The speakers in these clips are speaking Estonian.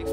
üks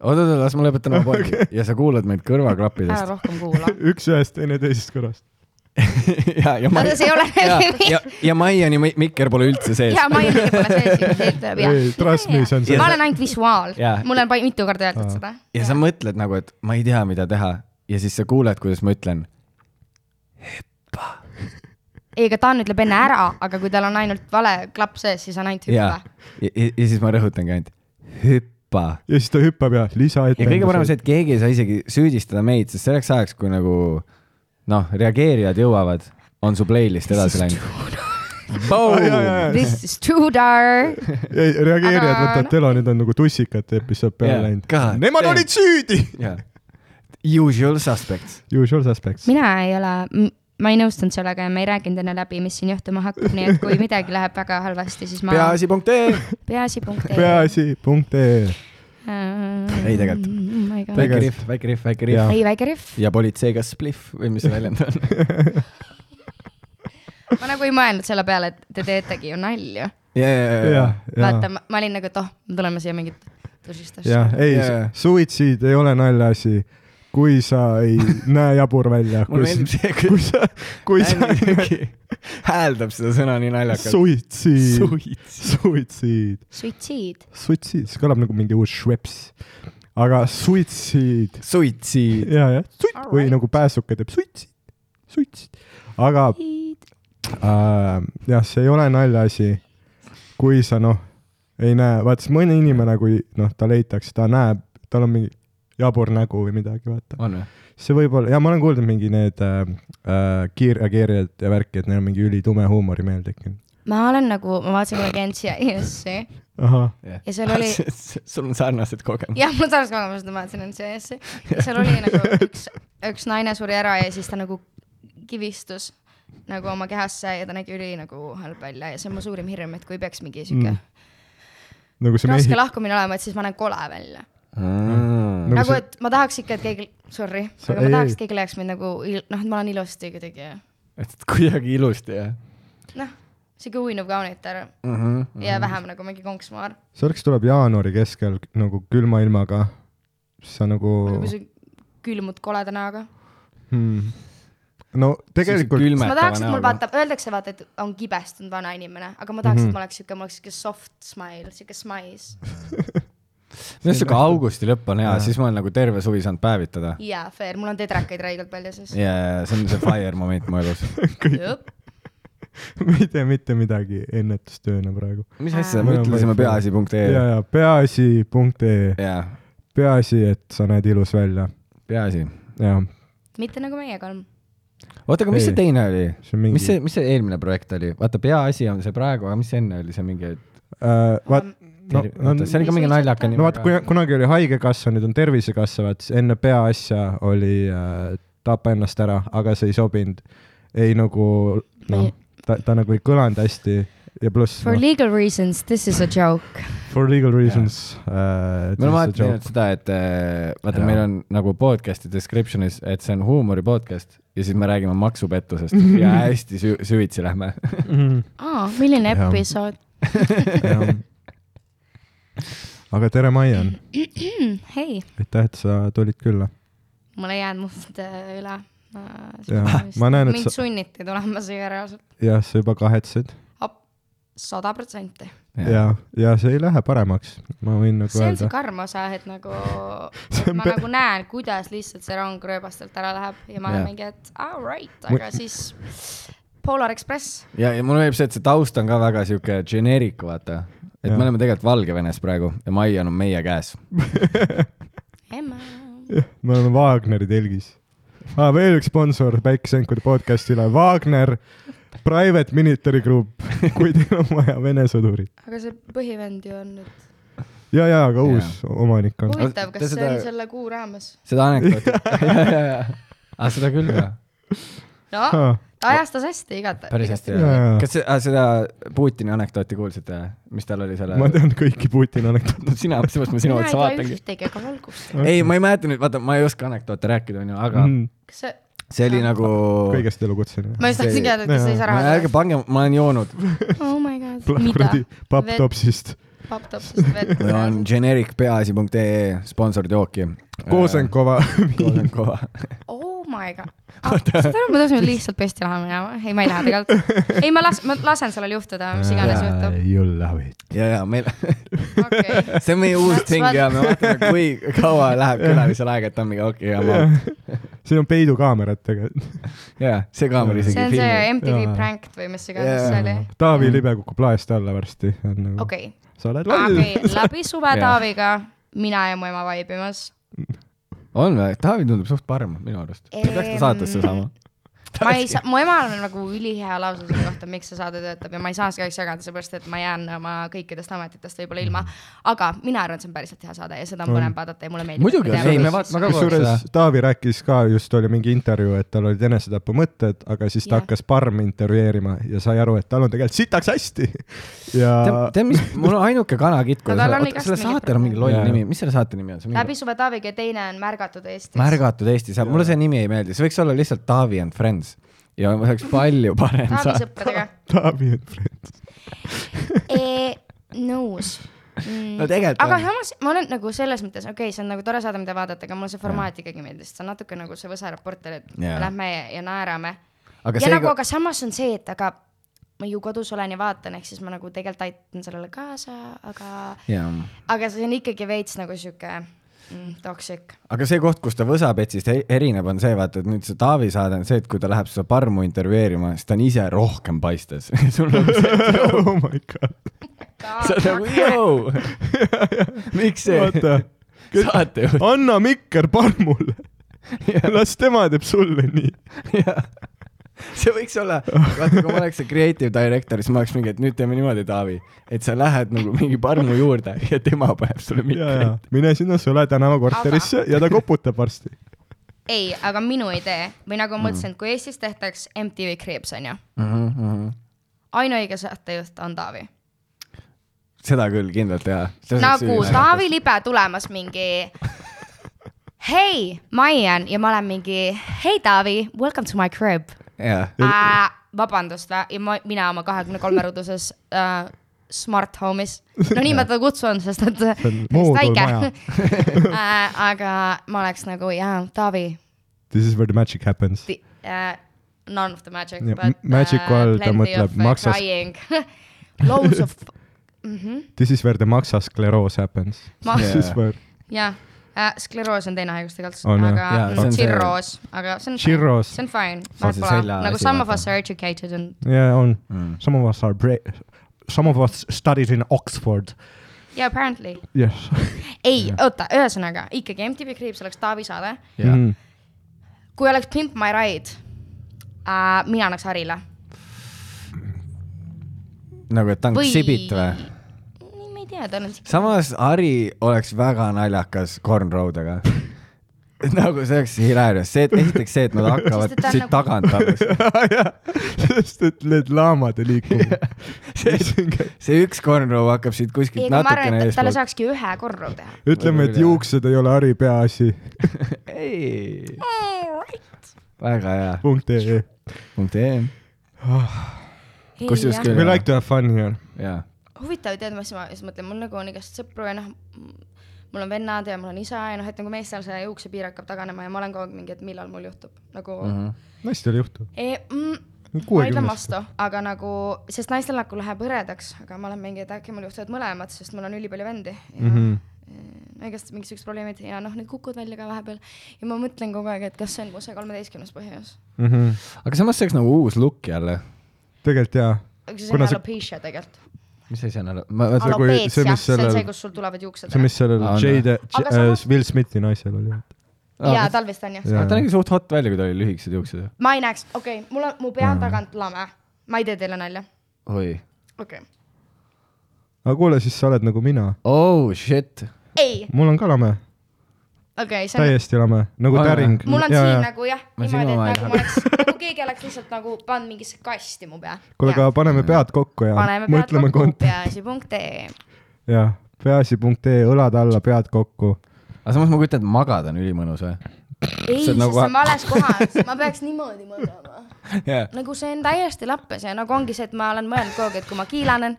oot-oot , las ma lõpetan oma pointi ja sa kuulad meid ära kõrvaklappidest rohkem kuula . üks ühest , teine teisest korrast . ja , ja Oota, see ei ole ja, naljakas. ja, ja Maiani mi- mikker pole üldse sees . ja ma ei tea , pole see siin , see ütleb jah . ei , trust me , see on see ma . olen ainult visuaal Jaa. . mulle on pa- mitu korda öeldud seda . ja sa mõtled nagu , et ma ei tea , mida teha ja siis sa kuuled , kuidas ma ütlen . ei , aga Dan ütleb enne ära , aga kui tal on ainult vale klapp sees , siis on ainult ja, hüpe . ja , ja siis ma rõhutangi ainult hüppa ja siis ta hüppab ja lisa ette . ja kõige parem on see , et keegi ei saa isegi süüdistada meid , sest selleks ajaks , kui nagu noh , reageerijad jõuavad , on su playlist edasi läinud . This is Tudor . ei , reageerijad Aga- võtavad telo , nüüd on nagu tussikate episood Jaa. peale läinud God . Nemad damn. olid süüdi . Usual suspects . Usual suspects . mina ei ole , ma ei nõustunud sellega ja ma ei rääkinud enne läbi , mis siin juhtuma hakkab , nii et kui midagi läheb väga halvasti , siis ma . peaasi.ee . peaasi punkt ee . peaasi.ee . Ei, tegelikult. . oh my god . väike rihv , väike rihv , väike Jaa. rihv . ei , väike rihv . ja politseiga spliff või mis see väljend on . ma nagu ei mõelnud selle peale , et te teetegi ju nalju . ja , ja , ja , jah , vaata , jah , ma ma olin nagu , et oh , me tuleme siia mingit tõsist asja . jah , ei Jaa. , suitsiid ei ole naljaasi , kui sa ei näe jabur välja . mulle meeldib see , kui sa , kui sa hääldab seda sõna nii naljakalt . suitsiid , suitsiid , suitsiid . suitsiid , see kõlab nagu mingi uus šveps . aga suitsiid , suitsiid . ja , jah , suit või nagu pääsuke teeb suitsiid , suitsiid . aga äh, jah , see ei ole naljaasi , kui sa noh , ei näe , vaata siis mõni inimene , kui noh , ta leitakse , ta näeb , tal on mingi jabur nägu või midagi , vaata . on või ? see võib olla , ja ma olen kuulnud et mingi need äh, äh, kiirreageerijad ja värki , et neil on mingi ülitume huumorimeel tekkinud . ma olen nagu , ma vaatasin kunagi NCIS-i ahah , ja seal oli , sul on sarnased kogemused . jah , mul sarnast kogemust , ma vaatasin NCIS-i ja seal oli nagu üks , üks naine suri ära ja siis ta nagu kivistus nagu oma kehasse ja ta nägi üli nagu halb välja ja see on mu suurim hirm , et kui peaks mingi sihuke mm. nagu see raske mehi- , lahkumine olema , et siis ma näen kole välja . Mm. Nagu nagu , see- et ma tahaks ikka , et keegi , sorry , Sa- aga ei, ma ei. tahaks , et keegi leiaks mind nagu , noh , et ma olen ilusti kuidagi , et kuidagi ilusti jah noh , sihuke uinuv kaunitar mm . Mhm. -hmm. ja vähem nagu mingi konksmaar . selleks tuleb jaanuari keskel nagu külma ilmaga , sa nagu kui sa külmud koleda näoga . hmm. no tegelikult , ma tahaks , et mul . vaata , öeldakse vaata , et on kibestunud vana inimene , aga ma Mhm. tahaks , et ma oleks sihuke , mul oleks sihuke soft smile , sihuke smiles . minu arust sihuke augusti lõpp on hea , siis ma olen nagu terve suvi saanud päevitada . jaa , fair , mul on tedrakaid räigelt palju siis . ja , ja see on see fire moment mu elus . me ei tee mitte midagi ennetustööna praegu . mis asja , me Aa. ütlesime peaasi.ee ja , ja peaasi.ee , ja peaasi , et sa näed ilus välja , peaasi . jah . mitte nagu meie kolm . oota , aga mis Ei. see teine oli ? see on mingi mis see , mis see eelmine projekt oli ? vaata , peaasi on see praegu , aga mis see enne oli , see mingi , äh, , vaat , no , no, oota , see oli ka mingi naljaka nimi . no vaata , kui kunagi oli Haigekassa , nüüd on Tervisekassa , vaat siis enne peaasja oli äh, tapa ennast ära , aga see ei sobinud . ei nagu , noh , ta , ta nagu ei kõlanud hästi ja pluss For no, legal reasons this is a joke . for legal reasons äh, . me oleme alati teinud seda , et äh, vaata , Jaa. meil on nagu podcast'i description'is , et see on huumori podcast ja siis me räägime maksupettusest ja hästi sü- süvitsi lähme . Mhm. aa , milline Jaa. episood . seda . aga tere , Maian , hei , aitäh , et sa tulid külla . mul ei jäänud muud äh, üle . Jah, ma näen, et mind sa- sunniti tulema siia reaalselt , jah , sa juba kahetsed sada protsenti . ja , ja see ei lähe paremaks , ma võin nagu see on see öelda . karm osa , et nagu See on ma pe- nagu näen , kuidas lihtsalt see rong rööbastelt ära läheb ja ma Jaa. olen mingi , et all right , aga siis Polar Express , ja , ja mulle meeldib see , et see taust on ka väga sihuke generic , vaata . et Jaa. me oleme tegelikult Valgevenes praegu ja Maian on meie käes . jah . ema . me oleme Wagneri telgis ah, . veel üks sponsor Päikesenkude podcastile , Wagner Private Military Group , kui teil on vaja Vene sõdurit . aga see põhivend ju on nüüd . ja , ja , aga uus omanik on . huvitav , Ta kas see seda- oli selle kuu raames ? seda anekdooti . aga seda küll ka , no Ah, ta ajastas hästi igatahes . päris hästi . Jaa, jaa. kas see, ah, seda Putini anekdooti kuulsite , mis tal oli selle ? ma tean kõiki Putini anekdoote . no sina , seepärast ma sinu mina ei otsa tea vaatangi . ühtegi , aga valgusta . ei , ma ei mäleta nüüd , vaata , ma ei oska anekdoote rääkida , onju , aga mm. kas see , see oli nagu . kõigest elukutseline . ma just tahtsin See- teada , et kas see ei saa raha ärge . pange , ma olen joonud . oh my god , mida ? kuradi papptopsist . paptopsist vett see . on genericpeaasi.ee sponsored jooki . Äh, Kosenkova . Kosenkova . oh my god . saad aru , me tõuseme lihtsalt pesti laha minema . ei , ma ei lähe tegelikult . ei , ma las- , ma lasen sellel juhtuda , mis iganes juhtub . You'll love it . ja , ja meil , okei okay. , see on meie uus ting ja me vaatame , kui kaua läheb külalisel aega , et on mingi okei okay, , siin on peidukaameratega . ja ja see kaamera isegi see on see filmib . MTV Jaa. Pranked või mis iganes see oli . Taavi Libe kukub laest alla varsti . okei , sa oled loll . okei , läbi suve Jaa. Taaviga mina ja mu ema vaibimas . on või ? Taavi tundub suht parm minu arust . ta peaks ta saatesse saama . ma ei saa , mu emal on nagu ülihea lause selle kohta , miks see saade töötab ja ma ei saa seda kahjuks jagada , seepärast et ma jään oma kõikidest ametitest võib-olla ilma . aga mina arvan , et see on päriselt hea saade ja seda on põnev vaadata ja mulle meeldib . Mm. muidugi , ei , me vaatame ka kogu aeg kusjuures Taavi rääkis ka , just oli mingi intervjuu , et tal olid enesetapumõtted , aga siis ta Jah. hakkas parmi intervjueerima ja sai aru , et tal on tegelikult sitaks hästi . ja seda . tead , mis , mul on ainuke kanakitk , kui No tal selle on , oota , igast selle mingid saatel on mingi loll probleemid. nimi , mis selle saate nimi on ? see on mingi läbi suve Taaviga ja teine on Märgatud Eestis . Märgatud Eesti saab , mulle see nimi ei meeldi , see võiks olla lihtsalt Taavi and Friends ja see oleks palju parem Taavi saade . sõpradega . Taavi and Friends . nõus . no tegelikult E, Mm. aga on. samas ma olen nagu selles mõttes , okei okay, , see on nagu tore saade , mida vaadata , aga mulle see formaat ikkagi meeldis , see on natuke nagu see Võsa reporter , et Jaa. yeah. lähme ja, ja naerame . aga ja see nagu , nagu... aga samas on see , et aga ma ju kodus olen ja vaatan , ehk siis ma nagu tegelikult aitan sellele kaasa , aga , jaa , aga see on ikkagi veits nagu sihuke mm, toksik . aga see koht , kus ta Võsapetsist e- erineb , on see , vaata , et nüüd see Taavi saade on see , et kui ta läheb seda parmu intervjueerima , siis ta on ise rohkem paistes . sul on see , oh my god , sa oled nagu , joo , miks see vaata , saatejuht , anna mikker parmule . las tema teeb sulle nii . see võiks olla , vaata , kui ma oleks see creative director , siis ma oleks mingi , et nüüd teeme niimoodi , Taavi , et sa lähed nagu mingi parmu juurde ja tema paneb sulle ja , ja mikri . mine sinna Sõle tänava korterisse ja ta koputab varsti . ei , aga minu idee või Mm. nagu ma mõtlesin , et kui Eestis tehtaks MTV Kriips onju , mhm. ainuõige saatejuht on Taavi seda küll kindlalt jaa . nagu Taavi . Libe tulemas mingi . hei , Maian ja ma olen mingi , hei Taavi , welcome to my crib jaa , uh, . vabandust vä , ja ma , mina oma kahekümne kolme ruuduses uh, smart home'is , no nii ma teda kutsun , sest et . on moodul maja. uh, aga ma oleks nagu jaa , Taavi This is where the magic happens . the, uh, none of the magic Ja yeah, , but äh, m- magicu all ta plenty mõtleb of uh, maksas- crying . Loads of , This is where the maksaskleroos happens . Ma- This is where jah . Äh, skleroos on teine haigus tegelikult , On, jah. aga Jaa, see on see- tsirroos , aga see on , Cirrhoos. see on fine , See on see võib-olla selja nagu asi, some of vaata. us are educated and yeah, on mm. . Some of us are bra- , some of us studied in Oxford . yeah apparently . Yes . ei , oota , ühesõnaga ikkagi MTV Kriips oleks Taavi saade , jaa . Mm-hmm. kui oleks Pimp My Ride äh, , mina annaks Harile . nagu , et ta on Või- ksibit või ? ma ei tea , tal on siuke , samas Ari oleks väga naljakas kornroudega . nagu see oleks hilarious , see , et esiteks see , et nad hakkavad Sest et ta on siit nagu- tagant alles . sest et need laamade liikuvad . see üks kornrou hakkab siit ei , kuskilt aga ma natukene arvan , et eespoolt . talle saakski ühe korra teha . ütleme , et Võib-olla. juuksed ei ole Harri peaasi ei , väga hea . punkt E ee . punkt E. ee . kusjuures We küll like , to have fun here . jaa . huvitav , tead , mis ma siis mõtlen , mul nagu on igast sõpru ja noh , mul on vennad ja mul on isa ja noh , et nagu meestel see juuksepiir hakkab taganema ja ma olen kogu aeg mingi , et millal mul juhtub nagu mm . Mhm. -hmm. naistel juhtub . E, mm, ma ütlen Mhm. kuuekümnest . vastu , aga nagu , sest naistel nagu läheb hõredaks , aga ma olen mingi , et äkki mul juhtuvad mõlemad , sest mul on ülipalju vendi ja Mhm. mm Mm-hmm. -hmm. igast mingisugused probleemid ja noh , need kukuvad välja ka vahepeal ja ma mõtlen kogu aeg , et kas see on mu see kolmeteistkümnes põhjus . Mm-hmm. aga samas see oleks nagu uus look jälle . tegelikult jaa . aga see Kuna on see- alopecia tegelikult . mis asi see on , ma , see, kui- see, alopeetsia , mis see on sellel- see , kus sul tulevad juuksed see , mis sellel Aa, on Jade , Aga samas- Will Smithi naisel oli . ära . jaa , talvist on jah . Jaa. Ah, ta nägi suht hot välja , kui tal oli lühikesed juuksed . ma ei näeks , okei okay, , mul on , mu pea on tagant lame . ma ei tee teile nalja . oi , okei okay. . aga kuule , siis sa oled nagu mina . oh shit . ei , mul on ka lame , okei okay, , see on , täiesti lame , nagu Aa, jaa. täring . mul on ja, siin ja. nagu jah , Ma niimoodi , silma vahele et nagu ma oleks , nagu keegi oleks lihtsalt nagu pannud mingisse kasti mu pea . kuule , aga paneme pead kokku ja paneme pead mõtleme kokku , kont- , peaasi.ee . jah , peaasi.ee , õlad alla , pead kokku . aga samas ma kujutan , et magada on ülimõnus või ? ei , See on sest nagu- see on vales kohas , ma peaks niimoodi mõtlema . jaa . nagu see on täiesti lappes ja nagu ongi see , et ma olen mõelnud kogu aeg , et kui ma kiilanen ,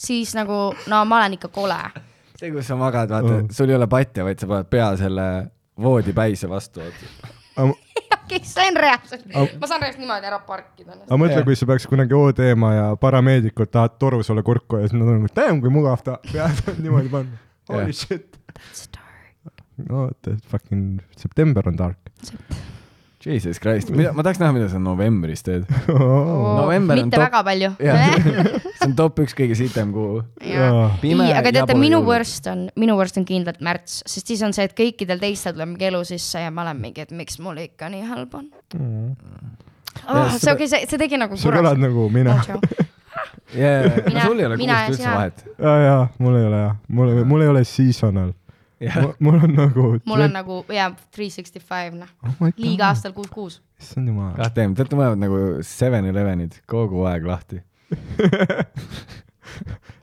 siis nagu no ma olen ikka kole . see , kus sa magad , vaata Mm. mm. , sul ei ole patja , vaid sa paned pea selle voodipäise vastu . okei , see on reaalselt , ma saan reaalselt niimoodi ära parkida ennast . aga mõtle , kui sa peaks kunagi ood-eema ja parameedikud tahavad toru sulle kurku ja siis nad on nagu , damn kui mugav ta , pead on niimoodi panna . Holy Jah. shit . no the fucking september on dark . Jesus Christ , mida , ma tahaks näha , mida sa novembris teed . november on mitte top- väga palju . see on top üks kõige sitem kuu . Pime ei , aga teate , jabur minu jõulud. worst on , minu worst on kindlalt märts , sest siis on see , et kõikidel teistel tuleb mingi elu sisse ja ma olen mingi , et miks mul ikka nii halb on oh, . see , okei , see , see tegi nagu sa kõlad kuradi . nagu mina . yeah. . Mina- sul ei ole mina kuust ja üldse sina. vahet . ja , ja mul ei ole jah , mul , mul ei ole seasonal . mul on nagu . mul on . nagu jaa , three sixty five noh , liiga . aastal kuus kuus . issand jumal . ah teeme , teate , mõlemad nagu Seven Elevenid kogu aeg lahti .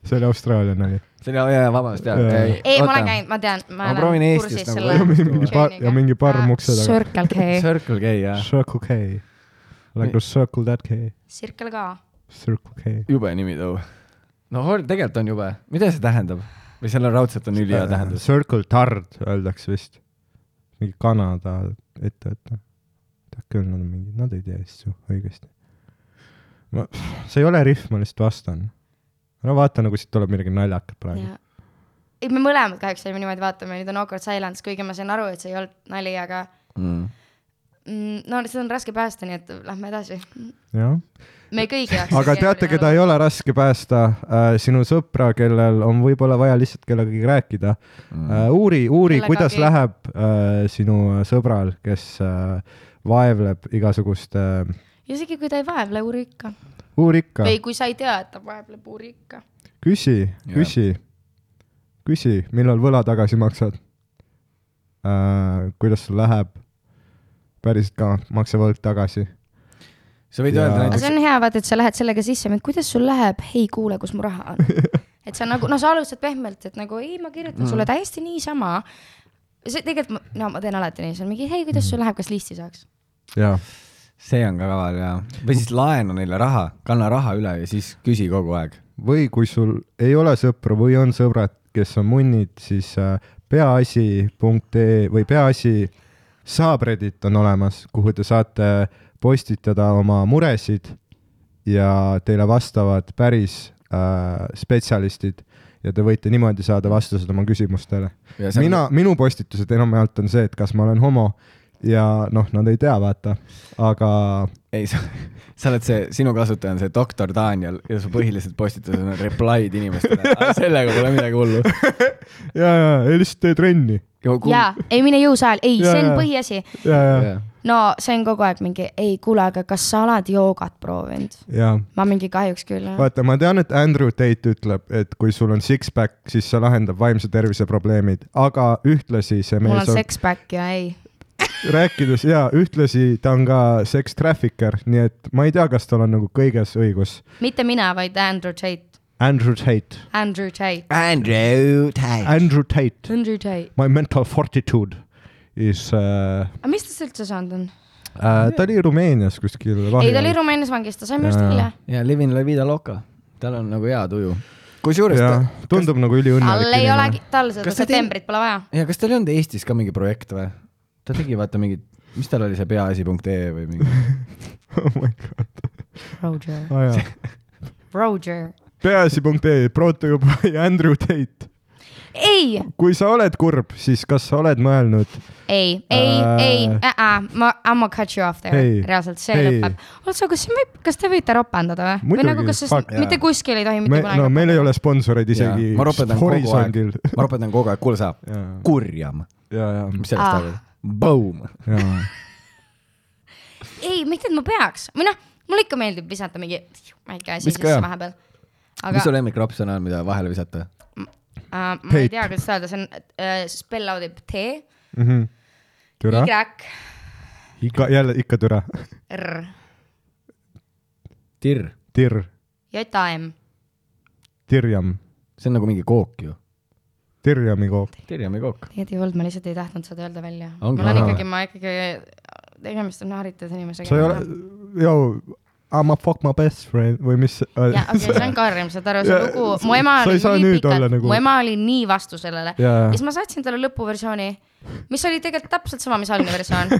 see oli Austraalia nali . see oli , jaa , vabandust , jaa . Jaa. ei , ma olen . käinud , ma tean , ma Ma proovin olen Eestist kursis nagu selle Ja mingi par- ja mingi parm ukse taga. Circle K , Circle K , jaa . Circle K . Like a circle that K . Circle K . Circle K . jube nimi too . no hor- tegelikult on jube . mida see tähendab ? või sellel raudselt on ülihea tähendus ? Äh, Circle Tard öeldakse vist . mingi Kanada ettevõte . tead küll , nad on mingid , nad ei tee asju õigesti . ma , see ei ole rihv , ma lihtsalt vastan . no vaata , nagu siit tuleb midagi naljakat praegu . ei , me mõlemad kahjuks olime niimoodi , vaatame , nüüd on Awkward Silence , kuigi ma sain aru , et see ei olnud nali , aga mm, no seda on raske päästa , nii et lähme edasi . jah . me kõigi jaoks . aga teate , keda ei ole raske päästa äh, ? sinu sõpra , kellel on võib-olla vaja lihtsalt kellegagi rääkida Mm. äh, . uuri , uuri , Kellegagi. kuidas läheb äh, sinu sõbral , kes äh, vaevleb igasuguste äh, , isegi kui ta ei vaevle , uuri ikka . uuri ikka , või kui sa ei tea , et ta vaevleb , uuri ikka . küsi , küsi , küsi , millal võla tagasi maksad äh, ? kuidas sul läheb ? päriselt ka , maksa võlg tagasi . sa võid Jaa. öelda aga see näiteks , on hea , vaata , et sa lähed sellega sisse , kuidas sul läheb , ei kuule , kus mu raha on . et sa nagu , no sa alustad pehmelt , et nagu ei , ma kirjutan mm. sulle täiesti niisama . see tegelikult , no ma teen alati nii , see on mingi , hei , kuidas sul läheb , kas listi saaks ? jaa , see on ka kaval jaa . või siis laena neile raha , kanna raha üle ja siis küsi kogu aeg . või kui sul ei ole sõpru või on sõbrad , kes on munnid , siis äh, peaasi.ee või peaasi saab Reddit on olemas , kuhu te saate postitada oma muresid ja teile vastavad päris äh, spetsialistid ja te võite niimoodi saada vastused oma küsimustele . Ja seal- mina , minu postitused enamjaolt on see , et kas ma olen homo ja noh , nad ei tea , vaata , aga ei , sa , sa oled see , sinu kasutaja on see doktor Daniel ja su põhilised postitused on reply'd inimestele . sellega pole midagi hullu . ja , ja , ei lihtsalt tee trenni jaa , ei mine jõusaal , ei , see on Jaa. põhiasi . ja , ja , ma no see on kogu aeg mingi , ei kuule , aga kas sa oled joogat proovinud ? ja ma mingi kahjuks küll jah . vaata , ma tean , et Andrew Tate ütleb , et kui sul on six-pack , siis see lahendab vaimse tervise probleemid , aga ühtlasi see mul mees on on , six-pack ja ei . rääkides ja ühtlasi ta on ka sex trafficker , nii et ma ei tea , kas tal on nagu kõiges õigus . mitte mina , vaid Andrew Tate , Andrew Tate , Andrew Tate , Andrew Tate , Andrew Tate . my mental fortitude is uh, , aga mis tast üldse saanud on ? uh, ta oli Rumeenias kuskil . ei , ta oli Rumeenias vangis , ta sai minu Jaa. arust hilja . ja Livin La Vida Loca , tal on nagu hea tuju . kusjuures ta jah , tundub nagu üliõnnelik tal ei olegi , tal seda Kas ta tegi- septembrit pole vaja . ja kas tal ei olnud Eestis ka mingi projekt või ? ta tegi vaata mingit , mis tal oli see peaasi.ee või mingi , oh my god , Roger , Oh aa jaa . Roger . E, peaasi.ee , protojupp ja Andrew Tate . ei , kui sa oled kurb , siis kas sa oled mõelnud , ei , ei , Äh. ei , ma , I m gonna cut you off there Ei. hey. , reaalselt see Ei. hey. lõpeb . also , kas see võib , kas te võite ropendada või ? või Muidugi, nagu , kas fuck, sest mitte jaa. kuskil ei tohi mitte me, kunagi no meil ei ole sponsoreid isegi ma ropetan kogu aeg horisondil . ma ropetan kogu aeg , kuule sa , ja , kurjam , ja , ja , mis sellest Ah. arvad ? Boom . ja , ropendada. ei , mitte , et ma peaks , või noh , mulle ikka meeldib visata mingi väike asi Viska sisse jah. vahepeal . mis aga su lemmikrapsõna on , mida vahele visata ? äh, ma ei Tape. tea , kuidas öelda , see on äh, , spell out ib T , Mhm. türa , Y , ikka jälle ikka türa , R , tirr , tir , J A M . tirjam , see on nagu mingi kook ju . tirjami koop . tirjami kook . tegelikult ei olnud , ma lihtsalt ei tahtnud seda öelda välja . Ongi mul on vara ikkagi , ma ikkagi , tegemist on haritud inimesega . sa ei ole , joo , I m a fuck my best friend või mis ja , okei , see on karm , saad aru , see Ja, lugu , sa- mu ema sa ei oli saa nii nüüd olla pikalt nagu- nagu... , mu ema oli nii vastu sellele . ja Jaa. siis ma saatsin talle lõpuversiooni , mis oli tegelikult täpselt sama , mis algne versioon .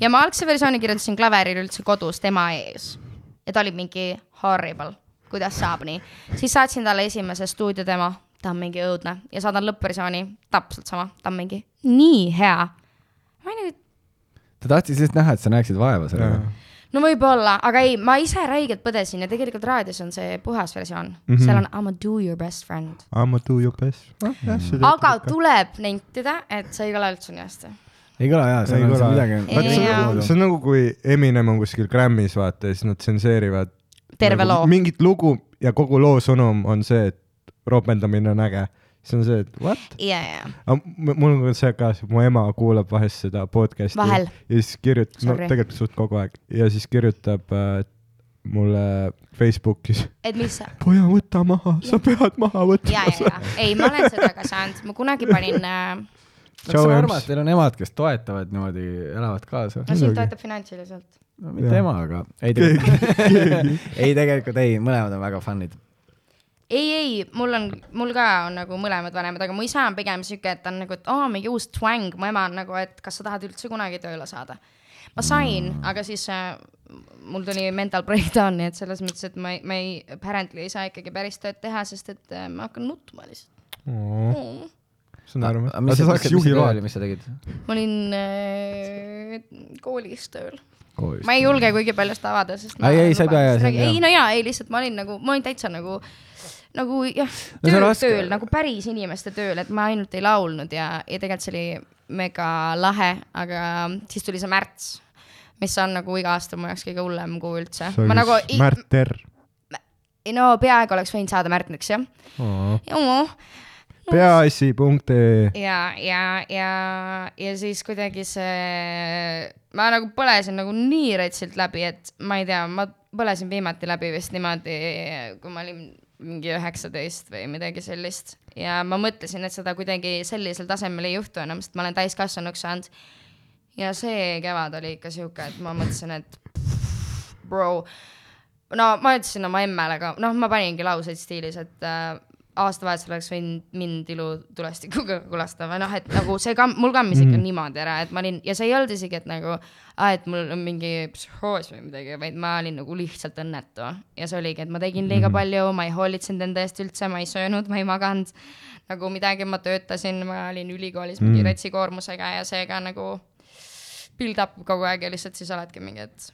ja ma algse versiooni kirjutasin klaveril üldse kodus tema ees . ja ta oli mingi horrible , kuidas saab nii . siis saatsin talle esimese stuudio tema , ta on mingi õudne ja saadan lõppversiooni , täpselt sama , ta on mingi nii hea . ma nagu, ei nüüd , ta tahtis lihtsalt näha , et sa näeksid vaeva sellega . no võib-olla , aga ei , ma ise räigelt põdesin ja tegelikult raadios on see puhas versioon mm , -hmm. seal on I m a do your best friend . I m a do your best Mm. Ah, friend . aga tuleb nentida , et see ei ole üldse nii hästi . ei kõla jaa , seal Ei on kõla. see midagi . Ei, jaa. see on nagu , kui Eminem on kuskil Grammy's vaata ja siis nad tsenseerivad . Terve loo. mingit lugu ja kogu loo sõnum on see , et ropendamine on äge . siis on see , et what ? ja , ja , mul on ka see ka , mu ema kuulab vahest seda podcast'i . Vahel. ja siis kirjutab , no Sorry. tegelikult suht kogu aeg ja siis kirjutab äh, mulle Facebookis . et mis see , poja , võta maha , sa pead maha ja , võtma . ja , ja , ei , ma olen seda ka saanud , ma kunagi panin äh, , see on armas , Jones. teil on emad , kes toetavad niimoodi , elavad kaasa . no sind toetab finantsiliselt . no mitte ema , aga ei tegelikult , ei tegelikult ei , mõlemad on väga fun'id . ei , ei , mul on , mul ka on nagu mõlemad vanemad , aga mu isa on pigem sihuke , et ta on nagu , et aa , mingi uus twäng , mu ema on nagu , et kas sa tahad üldse kunagi tööle saada . ma sain mm. , aga siis äh, mul tuli mental breakdown , nii et selles mõttes , et ma ei , ma ei , apparently ei saa ikkagi päris tööd teha , sest et äh, ma hakkan nutma lihtsalt mm. . see on armas . aga sa saaks juhiload . mis sa tegid ? ma olin äh, koolis tööl . koolis ma . ei julge kuigi palju seda avada , sest ma Ai, ei, olen sa ei pea, lubanud jaa, seda see on rääkida. hea. ei no jaa , ei lihtsalt ma olin nagu , ma olin täitsa nagu , nagu jah , No see on tööl no, , raske. tööl nagu päris inimeste tööl , et ma ainult ei laulnud ja , ja tegelikult see oli mega lahe , aga siis tuli see märts , mis on nagu iga aasta mu jaoks kõige hullem kuu üldse . ma nagu ei- Märt Terr . ei no peaaegu oleks võinud saada märtniks jah . peaasi.ee ja , ja , ja , ja siis kuidagi see , ma nagu põlesin nagu nii rätsilt läbi , et ma ei tea , ma põlesin viimati läbi vist niimoodi , kui ma olin mingi üheksateist või midagi sellist . ja ma mõtlesin , et seda kuidagi sellisel tasemel ei juhtu enam , sest ma olen täiskasvanuks saanud . ja see kevad oli ikka sihuke , et ma mõtlesin , et bro , no ma ütlesin oma emmele ka , noh , ma paningi lauseid stiilis , et äh, aastavahetusel oleks võinud mind ilutulestikuga kulastada või noh , et nagu see kamm , mul kammis ikka mm. niimoodi ära , et ma olin ja see ei olnud isegi , et nagu , et mul on mingi psühhoos või midagi , vaid ma olin nagu lihtsalt õnnetu ja see oligi , et ma tegin liiga mm. palju , ma ei hoolitsenud enda eest üldse , ma ei söönud , ma ei maganud nagu midagi , ma töötasin , ma olin ülikoolis mingi mm. rätsikoormusega ja seega nagu build up kogu aeg ja lihtsalt siis oledki mingi , et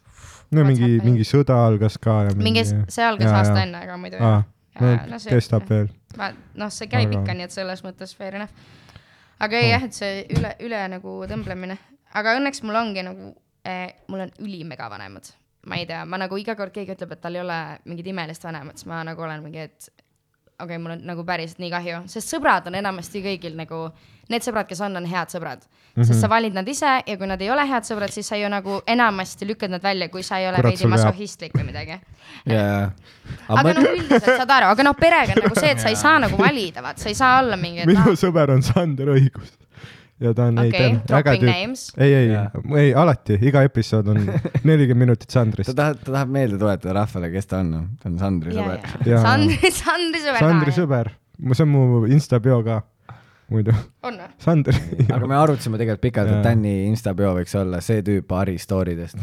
no What's mingi , happening? mingi sõda algas ka ja mingi , see algas Jaa, aasta jaa. enne , aga muidu aa jah. , no Jaa, no see- kestab veel . ma noh , see käib Aga- Hm. aga... ikka , nii et selles mõttes fair enough . aga ei jah , et see üle , üle nagu tõmblemine , aga õnneks mul ongi nagu eh, , mul on ülimega vanemad . ma ei tea , ma nagu iga kord keegi ütleb , et tal ei ole mingit imelist vanemat , siis ma nagu olen mingi , et okei okay, , mul on nagu päriselt nii kahju , sest sõbrad on enamasti kõigil nagu , need sõbrad , kes on , on head sõbrad mm . -hmm. Mhm. sest sa valid nad ise ja kui nad ei ole head sõbrad , siis sa ju nagu enamasti lükkad nad välja , kui sa ei ole Kurat, veidi sul veab. masohhistlik või midagi jaa , jaa . aga noh , üldiselt saad aru , aga noh , perega on nagu see , et sa ei saa nagu valida , vaat sa ei saa olla mingi , et noh, minu sõber on Sander Õigus ja ta on Okei, ei tea , äge dropping tüüp names. . ei , ei Jaa. , ei alati , iga episood on nelikümmend minutit ta Sandrist . tahab , ta tahab meelde tuletada rahvale , kes ta on , noh . ta on Sandri sõber . Jaa. jaa , Sandri , Sandri sõber . Sandri . sõber , see on mu insta bio ka , muidu . on või ? Sander , aga me arutasime tegelikult pikalt , Jaa. et Tänni instapeo võiks olla see tüüp Ari story dest .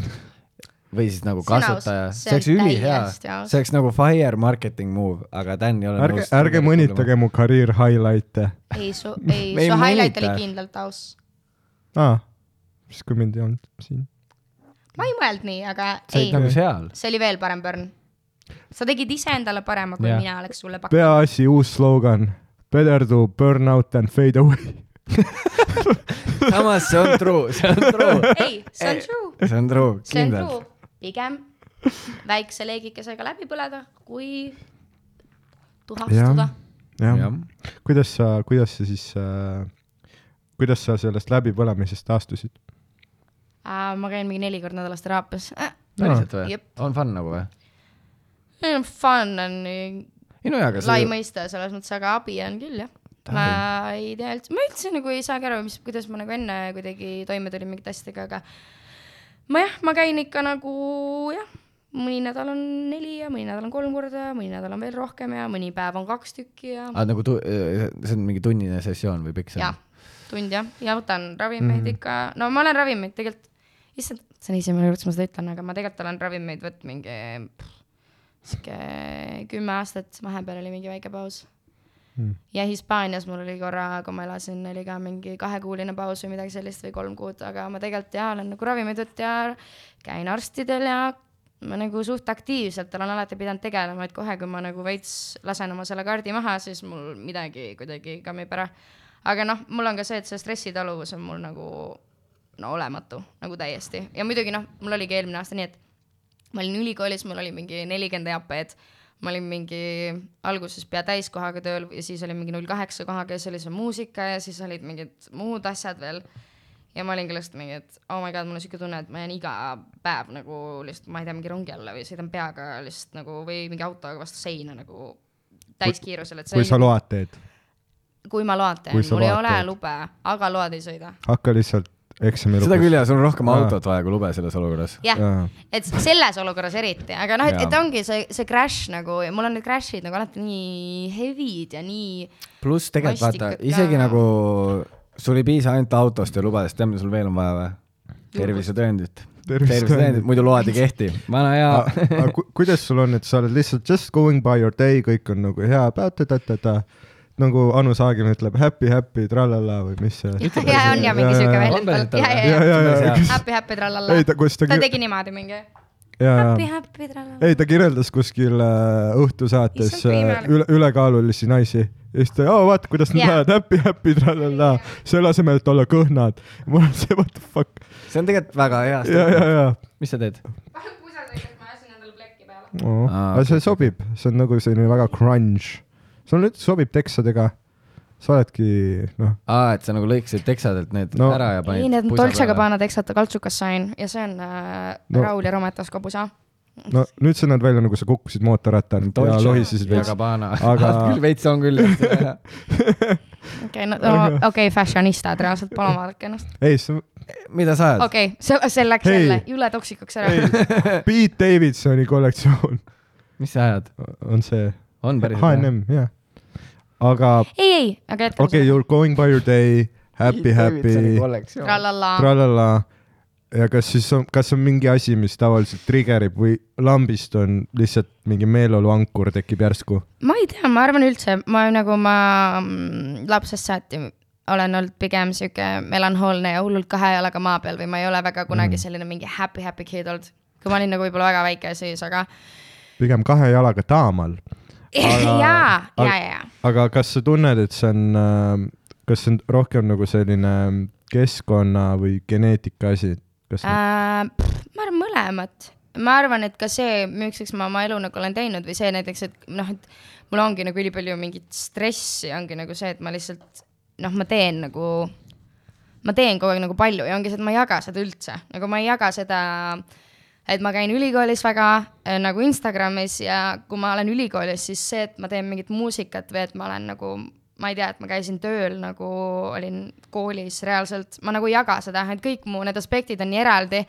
või siis nagu Sina kasutaja , aus- see see oleks on ülihea , täiesti aus. see oleks nagu fire marketing move , aga Dan ei ole ärge , ärge mõnitage . mu career highlight'e ei , su , Me ei , ei su highlight oli mõnita. kindlalt aus . ah, . siis kui mind ei olnud siin . ma ei mõelnud nii , aga sa ei olid , nagu seal . see oli veel parem pörn . sa tegid iseendale parema , kui Jah. mina oleks sulle pakkunud . peaasi uus slogan , better to burn out than fade away . samas see on true , see on true , ei , see on true , see on true , see on kindlalt true . pigem väikse leegikesega läbi põleda , kui tuhastuda jah ., jah Jah. . kuidas sa , kuidas sa siis äh, , kuidas sa sellest läbipõlemisest taastusid ? ma käin mingi neli korda nädalas teraapias . Eh, päriselt või Jep. ? on fun nagu või ? eh, Fun on nii ei no jaa , aga lai see , mõiste selles mõttes , aga abi on küll jah . ma ei tea üldse , ma üldse nagu ei saagi aru , mis , kuidas ma nagu enne kuidagi toime tulin mingite asjadega , aga ma jah , ma käin ikka nagu jah , mõni nädal on neli ja mõni nädal on kolm korda , mõni nädal on veel rohkem ja mõni päev on kaks tükki ja aa nagu tu- , see on mingi tunnine sessioon või pikk see jah on ?, Mhm. tund jah , ja võtan ravimeid mm. ikka , no ma olen ravimeid tegelikult , issand , see on esimene kord , kui ma seda ütlen , aga ma tegelikult olen ravimeid võtnud mingi pff, sihuke kümme aastat , vahepeal oli mingi väike paus mm. . ja Hispaanias mul oli korra , kui ma elasin , oli ka mingi kahekuuline paus või midagi sellist või kolm kuud , aga ma tegelikult jaa , olen nagu ravimeid võtnud ja käin arstidel ja ma nagu suht aktiivselt olen alati pidanud tegelema , et kohe , kui ma nagu veits lasen oma selle kaardi maha , siis mul midagi kuidagi kammib ära . aga noh , mul on ka see , et see stressitaluvus on mul nagu no olematu nagu täiesti ja muidugi noh , mul oligi eelmine aasta nii , et ma olin ülikoolis , mul oli mingi nelikümmend EAP-d , ma olin mingi alguses pea täiskohaga tööl ja siis oli mingi null kaheksa kohaga ja siis oli see muusika ja siis olid mingid muud asjad veel ja ma olin kindlasti mingi , et oh my god , mul on siuke tunne , et ma jään iga päev nagu lihtsalt , ma ei tea , mingi rongi alla või sõidan peaga lihtsalt nagu või mingi autoga vastu seina nagu täiskiirusel , et see kui sa oli , load teed , kui ma load teen , kui sa mul ei load ole teed. lube , aga load ei sõida . hakka lihtsalt eksami seda küll lõpus . jaa , sul on rohkem Aa. autot vaja kui lube selles olukorras . jah Jaa. et selles olukorras eriti , aga noh , et , Jaa. et ongi see , see crash nagu , mul on need crash'id nagu alati nii heavy'd ja nii , pluss tegelikult vaata Mastikat , ka. isegi nagu sul ei piisa ainult autost ja lubadest , tead , mida sul veel on vaja või ? tervisetõendit . Tervisetõendit. Ah, tervisetõendit , muidu load ei kehti . vana hea . aga ku- kuidas sul on , et sa oled lihtsalt just going by your day , kõik on nagu hea , ta-ta-ta-ta-ta , nagu Anu Saagim ütleb happy , happy , tralala või mis see . ja on ja mingi siuke On päriselt väljend , tal ja , või? ja , ja , ja , ja , happy happy trallalla Ei, ta- , kus ta ta kü- tegi niimoodi mingi ja , happy ja , happy trallalla . ei ta kirjeldas kuskil äh, õhtusaates Issand, kui äh, imelik. üle , ülekaalulisi naisi ja siis ta , oo vaata , kuidas nad Jaa. lähevad happy , happy , tralala , selle asemel , et olla kõhnad . mul on see what the fuck , see on tegelikult väga ja , ja , hea . ja , mis sa teed ? Aa, aga see sobib , see on nagu selline väga crunch , see on , sobib teksadega , sa oledki noh , aa , et sa nagu lõikasid teksadelt need No. ära ja panid . ei , need on Dolce Gabbana teksata kaltsukas sain ja see on äh, No. no. Raul ja Rometas kobusa . no nüüd sa näed välja nagu sa kukkusid mootorrattalt ja lohisesid veits . veits . Gabbana . aga Aga- küll veits on küll . okei , no, no okei okay, , fashionistad reaalselt , palun vaadake ennast . ei , see on mida sa ajad ? okei okay, , see , see läks Hei. hey. jälle jõle toksikuks ära . Pete Davidsoni kollektsioon mis sa ajad ? on see , on päriselt H&M , jah . aga ei , ei , aga jätkame okei okay, ,. you are going by your day , happy , nagu happy , kollektsioon . trallalla , tralala . ja kas siis on , kas on mingi asi , mis tavaliselt trigger ib või lambist on lihtsalt mingi meeleoluankur tekib järsku ? ma ei tea , ma arvan üldse , ma nagu ma mm, lapsest saati olen olnud pigem sihuke melanhoolne ja hullult kahe jalaga maa peal või ma ei ole väga kunagi selline mingi happy happy kid olnud . kui ma olin nagu võib-olla väga väike siis , aga pigem kahe jalaga taamal . jaa , jaa , jaa , jaa . aga kas sa tunned , et see on , kas see on rohkem nagu selline keskkonna või geneetika asi ? kas äh, Äh, pff, ma arvan mõlemat , ma arvan , et ka see , milliseks ma oma elu nagu olen teinud või see näiteks , et noh , et mul ongi nagu ülipalju mingit stressi , ongi nagu see , et ma lihtsalt noh , ma teen nagu , ma teen kogu aeg nagu palju ja ongi see , et ma ei jaga seda üldse , nagu ma ei jaga seda , et ma käin ülikoolis väga äh, nagu Instagramis ja kui ma olen ülikoolis , siis see , et ma teen mingit muusikat või et ma olen nagu ma ei tea , et ma käisin tööl nagu , olin koolis reaalselt , ma nagu ei jaga seda , et kõik mu need aspektid on nii eraldi .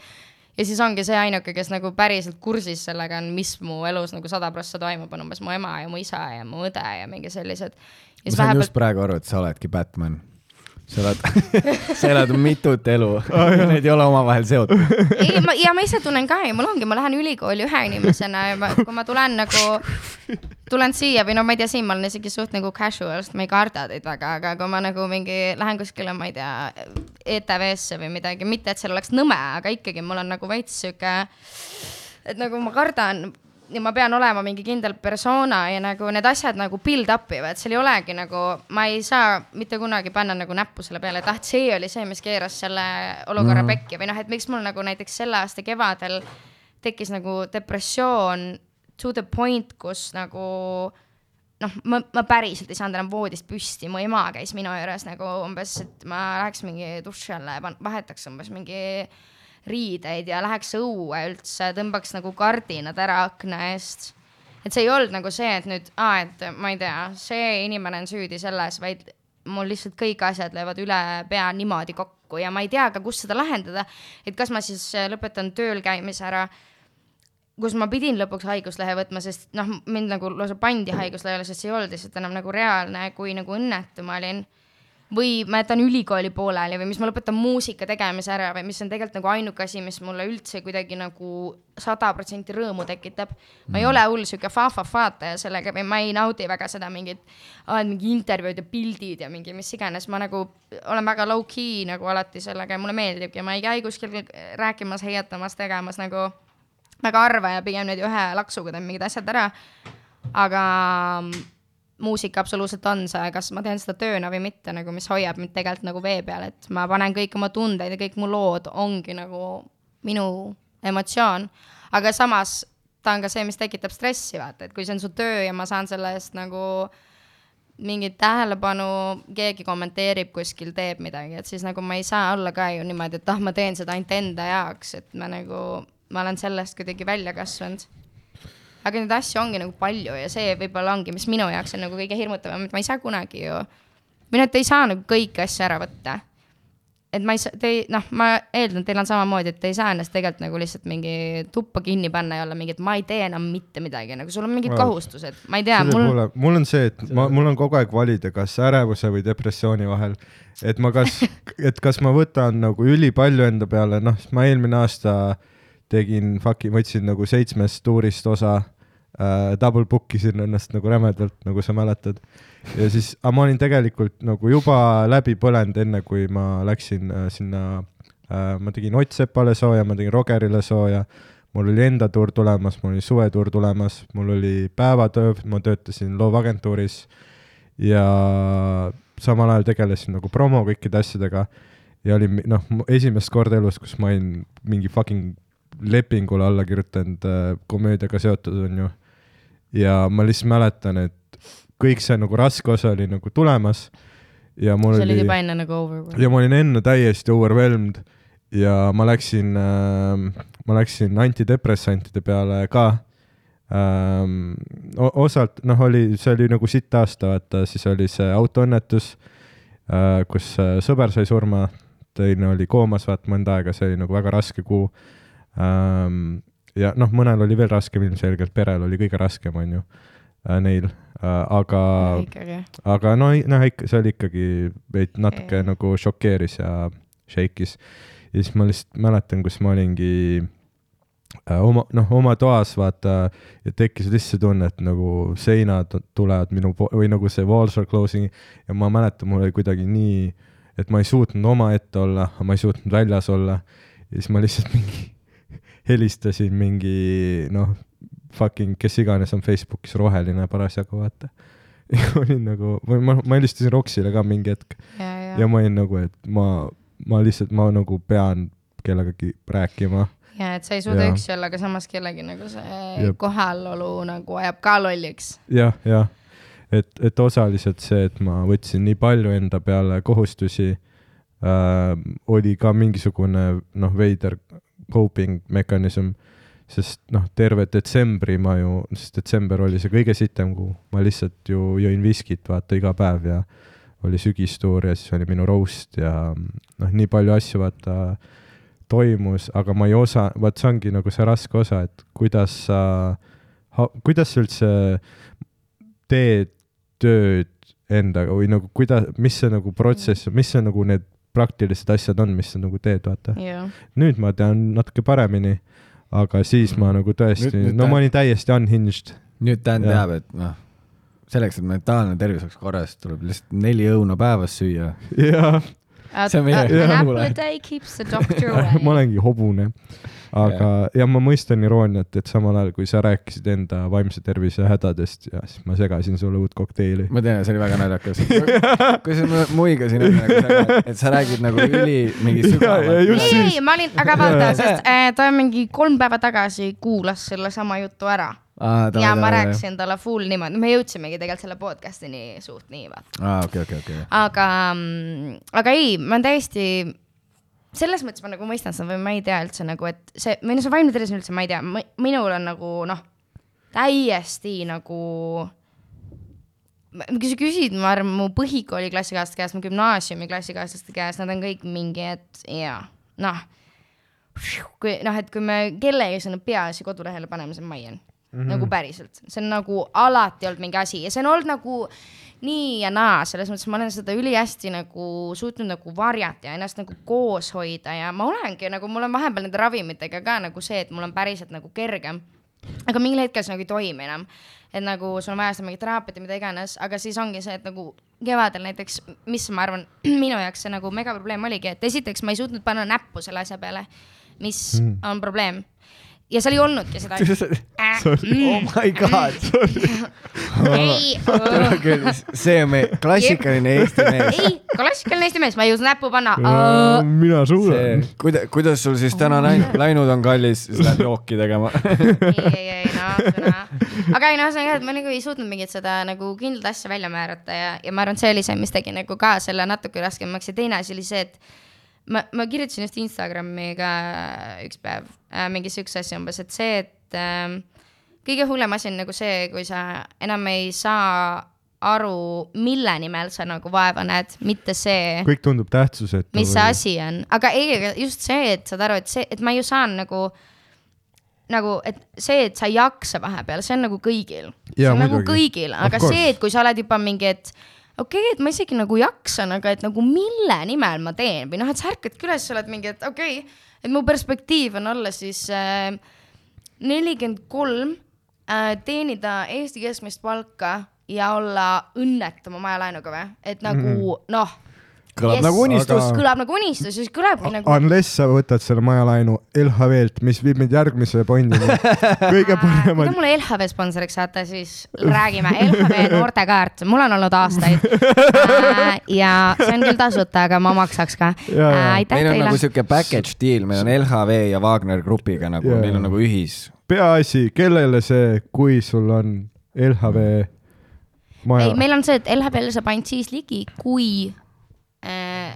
ja siis ongi see ainuke , kes nagu päriselt kursis sellega on , mis mu elus nagu sada prossa toimub , on umbes mu ema ja mu isa ja mu õde ja mingi sellised . ja ma siis sain just vahepeal , praegu aru , et sa oledki Batman . sa elad , sa elad mitut elu oh, , need ei ole omavahel seotud . ei , ma ja ma ise tunnen ka ja mul ongi , ma lähen ülikooli ühe inimesena ja ma, kui ma tulen nagu , tulen siia või no ma ei tea , siin ma olen isegi suht nagu casual , sest ma ei karda teid väga , aga kui ma nagu mingi lähen kuskile , ma ei tea , ETV-sse või midagi , mitte et seal oleks nõme , aga ikkagi mul on nagu veits sihuke , et nagu ma kardan ja ma pean olema mingi kindel persona ja nagu need asjad nagu build up ivad , seal ei olegi nagu , ma ei saa mitte kunagi panna nagu näppu selle peale , et ah , see oli see , mis keeras selle olukorra mm. pekki või noh , et miks mul nagu näiteks selle aasta kevadel tekkis nagu depressioon to the point , kus nagu noh , ma , ma päriselt ei saanud enam voodist püsti , mu ema käis minu juures nagu umbes , et ma läheks mingi duši alla ja pan- vahetaks umbes mingi riideid ja läheks õue üldse , tõmbaks nagu kardinad ära akna eest . et see ei olnud nagu see , et nüüd , et ma ei tea , see inimene on süüdi selles , vaid mul lihtsalt kõik asjad löövad üle pea niimoodi kokku ja ma ei tea ka , kus seda lahendada . et kas ma siis äh, lõpetan tööl käimise ära kus ma pidin lõpuks haiguslehe võtma , sest noh , mind nagu lausa pandi haiguslehele , sest see ei olnud lihtsalt enam nagu reaalne , kui nagu õnnetu ma olin . või ma jätan ülikooli pooleli või mis ma lõpetan muusika tegemise ära või mis on tegelikult nagu ainuke asi , mis mulle üldse kuidagi nagu sada protsenti rõõmu tekitab . ma ei ole hull sihuke fa-fa-faataja sellega või ma ei naudi väga seda mingit , mingi intervjuud ja pildid ja mingi mis iganes , ma nagu olen väga low-key nagu alati sellega ja mulle meeldib ja ma ei käi kuskil rääkimas , heietamas , tegemas nagu väga harva ja pigem nüüd ühe laksuga teen mingid asjad ära . aga mm, muusika absoluutselt on see , kas ma teen seda tööna või mitte nagu , mis hoiab mind tegelikult nagu vee peal , et ma panen kõik oma tundeid ja kõik mu lood ongi nagu minu emotsioon . aga samas ta on ka see , mis tekitab stressi , vaata , et kui see on su töö ja ma saan selle eest nagu mingit tähelepanu , keegi kommenteerib kuskil , teeb midagi , et siis nagu ma ei saa olla ka ju niimoodi , et ah , ma teen seda ainult enda jaoks , et ma nagu , ma olen sellest kuidagi välja kasvanud . aga neid asju ongi nagu palju ja see võib-olla ongi , mis minu jaoks on nagu kõige hirmutavam , et ma ei saa kunagi ju , või noh , et ei saa nagu kõiki asju ära võtta . et ma ei saa , te ei , noh , ma eeldan , teil on samamoodi , et te ei saa ennast tegelikult nagu lihtsalt mingi tuppa kinni panna ja olla mingi , et ma ei tee enam mitte midagi , nagu sul on mingid Vabandust. kohustused , ma ei tea , selle mul poole , mul on see , et ma , mul on kogu aeg valida , kas ärevuse või depressiooni vahel . et ma kas , et kas ma võtan nagu ülipalju enda peale , noh , ma eelmine aasta tegin fucking , võtsin nagu seitsmest tuurist osa äh, . Double book isin ennast nagu rämedalt , nagu sa mäletad . ja siis , aga ma olin tegelikult nagu juba läbi põlenud , enne kui ma läksin äh, sinna äh, . ma tegin Ott Sepale sooja , ma tegin Rogerile sooja mul oli enda tuur tulemas , mul oli suvetuur tulemas , mul oli päevatöö , ma töötasin loovagentuuris ja samal ajal tegelesin nagu promo kõikide asjadega ja oli mi- noh , esimest korda elus , kus ma olin mingi fucking lepingule alla kirjutanud äh, komöödiaga seotud , onju . ja ma lihtsalt mäletan , et kõik see nagu raske osa oli nagu tulemas ja mul sa oli olid juba enne nagu over . ja ma olin enne täiesti overwhelmed ja ma läksin ähm, , ma läksin antidepressantide peale ka ähm, . osalt noh , oli , see oli nagu sitt aasta , vaata , siis oli see autoõnnetus äh, , kus äh, sõber sai surma , teine oli koomas , vaata , mõnda aega , see oli nagu väga raske kuu ähm, . ja noh , mõnel oli veel raskem ilmselgelt , perel oli kõige raskem , onju äh, , neil äh, , aga ikkagi . aga no , noh , ikka see oli ikkagi veid natuke Jaa. yeah. nagu šokeeris ja shake'is . ja siis ma lihtsalt mäletan , kus ma olingi äh, oma , noh , oma toas vaata ja tekkis lihtsalt see tunne , et nagu seinad tulevad minu po- või nagu see walls are closing ja ma mäletan , mul oli kuidagi nii , et ma ei suutnud omaette olla , ma ei suutnud väljas olla ja siis ma lihtsalt mingi helistasin mingi noh , fucking kes iganes on Facebookis roheline parasjagu , vaata . ja olin nagu , või ma , ma helistasin Roksile ka mingi hetk ja , ja ma olin nagu , et ma , ma lihtsalt , ma nagu pean kellegagi rääkima . ja et sa ei suuda Jaa. üksi olla , aga samas kellegi nagu see Jep. kohalolu nagu ajab ka lolliks . jah , jah , et , et osaliselt see , et ma võtsin nii palju enda peale kohustusi äh, , oli ka mingisugune noh , veider coping mekanism , sest noh , terve detsembri ma ju , sest detsember oli see kõige sitem kuu , ma lihtsalt ju jõin viskit vaata iga päev ja oli sügistuur ja siis oli minu roast ja noh , nii palju asju vaata toimus , aga ma ei osa , vaat see ongi nagu see raske osa , et kuidas sa , kuidas sa üldse teed tööd endaga või nagu kuidas , mis see nagu protsess on , mis see nagu need praktilised asjad on , mis sa nagu teed , vaata . jah . nüüd ma tean natuke paremini , aga siis ma nagu tõesti , Nüüd- nüüd no ma tä- olin täiesti unhinged . nüüd Dan Jah. teab , et noh , selleks , et mentaalne tervis oleks korras , tuleb lihtsalt neli õuna päevas süüa . jah , See on meie- An jah. apple a day keeps the doctor away . ma olengi hobune . aga , ja ma mõistan irooniat , et samal ajal , kui sa rääkisid enda vaimse tervise hädadest ja siis ma segasin sulle uut kokteili . ma tean , see oli väga naljakas . kusjuures ma muigasin , et sa räägid nagu üli mingi Ja- ja just sügavalt . ei , siis- ei , ma olin , aga vaata , sest äh, ta mingi kolm päeva tagasi kuulas sellesama jutu ära ja ma . rääkisin talle full niimoodi , me jõudsimegi tegelikult selle podcast'ini suht nii , vaata . aa , okei , okei , okei . aga , aga ei , ma täiesti , selles mõttes ma nagu mõistan seda või ma ei tea üldse nagu , et see , või no see vaimne tervis on üldse , ma ei tea , minul on nagu noh , täiesti nagu . kui sa küsid , ma arvan , mu põhikooli klassikaaslaste käest , mu gümnaasiumi klassikaaslaste käest , nad on kõik mingi , et jaa , noh . kui noh , et kui me kellegi sinna peaasi kodulehele paneme , see on Maian mm . -hmm. nagu päriselt , see on nagu alati olnud mingi asi ja see on olnud nagu nii ja naa , selles mõttes ma olen seda ülihästi nagu suutnud nagu varjata ja ennast nagu koos hoida ja ma olengi nagu , mul on vahepeal nende ravimitega ka nagu see , et mul on päriselt nagu kergem . aga mingil hetkel see nagu ei toimi enam . et nagu sul on vaja seda mingit teraapiat ja mida iganes , aga siis ongi see , et nagu kevadel näiteks , mis ma arvan , minu jaoks see nagu megaprobleem oligi , et esiteks ma ei suutnud panna näppu selle asja peale , mis Hmm. mm. on probleem . ja seal ei olnudki seda . oh my god , ei , tore küll , see on meie klassikaline eesti mees . ei , klassikaline eesti mees , ma ei jõudnud näppu panna . Oh. mina see suudan ., kuidas , kuidas sul siis täna läin- läinud on , kallis , siis lähed jooki tegema . ei , ei , ei , no , no . aga ei , no see on jah , et ma nagu ei suutnud mingit seda nagu kindlat asja välja määrata ja , ja ma arvan , et see oli see , mis tegi nagu ka selle natuke raskemaks ja teine asi oli see , et ma , ma kirjutasin just Instagrami ka üks päev äh, mingi siukse asja umbes , et see , et ähm, kõige hullem asi on nagu see , kui sa enam ei saa aru , mille nimel sa nagu vaeva näed , mitte see kõik tundub tähtsusetu . mis see asi on , aga ei , aga just see , et saad aru , et see , et ma ju saan nagu , nagu , et see , et sa ei jaksa vahepeal , see on nagu kõigil . see Jaa, on nagu muidugi. kõigil , Of aga course. see , et kui sa oled juba mingi , et okei okay, , et ma isegi nagu jaksan , aga et nagu mille nimel ma teen või noh , et sa ärkadki üles , sa oled mingi , et okei okay, , et mu perspektiiv on olla siis äh, nelikümmend äh, kolm , teenida Eesti keskmist palka ja olla õnnetu oma majalaenuga või , et nagu mm Mhm. -hmm. noh kõlab nagu unistus . Aga- kõlab nagu unistus , siis kõlabki nagu Unless sa võtad selle majalaenu LHV-lt , mis viib meid järgmise pointini . kui kõige te paremad . mulle LHV sponsoriks saate , siis räägime LHV noortekaart , mul on olnud aastaid . ja see on küll tasuta , aga ma maksaks ka . Jaa, jaa. aitäh meil on teile nagu . siuke package deal , meil on LHV ja Wagner grupiga nagu , Jaa. meil on nagu ühis . peaasi , kellele see , kui sul on LHV ei , maja . meil on see , et LHV-le saab ainult siis ligi , kui äh,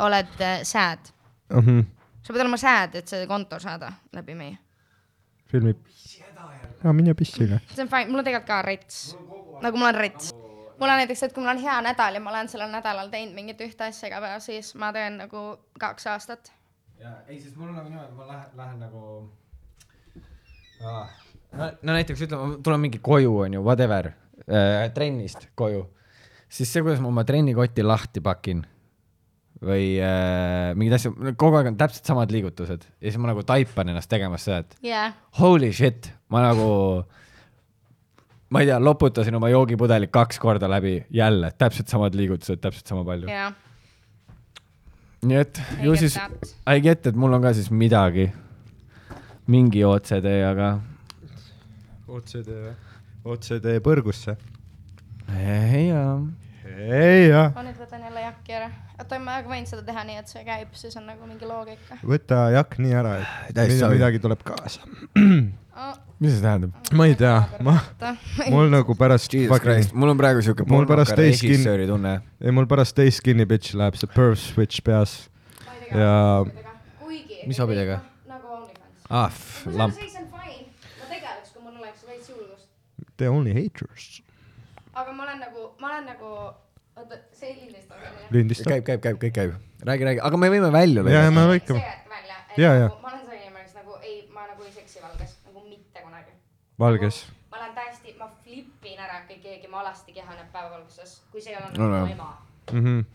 oled äh, sääd . Mhm. sa pead olema sääd , et see kontor saada läbi meie . filmib . aa , mine pissile . see on fine , mul on tegelikult ka rets , nagu mul on rets . mul on näiteks , et kui mul on hea nädal ja ma olen sellel nädalal teinud mingit ühte asja iga päev , siis ma teen nagu kaks aastat ei , siis mul on nagu niimoodi , ma lähen , lähen nagu ah. . no, no näiteks ütleme , ma tulen mingi koju , onju , whatever äh, , trennist koju , siis see , kuidas ma oma trennikotti lahti pakin või äh, mingeid asju , kogu aeg on täpselt samad liigutused ja siis ma nagu taipan ennast tegemas seda , et yeah. . holy shit , ma nagu , ma ei tea , loputasin oma joogipudelit kaks korda läbi , jälle täpselt samad liigutused , täpselt sama palju . jah , nii et I ju get siis that. , I get , et mul on ka siis midagi , mingi OCD , aga OCD , OCD põrgusse . Eh, jaa . ei jah , ma nüüd võtan jälle jakki ära . oota , ma aga võin seda teha nii , et see käib , siis on nagu mingi loogika võta jakk nii ära , et Täiesti mida- sobi. midagi tuleb kaasa . oh, . mis see tähendab ? ma ei tea , ma , mul nagu pärast . Jesus Christ , mul on praegu siuke Mul pärast teist kin- režissööri tunne . ei , mul pärast teist skinny bitch läheb see perv switch peas ja kuigi . Mis abidega? ? nagu OnlyFans . ah , kusjuures lamp . ei , see on fine . ma tegeleks , kui mul oleks veits julgust . the only haters aga ma olen nagu , ma olen nagu , oota , see lindistab onju . lindistab . käib , käib , käib , kõik käib . räägi , räägi , aga me võime välja ja , ja me lõigata . see lõikame . jäeti välja . Jaa, jaa. nagu, ma olen see inimene , kes nagu ei , ma nagu ei seksi valges nagu mitte kunagi . valges . ma olen täiesti , ma flip õpin ära kõik keegi , mu alasti keha näeb päevavalguses , kui see ei ole No, nagu no. mu ema . mhmh .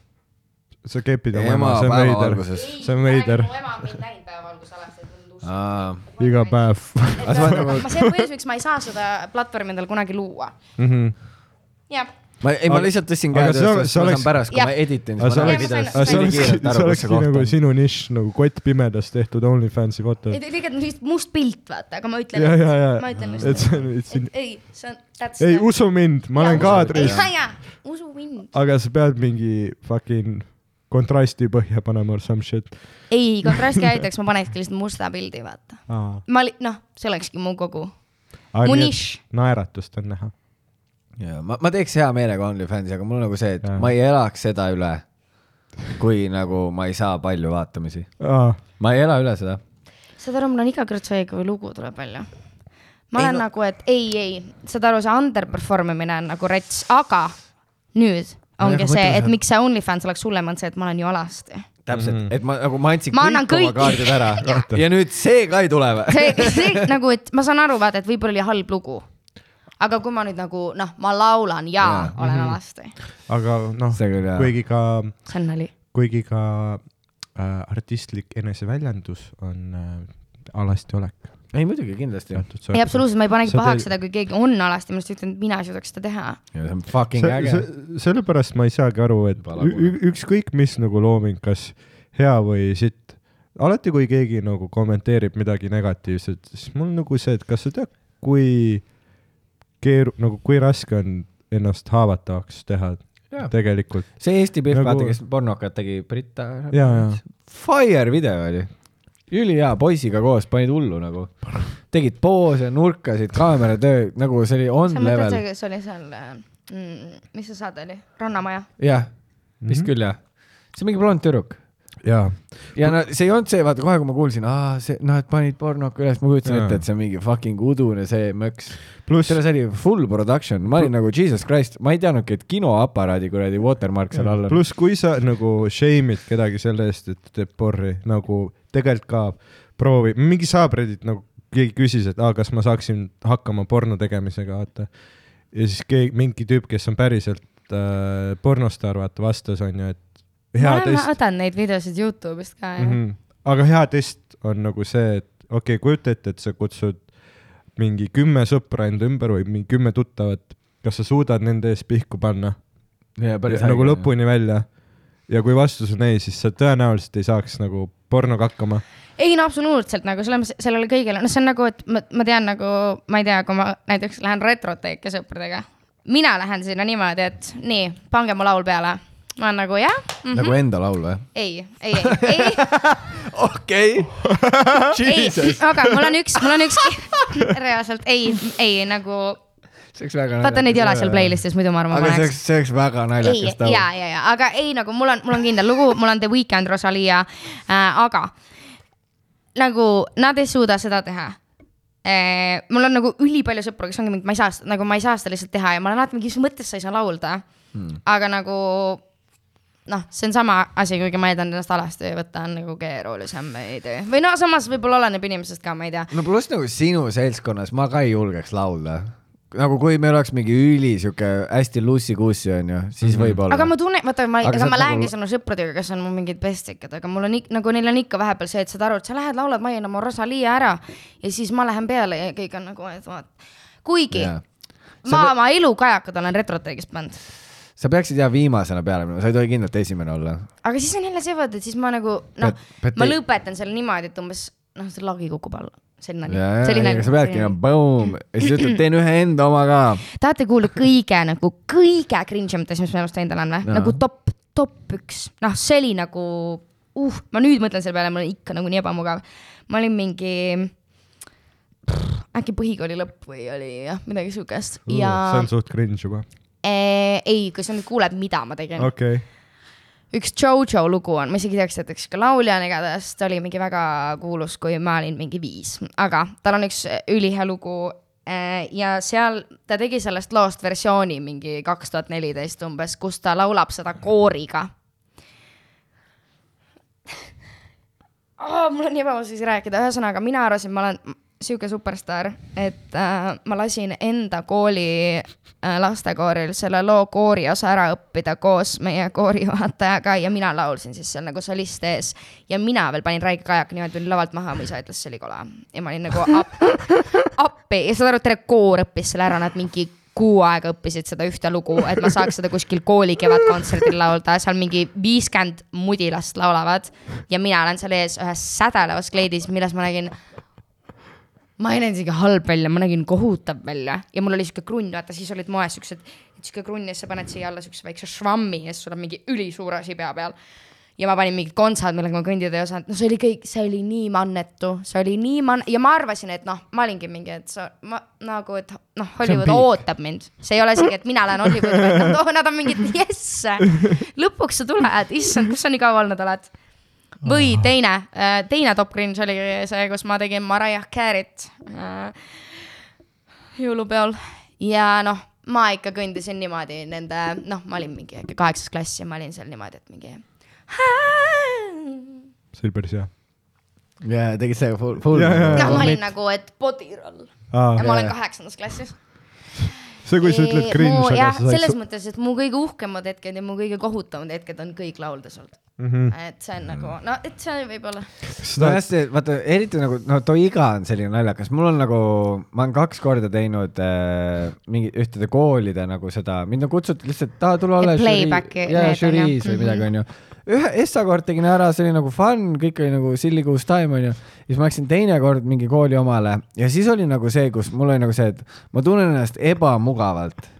sa Mhm. kepid oma ema ema , see on päeva veider . alguses . ei , See on ma veider. räägin , mu ema on mind näinud päevavalguses alasti , et mul Ah. on iga . päev . Aga sa oled nagu- ma , see on põhjus , miks ma ei saa seda platvormi endale kunagi luua . Mhm. jah , ma , ei , ma lihtsalt tõstsin Aga käe see tõstma , oleks- siis ma see saan pärast , kui Jah. ma editan , aga siis see ma näen oleks , videost ma aga see hästi olekski , kiirelt aru , see kus see olekski koht nagu on . sinu nišš nagu kott pimedas tehtud OnlyFansi foto . ei tegelikult on lihtsalt must pilt , vaata , aga ma ütlen ja ,, ja , ja ma , ütlen et lihtsalt , see on et siin , ei , see on that's ei the- usu mind , ma olen Jaa, usu- kaadris , ei, jaa, jaa, usu mind . aga sa pead mingi fucking kontrasti põhja panema or some shit . ei , kontrasti aitaks , ma panekski lihtsalt musta pildi , vaata . mu ma li- , noh , see olekski mu kogu . mu nišš. . naeratust on näha . jaa , ma , ma teeks hea meelega OnlyFansi , aga mul on nagu see , et Jaa. ma ei elaks seda üle , kui nagu ma ei saa palju vaatamisi . ma ei ela üle seda . saad aru , mul on iga kord see , kui lugu tuleb välja . ma ei, olen no. nagu , et ei , ei , saad aru , see underperform imine on nagu rets , aga nüüd ongi see , et miks see OnlyFans oleks hullem , on see , et ma olen ju alasti . Mhm. täpselt , et ma nagu , ma andsin Ma annan kõik oma kõiki. kaardid ära . Vaata. ja nüüd see ka ei tule või ? see , see nagu , et ma saan aru , vaata , et võib-olla oli halb lugu . aga kui ma nüüd nagu noh , ma laulan ja, ja. Jaa. olen alasti , aga noh See küll, , jaa. kuigi ka , see on nali . kuigi ka äh, artistlik eneseväljendus on äh, alasti olek ei , muidugi , kindlasti . teatud ei , absoluutselt , ma ei panegi Sa teed- pahaks seda , kui keegi on alasti , ma lihtsalt ütlen , et mina ei suudaks seda teha . see on fucking Se- äge . se- sellepärast ma ei saagi aru , et Juba ü- lagunen. ü- ükskõik mis nagu looming , kas hea või sitt , alati kui keegi nagu kommenteerib midagi negatiivset , siis mul nagu see , et kas sa tead , kui keeru- , nagu kui raske on ennast haavatavaks teha Jaa. tegelikult . see Eesti Pihv Nagu- nagu... , vaata , kes pornokat tegi , Brita . ja , ja , Fire video oli , ülihea poisiga koos panid hullu nagu , tegid poose , nurkasid , kaameratöö nagu see oli on sa level mõtled , see oli seal äh, mm, , mis see saade oli , Rannamaja ? jah , vist mm Mhm. -hmm. küll jah , see on mingi blond tüdruk ja , ja no see ei olnud see , vaata kohe , kui ma kuulsin , aa , see noh , et panid pornoka üles , ma kujutasin Jaa. ette , et see on mingi fucking udune see möks . Pluss- selles oli full production , ma olin nagu Jesus Christ , ma ei teadnudki , et kinoaparaadi kuradi watermark seal all on . pluss kui sa nagu shame'id kedagi selle eest , et ta teeb porri , nagu tegelikult ka proovi , mingi subreddit nagu keegi küsis , et aa , kas ma saaksin hakkama porno tegemisega , vaata . ja siis keegi , mingi tüüp , kes on päriselt äh, pornostaar , vaata , vastas onju , et ma hea olen , ma test , võtan neid videosid Youtube'ist ka mm . -hmm. aga hea test on nagu see , et okei okay, , kujuta ette , et sa kutsud mingi kümme sõpra enda ümber või mingi kümme tuttavat , kas sa suudad nende ees pihku panna Ja nagu . lõpuni välja . ja kui vastus on ei , siis sa tõenäoliselt ei saaks nagu pornoga hakkama . ei no absoluutselt nagu selles mõttes , sellele kõigele , noh , see on nagu , et ma , ma tean nagu , ma ei tea , kui ma näiteks lähen retroteeki sõpradega , mina lähen sinna niimoodi , et nii , pange mu laul peale . ma olen nagu jah mm , nagu enda laulu jah ? ei , ei , ei , ei , okei ei , aga mul on üks , mul on üks , reaalselt ei , ei nagu , see oleks väga vaata neid ei ole seal playlist'is , muidu ma arvan , ma aga see paneks oleks , see oleks väga ei naljakas , ja , ja , ja , aga ei nagu mul on , mul on kindel lugu , mul on The Weeknd , Rosalia äh, , aga nagu nad ei suuda seda teha äh, . mul on nagu ülipalju sõpru , kes ongi mingi , ma ei saa seda , nagu ma ei saa seda lihtsalt teha ja ma olen alati mingi , mis mõttes sa ei saa laulda hmm. . aga nagu noh , see on sama asi , kuigi ma eeldan ennast alasti võtta on nagu keerulisem veidi või no samas võib-olla oleneb inimesest ka , ma ei tea . no pluss nagu sinu seltskonnas ma ka ei julgeks laulda . nagu kui meil oleks mingi üli sihuke hästi lussi-kussi onju , siis võib-olla . aga ma tunnen , vaata , ma , Aga ega saad ma nagu- lähengi sinu sõpradega , kes on mul mingid bestikad , aga mul on ik- nagu neil on ikka vahepeal see , et saad aru , et sa lähed , laulad , ma jään oma Rosalia ära ja siis ma lähen peale ja kõik on nagu , et vaat . kuigi Jaa. ma oma elukajakad olen retroteegist pannud , sa peaksid jah viimasena peale minema , sa ei tohi kindlalt esimene olla . aga siis on jälle see , vaata , et siis ma nagu noh Pead- pead , ma tei- lõpetan selle niimoodi , et umbes noh , see lagi kukub alla , selline aga sa peadki nali minema . boom ja siis ütled , teen ühe enda oma ka . tahate kuulda kõige nagu kõige cringe imat asja , mis ma elus teinud olen või ? Jaa. nagu top , top üks , noh , see oli nagu , uh , ma nüüd mõtlen selle peale , mul on ikka nagu nii ebamugav . ma olin mingi , äkki põhikooli lõpp või oli jah , midagi siukest ja see on suht cringe juba . eh, ei , kui sa nüüd kuuled , mida ma tegin okay. , okei okay. , üks Jojo lugu on , ma isegi ei teaks , et eks ka laulja on igatahes , ta oli mingi väga kuulus , kui ma olin mingi viis , aga tal on üks äh, ülihea lugu eh, ja seal ta tegi sellest loost versiooni mingi kaks tuhat neliteist umbes , kus ta laulab seda kooriga . Oh, mul on nii ebamugav siis rääkida , ühesõnaga mina arvasin , ma olen , sihuke superstaar , et äh, ma lasin enda kooli äh, lastekooril selle loo kooriosa ära õppida koos meie koorijuhatajaga ja mina laulsin siis seal nagu solist ees . ja mina veel panin Raige Kajaka niimoodi tulin lavalt maha , mu isa ütles , see oli kole . ja ma olin nagu appi , appi ja saad aru , et terve koor õppis selle ära , nad mingi kuu aega õppisid seda ühte lugu , et ma saaks seda kuskil kooli kevadkontserdil laulda , seal mingi viiskümmend mudilast laulavad ja mina olen seal ees ühes sädelevas kleidis , milles ma nägin ma ei näinud isegi halb välja , ma nägin kohutav välja ja mul oli sihuke krunn , vaata siis olid moes siuksed , sihuke krunn ja siis sa paned siia alla siukse väikse švammi ja siis sul on mingi ülisuur asi pea peal . ja ma panin mingid kontsad , millega ma kõndida ei osanud , no see oli kõik , see oli nii mannetu , see oli nii man- ja ma arvasin , et noh , ma olingi mingi , et sa , ma nagu , et noh , Hollywood ootab mind , see ei ole isegi , et mina lähen Hollywoodi , vaid nad, oh, nad on mingid jess , lõpuks sa tuled , issand , kus sa nii kaua olnud oled või teine , teine top cringe oli see , kus ma tegin Mariah Carey't äh, jõulupeol ja noh , ma ikka kõndisin niimoodi nende , noh , ma olin mingi äkki kaheksas klass ja ma olin seal niimoodi , et mingi . see oli päris hea . jaa , tegid seda full , full Jaa, jaa, jah , ma olin nagu , et podiroll ja ma olen kaheksandas klassis . see , kui sa ütled cringe , aga jah , sa said selles mõttes , et mu kõige uhkemad hetked ja mu kõige kohutavamad hetked on kõik lauldes olnud . Mhm. et see on nagu , no et see võib-olla . no seda , hästi , vaata eriti nagu , no too iga on selline naljakas , mul on nagu , ma olen kaks korda teinud äh, mingi ühtede koolide nagu seda , mind on kutsutud lihtsalt , aa , tule ole . Et playbacki jaa , need on, žüriis või jah. Mhm. midagi , onju . ühe Essa kord tegin ära , see oli nagu fun , kõik oli nagu silly goose time , onju . siis ma läksin teine kord mingi kooli omale ja siis oli nagu see , kus mul oli nagu see , et ma tunnen ennast ebamugavalt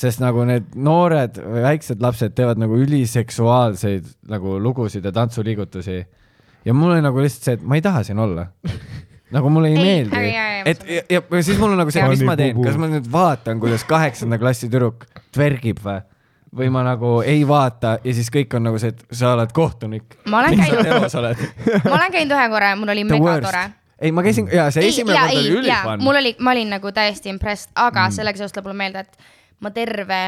sest nagu need noored või väiksed lapsed teevad nagu üliseksuaalseid nagu lugusid ja tantsuliigutusi . ja mul oli nagu lihtsalt see , et ma ei taha siin olla . nagu mulle ei, Ei, ei meeldi ära, ära, . ära. et ja, ja, ja siis mul on nagu see , mis ma teen , kas ma nüüd vaatan , kuidas kaheksanda klassi tüdruk tvergib või ? või ma nagu ei vaata ja siis kõik on nagu see , et sa oled kohtunik . Ma olen käinud- elus oled . ma olen käinud ühe korra ja mul oli mega tore ei , ma käisin ja see Ei, esimene jaa, kord oli ei, jaa, ülifun . mul oli , ma olin nagu täiesti impressed , aga mm. sellega seoses tuleb mulle meelde , et ma terve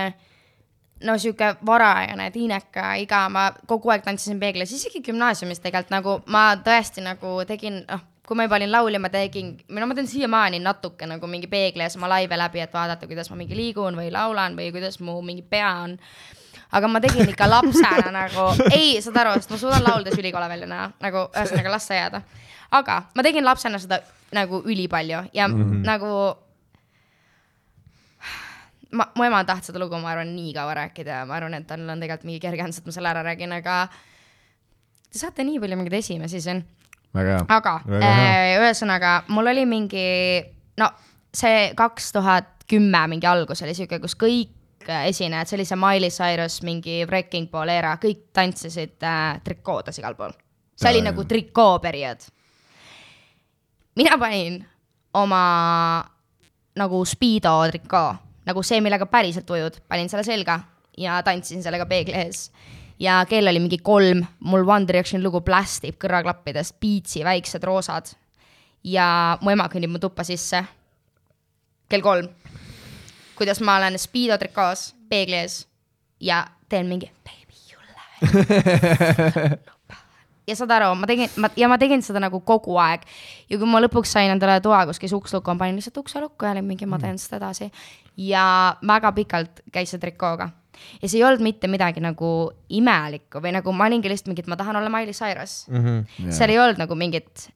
no sihuke varajane tiineka iga , ma kogu aeg tantsisin peeglis , isegi gümnaasiumis tegelikult nagu ma tõesti nagu tegin , noh , kui ma juba olin laulja , ma tegin , no ma teen siiamaani natuke nagu mingi peegli ees oma laive läbi , et vaadata , kuidas ma mingi liigun või laulan või kuidas mu mingi pea on aga ma tegin ikka lapsena nagu , ei , saad aru , sest ma suudan lauldes ülikole välja näha , nagu ühesõnaga las see jääda . aga ma tegin lapsena seda nagu ülipalju ja mm -hmm. nagu . ma , mu ema on tahtnud seda lugu , ma arvan , nii kaua rääkida ja ma arvan , et tal on tegelikult mingi kerge andis , et ma selle ära räägin , aga . Te saate nii palju mingeid esimesi siin väga hea . aga äh, ühesõnaga , mul oli mingi , no see kaks tuhat kümme mingi algus oli sihuke , kus kõik äh, esinejad , see oli see Miley Cyrus mingi Wrecking Ball era , kõik tantsisid äh, trikoodes igal pool . see oli nagu trikooperiood . mina panin oma nagu Speedo trikoo , nagu see , millega päriselt ujud , panin selle selga ja tantsin sellega peegli ees . ja kell oli mingi kolm , mul One Directioni lugu plästib kõrvaklappidest , Beatsi väiksed roosad . ja mu ema kõnnib mu tuppa sisse . kell kolm . kuidas ma olen Speedo trikoos peegli ees ja teen mingi baby you ja saad aru , ma tegin , ma ja ma tegin seda nagu kogu aeg ja kui ma lõpuks sain endale toa , kus käis uks lukku , ma panin lihtsalt ukse lukku ja olin mingi , ma teen seda edasi . ja väga pikalt käis see trikooga ja see ei olnud mitte midagi nagu imelikku või nagu ma olingi lihtsalt mingi , et ma tahan olla Miley Cyrus mm . Mhm. -hmm. seal ei olnud nagu mingit ,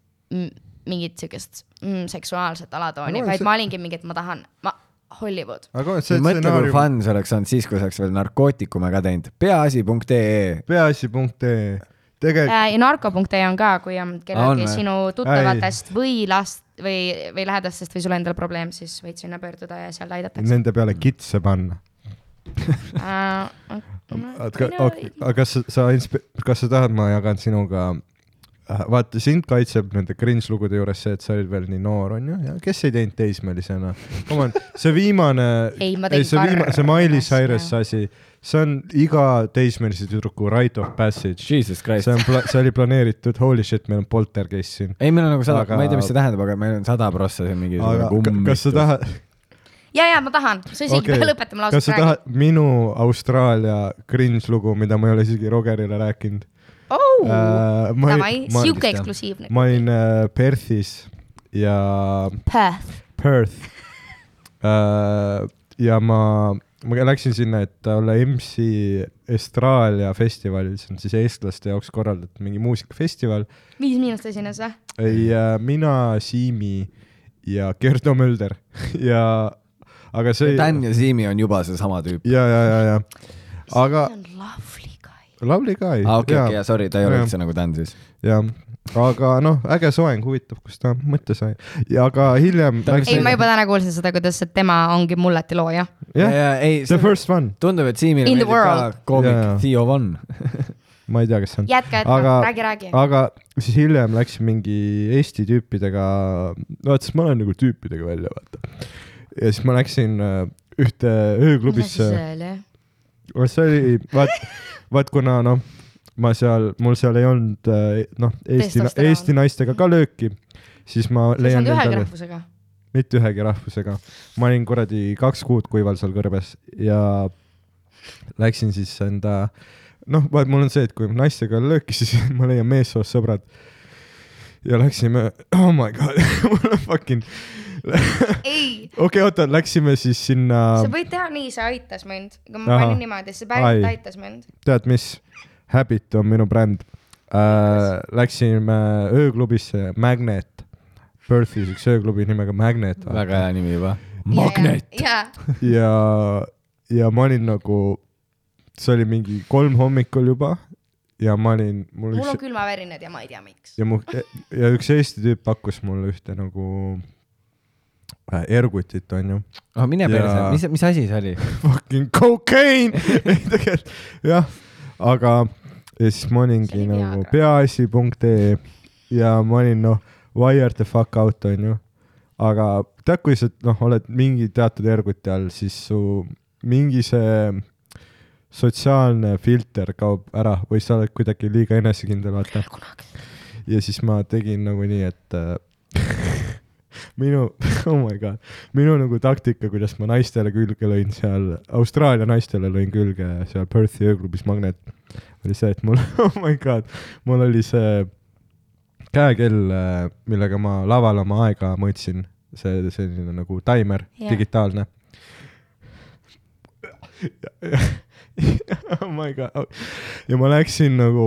mingit siukest mm, seksuaalset alatooni no, , vaid see... ma olingi mingi , et ma tahan , ma , Hollywood . aga see mõtle , kui stsenaarium , fun see oleks olnud siis , kui sa oleks veel narkootikume ka teinud . E peaasi.ee peaasi.ee , E. tegelikult Äh, ja narko.ee on ka , kui on kellelgi On või? sinu tuttavatest või last või , või lähedastest või sul endal probleem , siis võid sinna pöörduda ja seal aidatakse . Äh, nende peale kitse panna . aga , aga kas sa- sa , kas sa tahad , ma jagan sinuga , vaata sind kaitseb nende cringe lugude juures see , et sa olid veel nii noor , onju , ja kes ei teinud teismelisena ? Come on , see viimane , Ei, ma tegin see viimane , see Miley karjumas, Cyrus jah. asi , see on iga teismelise tüdruku right of passage . Jesus Christ see . on , see oli planeeritud , holy shit , meil on poltergeist siin . ei , meil on nagu sada Aga- aga... , ma ei tea , mis see tähendab , aga meil on nagu sada prossa siin mingi aga ka- kas sa ? tahad , ja , ja ma tahan , sa isegi okay. lõpetame lause kas sa tahad . minu Austraalia cringe lugu , mida ma ei ole isagi Rogerile rääkinud oh, Äh, ma ei- davai , ma- sihuke eksklusiivne . ma olin äh, Perthis ja Perth . Perth . ja ma , ma läksin sinna , et olla MC Estralia festivalil , see on siis eestlaste jaoks korraldatud mingi muusikafestival . viis miinust esines või ? ei , mina , Siimi ja Gerdo Mölder ja , aga see . Dan ja Siimi on juba seesama tüüp . ja , ja , ja , ja , aga see on lovely guy . Lovely Guy aa , Ah, okei , okei , ja , sorry , ta ei ole Jaa. üldse nagu Dan siis . ja , aga noh , äge soeng , huvitav , kust ta mõtte sai ja aga hiljem . ei , ma juba täna kuulsin seda , kuidas see tema ongi mulleti looja . jah , ei , The First One , tundub , et Siimile In the meeldib ka world. koomik Jaa, jaa. Theo Von . ma ei tea , kes see on . jätka , jätka aga... , Aga- räägi , räägi . aga siis hiljem läksin mingi Eesti tüüpidega , no et siis ma lähen nagu tüüpidega välja , vaata . ja siis ma läksin äh, ühte ööklubisse , oli ? see oli , vaat , vaat kuna noh , ma seal , mul seal ei olnud äh, noh , Eesti , Testosteroon. Eesti naistega ka lööki , siis ma sa ei leian saanud ühegi endale , rahvusega . mitte ühegi rahvusega . ma olin kuradi kaks kuud kuival seal kõrbes ja läksin siis enda , noh , vaat mul on see , et kui naistega on lööki , siis ma leian meessoost sõbrad . ja läksime , oh my god , mul on fucking , ei , okei , oota , läksime siis sinna , sa võid teha nii , see aitas mind . kui ma Äh, Ahah. panin niimoodi , see päriselt Ai. aitas mind . tead mis , Habit on minu bränd äh, . Läksime ööklubisse Magnet , Perthis üks ööklubi nimega Magnet . väga hea nimi juba . magnet . jaa , ja , ja ma olin nagu , see oli mingi kolm hommikul juba ja ma olin , mul mul on üks külmavärinad ja ma ei tea , miks . ja mu ja üks Eesti tüüp pakkus mulle ühte nagu äh, ergutit onju . ah , mine Jaa. perse , mis , mis asi see oli ? Fucking cocaine , ei tegelikult jah , aga ja siis ma See olingi oli nagu Viagra. peaasi.ee ja ma olin noh , wire the fuck out onju , aga tead , kui sa noh , oled mingi teatud erguti all , siis su mingi see sotsiaalne filter kaob ära või sa oled kuidagi liiga enesekindel , vaata . ja siis ma tegin nagu nii , et äh, minu , oh my god , minu nagu taktika , kuidas ma naistele külge lõin seal , Austraalia naistele lõin külge seal Perthi ööklubis Magnet , oli see , et mul , oh my god , mul oli see käekell , millega ma laval oma aega mõõtsin , see selline nagu taimer Jah. yeah. , digitaalne . oh my god , ja ma läksin nagu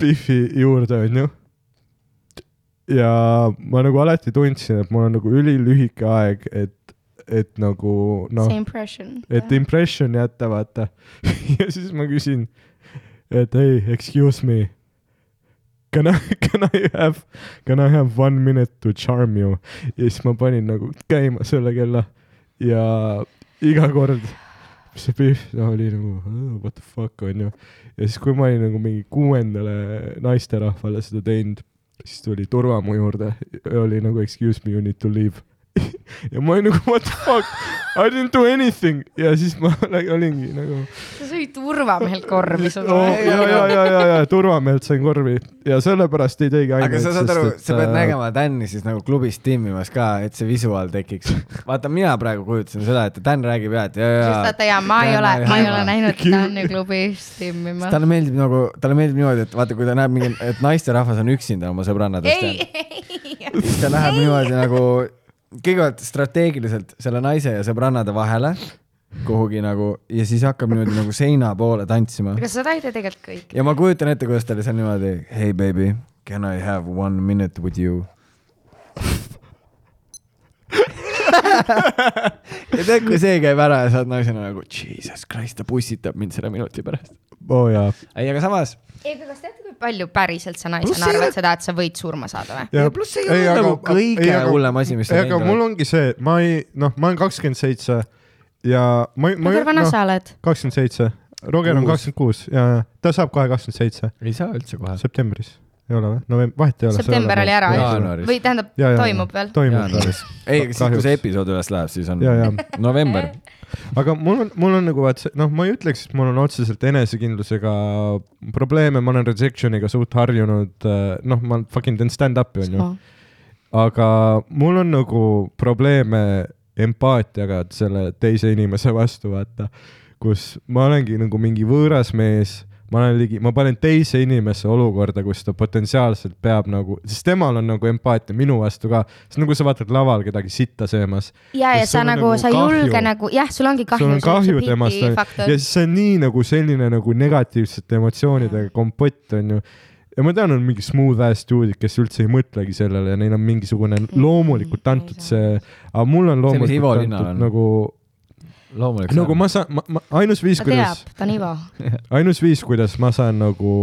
Biffi juurde , onju . ja ma nagu alati tundsin , et mul on nagu ülilühike aeg , et , et nagu see noh , impression . et impression jätta , vaata . ja siis ma küsin , et ei , excuse me . Can I , can I have , can I have one minute to charm you ? ja siis ma panin nagu käima selle kella ja iga kord see Biff no, oli nagu "Oh, what the fuck onju . ja siis , kui ma olin nagu mingi kuuendale naisterahvale seda teinud , siis tuli turva mu juurde ja oli nagu excuse me , you need to leave . ja ma olin nagu what the fuck , I didn't do anything ja siis ma olingi nagu sa sõid turvamehelt korvi sulle oh, . ja , ja , ja , ja , ja turvamehelt sain korvi ja sellepärast ei teegi ainet . aga sa saad aru , sa äh, pead nägema Tänni siis nagu klubis timmimas ka , et see visuaal tekiks . vaata , mina praegu kujutasin seda , et Tän räägib ja , et ja , ja . sest vaata ja ma ei ole , ma ei ole näinud Tänni klubis timmima . talle meeldib nagu , talle meeldib niimoodi , et vaata , kui ta näeb mingi , et naisterahvas on üksinda oma sõbrannadest ei , jälle , siis ta läheb niimoodi nagu kõigepealt strateegiliselt selle naise ja sõbrannade vahele kuhugi nagu ja siis hakkab niimoodi nagu seina poole tantsima . aga seda ei tee tegelikult kõik . ja ma kujutan ette , kuidas ta oli seal niimoodi , hey baby , can I have one minute with you ? ja tead , kui see käib ära ja sa oled naisena nagu jesus christ , ta pussitab mind selle minuti pärast . oo jaa . ei , aga samas ei , aga kas teate , kui palju päriselt sa Pluss naisena ei arvad seda , et sa võid surma saada või ? ja pluss ei ole nagu kõige hullem asi, mis sa ei , aga teinud mul ongi see , ma ei , noh , ma olen kakskümmend seitse ja ma , ma noh, kui vana sa oled ? kakskümmend seitse , Roger on Kuus. kakskümmend kuus ja ja ta saab kohe kakskümmend seitse ei saa üldse kohe . septembris , ei ole või ? november , vahet ei ole . september oli ära , jaanuaris. või tähendab , Ja, ja, ja. toimub veel ? toimub . jaanuaris . ei , aga siis , kui see episood üles läheb , siis on ja , ja , november . aga mul on , mul on nagu , et see- noh , ma ei ütleks , et mul on otseselt enesekindlusega probleeme , ma olen rejection'iga suht harjunud , noh , ma fucking teen stand-up'i onju , aga mul on nagu probleeme empaatiaga selle teise inimese vastu , vaata , kus ma olengi nagu mingi võõras mees , ma olen ligi , ma panen teise inimese olukorda , kus ta potentsiaalselt peab nagu , sest temal on nagu empaatia minu vastu ka , see on nagu sa vaatad laval kedagi sitta söömas . ja , ja Sest sa sul on nagu , nagu sa ei kahju. julge nagu , jah , sul ongi kahju . sul on kahju temast on- ja siis see on nii nagu selline nagu negatiivsete emotsioonidega kompott onju . ja ma tean , on mingi smooth ass dude'id , kes üldse ei mõtlegi sellele ja neil on mingisugune Mm, loomulikult antud see , aga mul on Ivo loomulikult Linnal on. antud nagu , loomulikult . nagu ma saan , ma , ma ainus viis , ta teab kuidas , ta on Ivo . ainus viis , kuidas ma saan nagu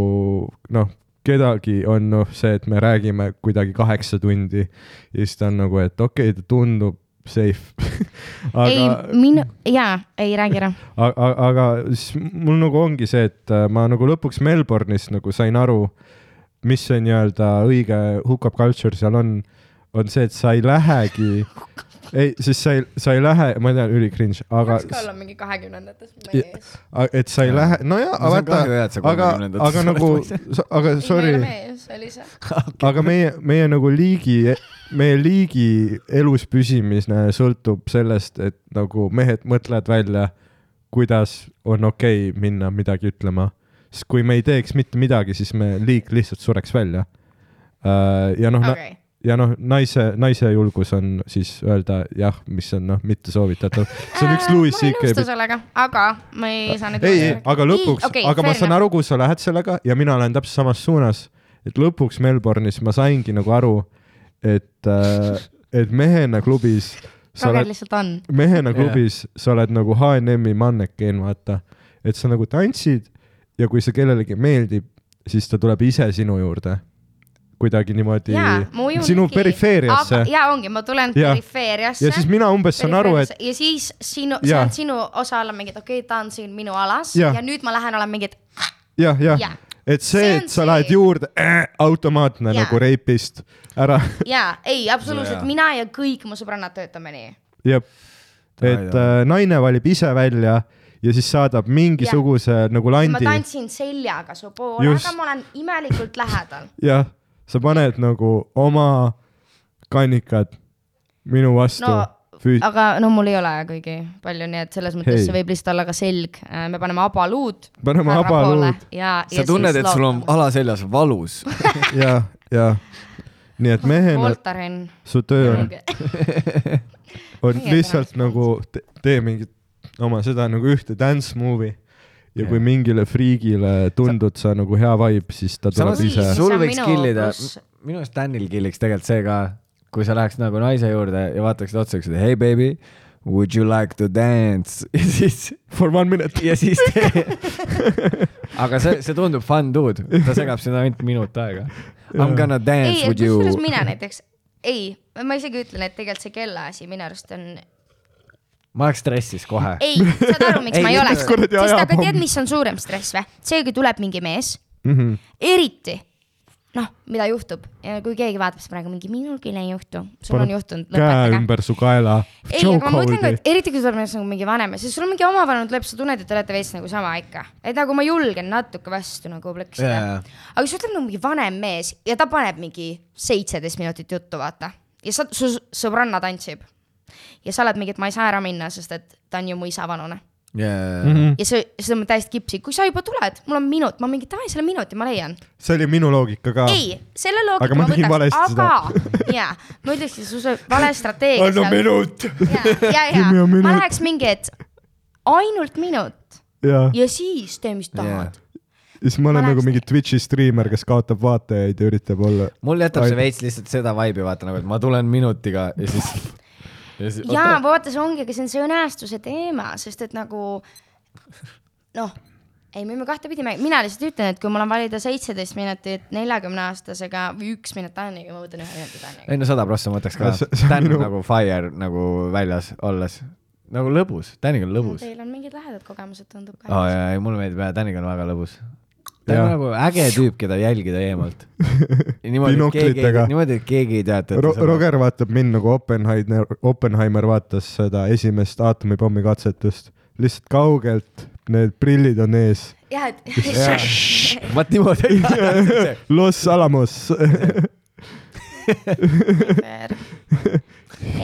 noh , kedagi on noh , see , et me räägime kuidagi kaheksa tundi ja siis ta on nagu , et okei okay, , ta tundub safe ei , minu , jaa , ei räägi ära . aga , aga siis mul nagu ongi see , et äh, ma nagu lõpuks Melbourne'is nagu sain aru , mis see nii-öelda õige hookup culture seal on , on see , et sa ei lähegi , ei , siis sa ei , sa ei lähe , ma tean , üli cringe , aga , olla mingi kahekümnendates midagi Ja- ees . et sa ei lähe , nojah , No see on vaata kahju, jah, et sa , aga , kolmekümnendates aga oled, nagu ma ei , aga sorry , mees , Elisa . aga meie , meie nagu liigi , meie liigi elus püsimine sõltub sellest , et nagu mehed mõtlevad välja , kuidas on okei okay minna midagi ütlema . sest kui me ei teeks mitte midagi , siis me liik lihtsalt sureks välja . ja noh okay. , okei , ja noh , naise , naise julgus on siis öelda jah , mis on noh , mitte soovitatav . see on üks Louis Äh, ma ei nõustu CK . sellega , aga ma ei saa nüüd . ei , ei , aga lõpuks , aga ma saan . aru , kuhu sa lähed sellega ja mina lähen täpselt samas suunas . et lõpuks Melbourne'is ma saingi nagu aru , et , et mehena klubis sa Roger oled , lihtsalt on . mehena klubis sa oled nagu H&M-i mannekeen , vaata . et sa nagu tantsid ja kui see kellelegi meeldib , siis ta tuleb ise sinu juurde . kuidagi niimoodi jaa , ma ujun . sinu perifeeriasse . jaa , ongi , ma tulen Jaa. perifeeriasse . ja siis mina umbes saan aru , et . ja siis sinu , see Jaa. on sinu osa olla mingi , et okei okay, , ta on siin minu alas ja, Jah. ja nüüd ma lähen olen mingi , et jah , jah Jah. , et See see, see , on et sa see. lähed juurde äh, , automaatne Jaa. nagu reipist ära , jaa , ei , absoluutselt Jaa. , mina ja kõik mu sõbrannad töötame nii . jep . Ai, ai. et äh, naine valib ise välja ja siis saadab mingisuguse ja. nagu ma landi , tantsin seljaga su poole , Just. aga ma olen imelikult lähedal . jah , sa paned nagu oma kannikad minu vastu No, no, füüt- , aga no mul ei ole kuigi palju , nii et selles mõttes Hei. hey. see võib lihtsalt olla ka selg . me paneme abaluud . Paneme abaluud. . ja , ja sa tunned , et sul on alaseljas valus . ja , ja nii et mehena Voltaren . su töö on , on Meie lihtsalt nagu te, tee mingit oma seda nagu ühte dance movie ja kui mingile friigile tundud sa nagu hea vibe , siis ta tuleb samas Oi, ise see . sul on võiks minu killida pluss. , minu arust Danil killiks tegelikult see ka , kui sa läheks nagu naise juurde ja vaataksid otsa , ütleksid hei baby , would you like to dance ja siis , For one minute . ja siis tee . aga see , see tundub fun dude , ta segab seda ainult minut aega . I m gonna ei dance , with you . kusjuures mina näiteks , ei , ma isegi ütlen , et tegelikult see kellaasi minu arust on , ma oleks stressis kohe . ei , saad aru , miks Ei, ma ei mis oleks , kuradi sest aga ajapomm? tead , mis on suurem stress või ? see , kui tuleb mingi mees , Mm -hmm. eriti noh , mida juhtub , kui keegi vaatab , siis praegu mingi minul küll ei juhtu , sul Paneb on juhtunud , käe lõpetage ümber su kaela . ei , aga ma mõtlen , et eriti kui sul on nagu mingi vanem , sest sul on mingi omavanemad lööb , sa tunned , et te olete veits nagu sama ikka . et nagu ma julgen natuke vastu nagu plõksida Jaa, jaa. yeah. . aga kui sa oled nagu mingi vanem mees ja ta paneb mingi seitseteist minutit juttu , vaata . ja sa , su sõbranna tantsib . ja sa oled mingi , et ma ei saa ära minna , sest et ta on ju mu isa vanune . jaa , ja see , seda ma täiesti kipsin , kui sa juba tuled , mul on minut , ma mingi davai selle minuti ma leian . see oli minu loogika ka . ei , selle loogika Ah. Aga ma ma, tegin võtaks , valesti seda. aga jaa , ma ütleksin , sul see vale strateegia . anna minut . ja , ja , Give me a ja minute. ma läheks mingi , et ainult minut ja ja siis tee , mis tahad . siis ma olen Ma nagu läheks- mingi Twitch'i striimer , kes kaotab vaatajaid ja üritab olla . mul jätab see Ai- veits lihtsalt seda vibe'i vaata nagu , et ma tulen minutiga ja siis . ja vaata , see ongi , aga see on see õnnestuse teema , sest et nagu noh , ei , me võime kahtepidi , mina lihtsalt ütlen , et kui mul on valida seitseteist minutit neljakümne aastasega või üks minut Taaniga , ma võtan ühe minuti Taaniga . ei no sada prossa ma võtaks ka Ja see- see on . Dan minu- on nagu fire nagu väljas olles , nagu lõbus , Daniga on lõbus . Teil on mingid lähedad kogemused , tundub ka aa oh, . jaa , ei mulle meeldib jaa , Daniga on väga lõbus . ta Jaa. on nagu äge tüüp , keda jälgida eemalt . Binoklitega. niimoodi , et keegi ei teata . Roger vaatab mind nagu Oppenheimer , Oppenheimer vaatas seda esimest aatomipommi katsetust . lihtsalt kaugelt , need prillid on ees . jah , et vot niimoodi . Los Alamos . super .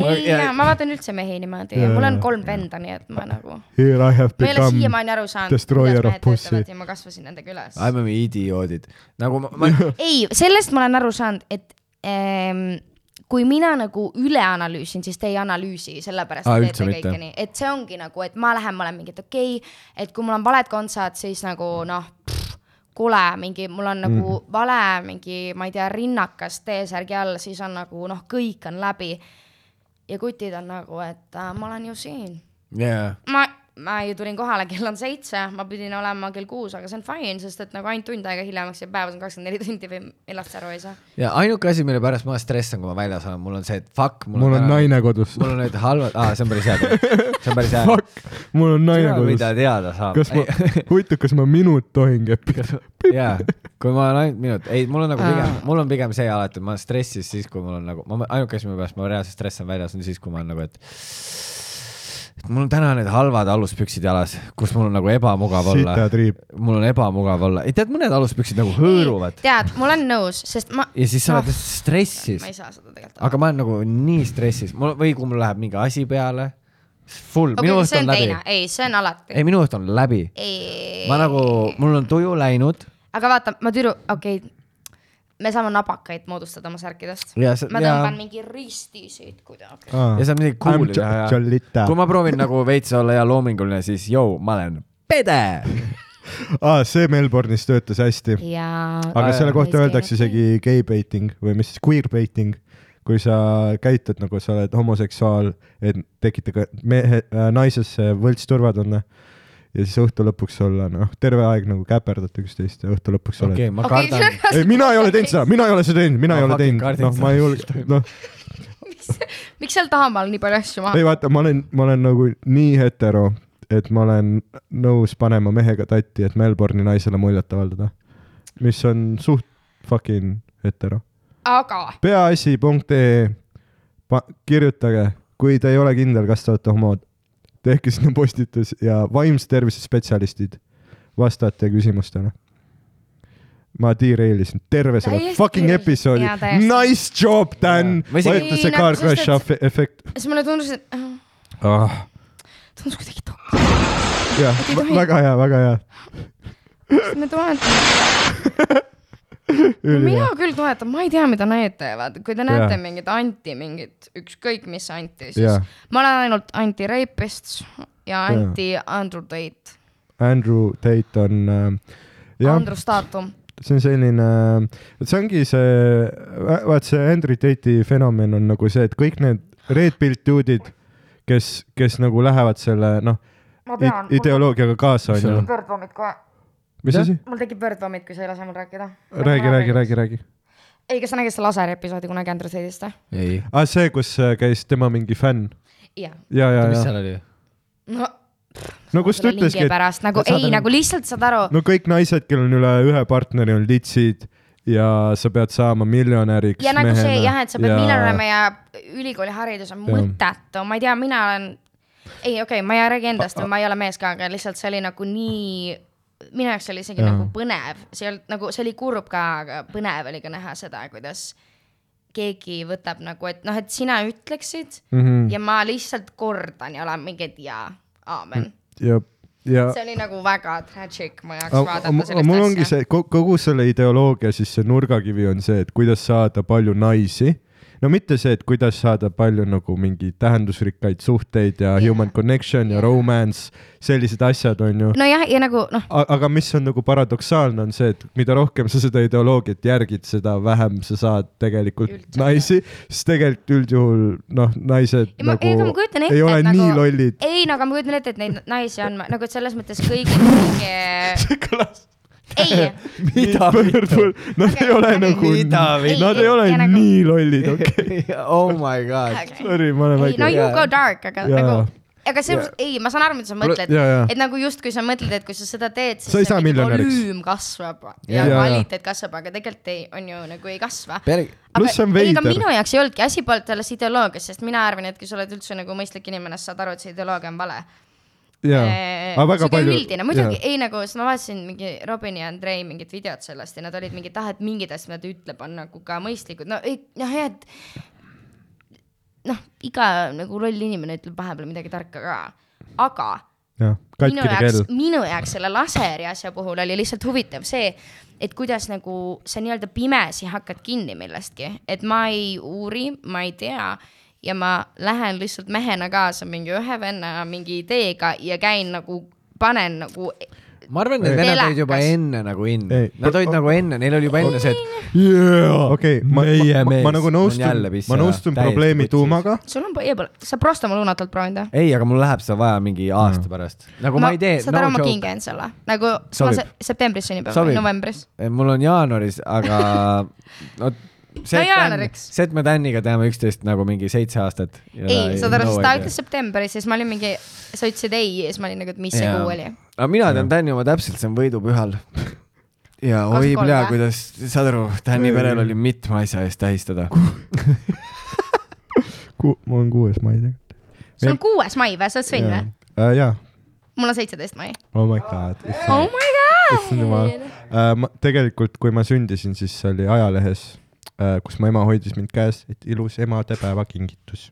ei , ei , ja ma vaatan üldse mehi niimoodi ja Jaa, mul on jaa. kolm venda , nii et ma nagu , Here I have ma ei ole become siiamaani aru saanud , destroyer kuidas of mehed pussy töötavad . ja ma kasvasin nendega üles . I m idioodid , nagu ma, ma ei , sellest ma olen aru saanud , et ehm, kui mina nagu üle analüüsin , siis te ei analüüsi , sellepärast Aa, et üldse teete mitte. kõike nii , et see ongi nagu , et ma lähen , ma olen mingi , et okei okay, , et kui mul on valed kontsad , siis nagu noh , kole mingi , mul on nagu mm. vale mingi , ma ei tea , rinnakas T-särgi all , siis on nagu noh , kõik on läbi . ja kutid on nagu , et äh, ma olen ju siin yeah. , ma , ma ju tulin kohale , kell on seitse , ma pidin olema kell kuus , aga see on fine , sest et nagu ainult tund aega hiljemaks jääb päevas on kakskümmend neli tundi või millest sa aru ei saa . ja ainuke asi , mille pärast ma stressan , kui ma väljas olen , mul on see , et fuck , mul mul on täna- naine kodus . mul on need halvad , aa , see on päris hea teada , see on päris hea teada . Fuck , mul on naine mida kodus . teada saab . kas ma , huvitav , kas ma minut tohin keppida ? jaa , kui ma olen ainult minut , ei , mul on nagu pigem Aa. , mul on pigem see alati , ma olen stressis siis , kui mul on nagu , ma , ainuke asi , mille pärast ma reaalselt stressan väljas , on siis , kui ma olen nagu , et et mul on täna need halvad aluspüksid jalas , kus mul on nagu ebamugav olla . sita triip . mul on ebamugav olla , ei tead , mõned aluspüksid nagu hõõruvad tead , ma olen nõus , sest ma . ja siis sa oled stressis Ah. ma ei saa seda tegelikult . aga ma olen nagu nii stressis , mul või kui mul läheb mingi asi peale , full okay, , minu õht see on on läbi teine ,. ei , see on alati . ei , minu õht on läbi . ma nagu , mul on tuju läinud aga vaata , ma tüdru , okei okay. , me saame nabakaid moodustada oma särkidest . ja see , ma ja, tõmban mingi risti siit kuidagi . ja saab midagi cool'i teha ja Ah. Jolita . kui ma proovin nagu veits olla hea loominguline , siis jõu , ma olen pede . aa , see Melbourne'is töötas hästi . ja . aga selle kohta öeldakse isegi gay baiting või mis , queer baiting . kui sa käitud nagu sa oled homoseksuaal , et tekitada mehe , naisesse võltsturvatunne ja siis õhtu lõpuks olla noh , terve aeg nagu käperdad üksteist ja õhtu lõpuks oled okei , ma kardan . ei , mina ei ole teinud seda , mina ei ole seda teinud , mina Ma ei ole fucking teinud , kardan noh , ma ei julge , noh , miks seal tahamaal nii palju asju maha ei ? vaata , ma olen , ma olen nagu nii hetero , et ma olen nõus panema mehega tatti , et Melbourne'i naisele muljet avaldada . mis on suht fucking hetero . aga peaasi.ee , E. kirjutage , kui te ei ole kindel , kas te olete homod , tehke sinna postitus ja vaimse tervise spetsialistid , vastate küsimustele . ma derail isin terve selle Täiesti fucking küll. episoodi Jaa, . täiesti. nagu Nice job , Dan Ma . isegi- võeta see Ei, no car sest crash et- afe- efekt . siis mulle tundus , et äh, jah , tundus kuidagi tore . tohi. väga hea , väga hea . me toetame . mina küll toetan , ma ei tea , mida need teevad , kui te näete Jaa. mingit anti , mingit ükskõik mis anti , siis Jaa. ma olen ainult anti-rapist ja anti-Andrew Tate , Andrew Tate on äh, , jah , Andrew Statum . see on selline , see ongi see , vaat see Andrew Tate'i fenomen on nagu see , et kõik need red pill dude'id , kes , kes nagu lähevad selle noh , ideoloogiaga kaasa Mis sul on? onju . Birdvomit kohe , mis asi ? mul tekib Birdvomit , kui sa ei lase mul rääkida . räägi , räägi ,. räägi , räägi . ei , kas sa nägid seda laseri episoodi kunagi Andrew Tate'ist või ? ei , aa , see , kus äh, käis tema mingi fänn jah . ja , ja , mis ja seal oli ? no no kus ta selle lingi ütleski , et pärast nagu et saada ei , mingi- nagu lihtsalt saad aru , no kõik naised , kellel on üle ühe partneri , on litsid ja sa pead saama miljonäriks . ja nagu see jah , et sa pead miljon olema ja ülikooliharidus on Jah. mõttetu , ma ei tea , mina olen , ei , okei okay, , ma ei räägi endast , ma ei ole mees ka , aga lihtsalt see oli nagu nii , minu jaoks oli isegi Jah. nagu põnev , see ei olnud nagu , see oli kurb ka , aga põnev oli ka näha seda , kuidas keegi võtab nagu , et noh , et sina ütleksid mm . -hmm. ja ma lihtsalt kordan ja olen mingi , et jaa , aamen . ja , ja see oli nagu väga tragic , ma ei A- jaoks a- vaadata mu- mul ongi sellist asja . see ko- kogu selle ideoloogia siis see nurgakivi on see , et kuidas saada palju naisi . no mitte see , et kuidas saada palju nagu mingi tähendusrikkaid suhteid ja yeah. human connection ja yeah. romance , sellised asjad on ju . nojah , ja nagu noh , aga mis on nagu paradoksaalne , on see , et mida rohkem sa seda ideoloogiat järgid , seda vähem sa saad tegelikult Üldse, naisi , sest tegelikult üldjuhul noh , naised ei , ma , nagu ei , aga ma kujutan ette , ei ole et nii nagu... lollid . ei , no aga ma kujutan ette , et neid naisi on ma- nagu , et selles mõttes kõigil mingi , see kõlas ei , mida ? pöördul , nad okay, ei ole okay, nagu Mida või- , nad ei Ei, ole ja nagu- nii lollid , okei , Oh my god . sorry , ma olen ei no väike . you go dark , aga Jaa. yeah. nagu , aga see yeah. , ei , ma saan aru , mida sa mõtled jaa, jaa. et nagu justkui sa mõtled , et kui sa seda teed , siis Sa ei saa mingi miljonäriks. volüüm kasvab ja Jaa, jaa. kvaliteet kasvab , aga tegelikult ei , on ju nagu ei kasva . Pluss see on ei , aga veider. minu jaoks ei olnudki asi polnud selles ideoloogias , sest mina arvan , et kui sa oled üldse nagu mõistlik inimene , siis saad aru , et see ideoloogia on vale aga väga sihuke palju . üldine , muidugi , ei nagu , sest ma vaatasin mingi Robin ja Andrei mingit videot sellest ja nad olid mingid , ah , et mingid asjad , mida ta ütleb , on nagu ka mõistlikud , no ei , noh jah , et noh , iga nagu loll inimene ütleb vahepeal midagi tarka ka , aga jah , minu katkine jaoks kell ,, minu jaoks selle laseri asja puhul oli lihtsalt huvitav see , et kuidas nagu sa nii-öelda pimesi hakkad kinni millestki , et ma ei uuri , ma ei tea ja ma lähen lihtsalt mehena kaasa mingi ühe venna mingi ideega ja käin nagu , panen nagu ma arvan , need vennad olid juba Elakas. enne nagu in Ei. . Nad olid nagu enne , neil oli juba enne see , et okei , ma , ma, ma, ma nagu nõustun jälle , pissi ma ära. nõustun Täiesti probleemi putsis. tuumaga , sul on , sa Prostamaa luunatult proovinud või ? ei , aga mul läheb seda vaja mingi aasta pärast . nagu ma, ma ei tee , saad no aru , ma joke . kingan selle , nagu sul on Sobib. see septembris sünnipäev Sobib. või novembris . Eh, mul on jaanuaris , aga no see , et, jaanuariks. see , et me Täniga teame üksteist nagu mingi seitse aastat . ei , saad aru , sest ta ütles septembris ja siis ma olin mingi , sa ütlesid ei ja siis ma olin nagu , et mis see kuu oli . aga mina tean Tänni oma täpselt , see on võidupühal . ja oi Kakskümmend kolm, pea jah? , kuidas , saad aru , Tänni perel oli mitme asja eest tähistada . mul on kuues mai tegelikult . sul on kuues mai või , sa oled sõnn või ? jaa , mul on seitseteist mai . oh my god . oh my god , issand jumal . Äh, ma tegelikult , kui ma sündisin , siis oli ajalehes , kus mu ema hoidis mind käes , et ilus emadepäeva kingitus .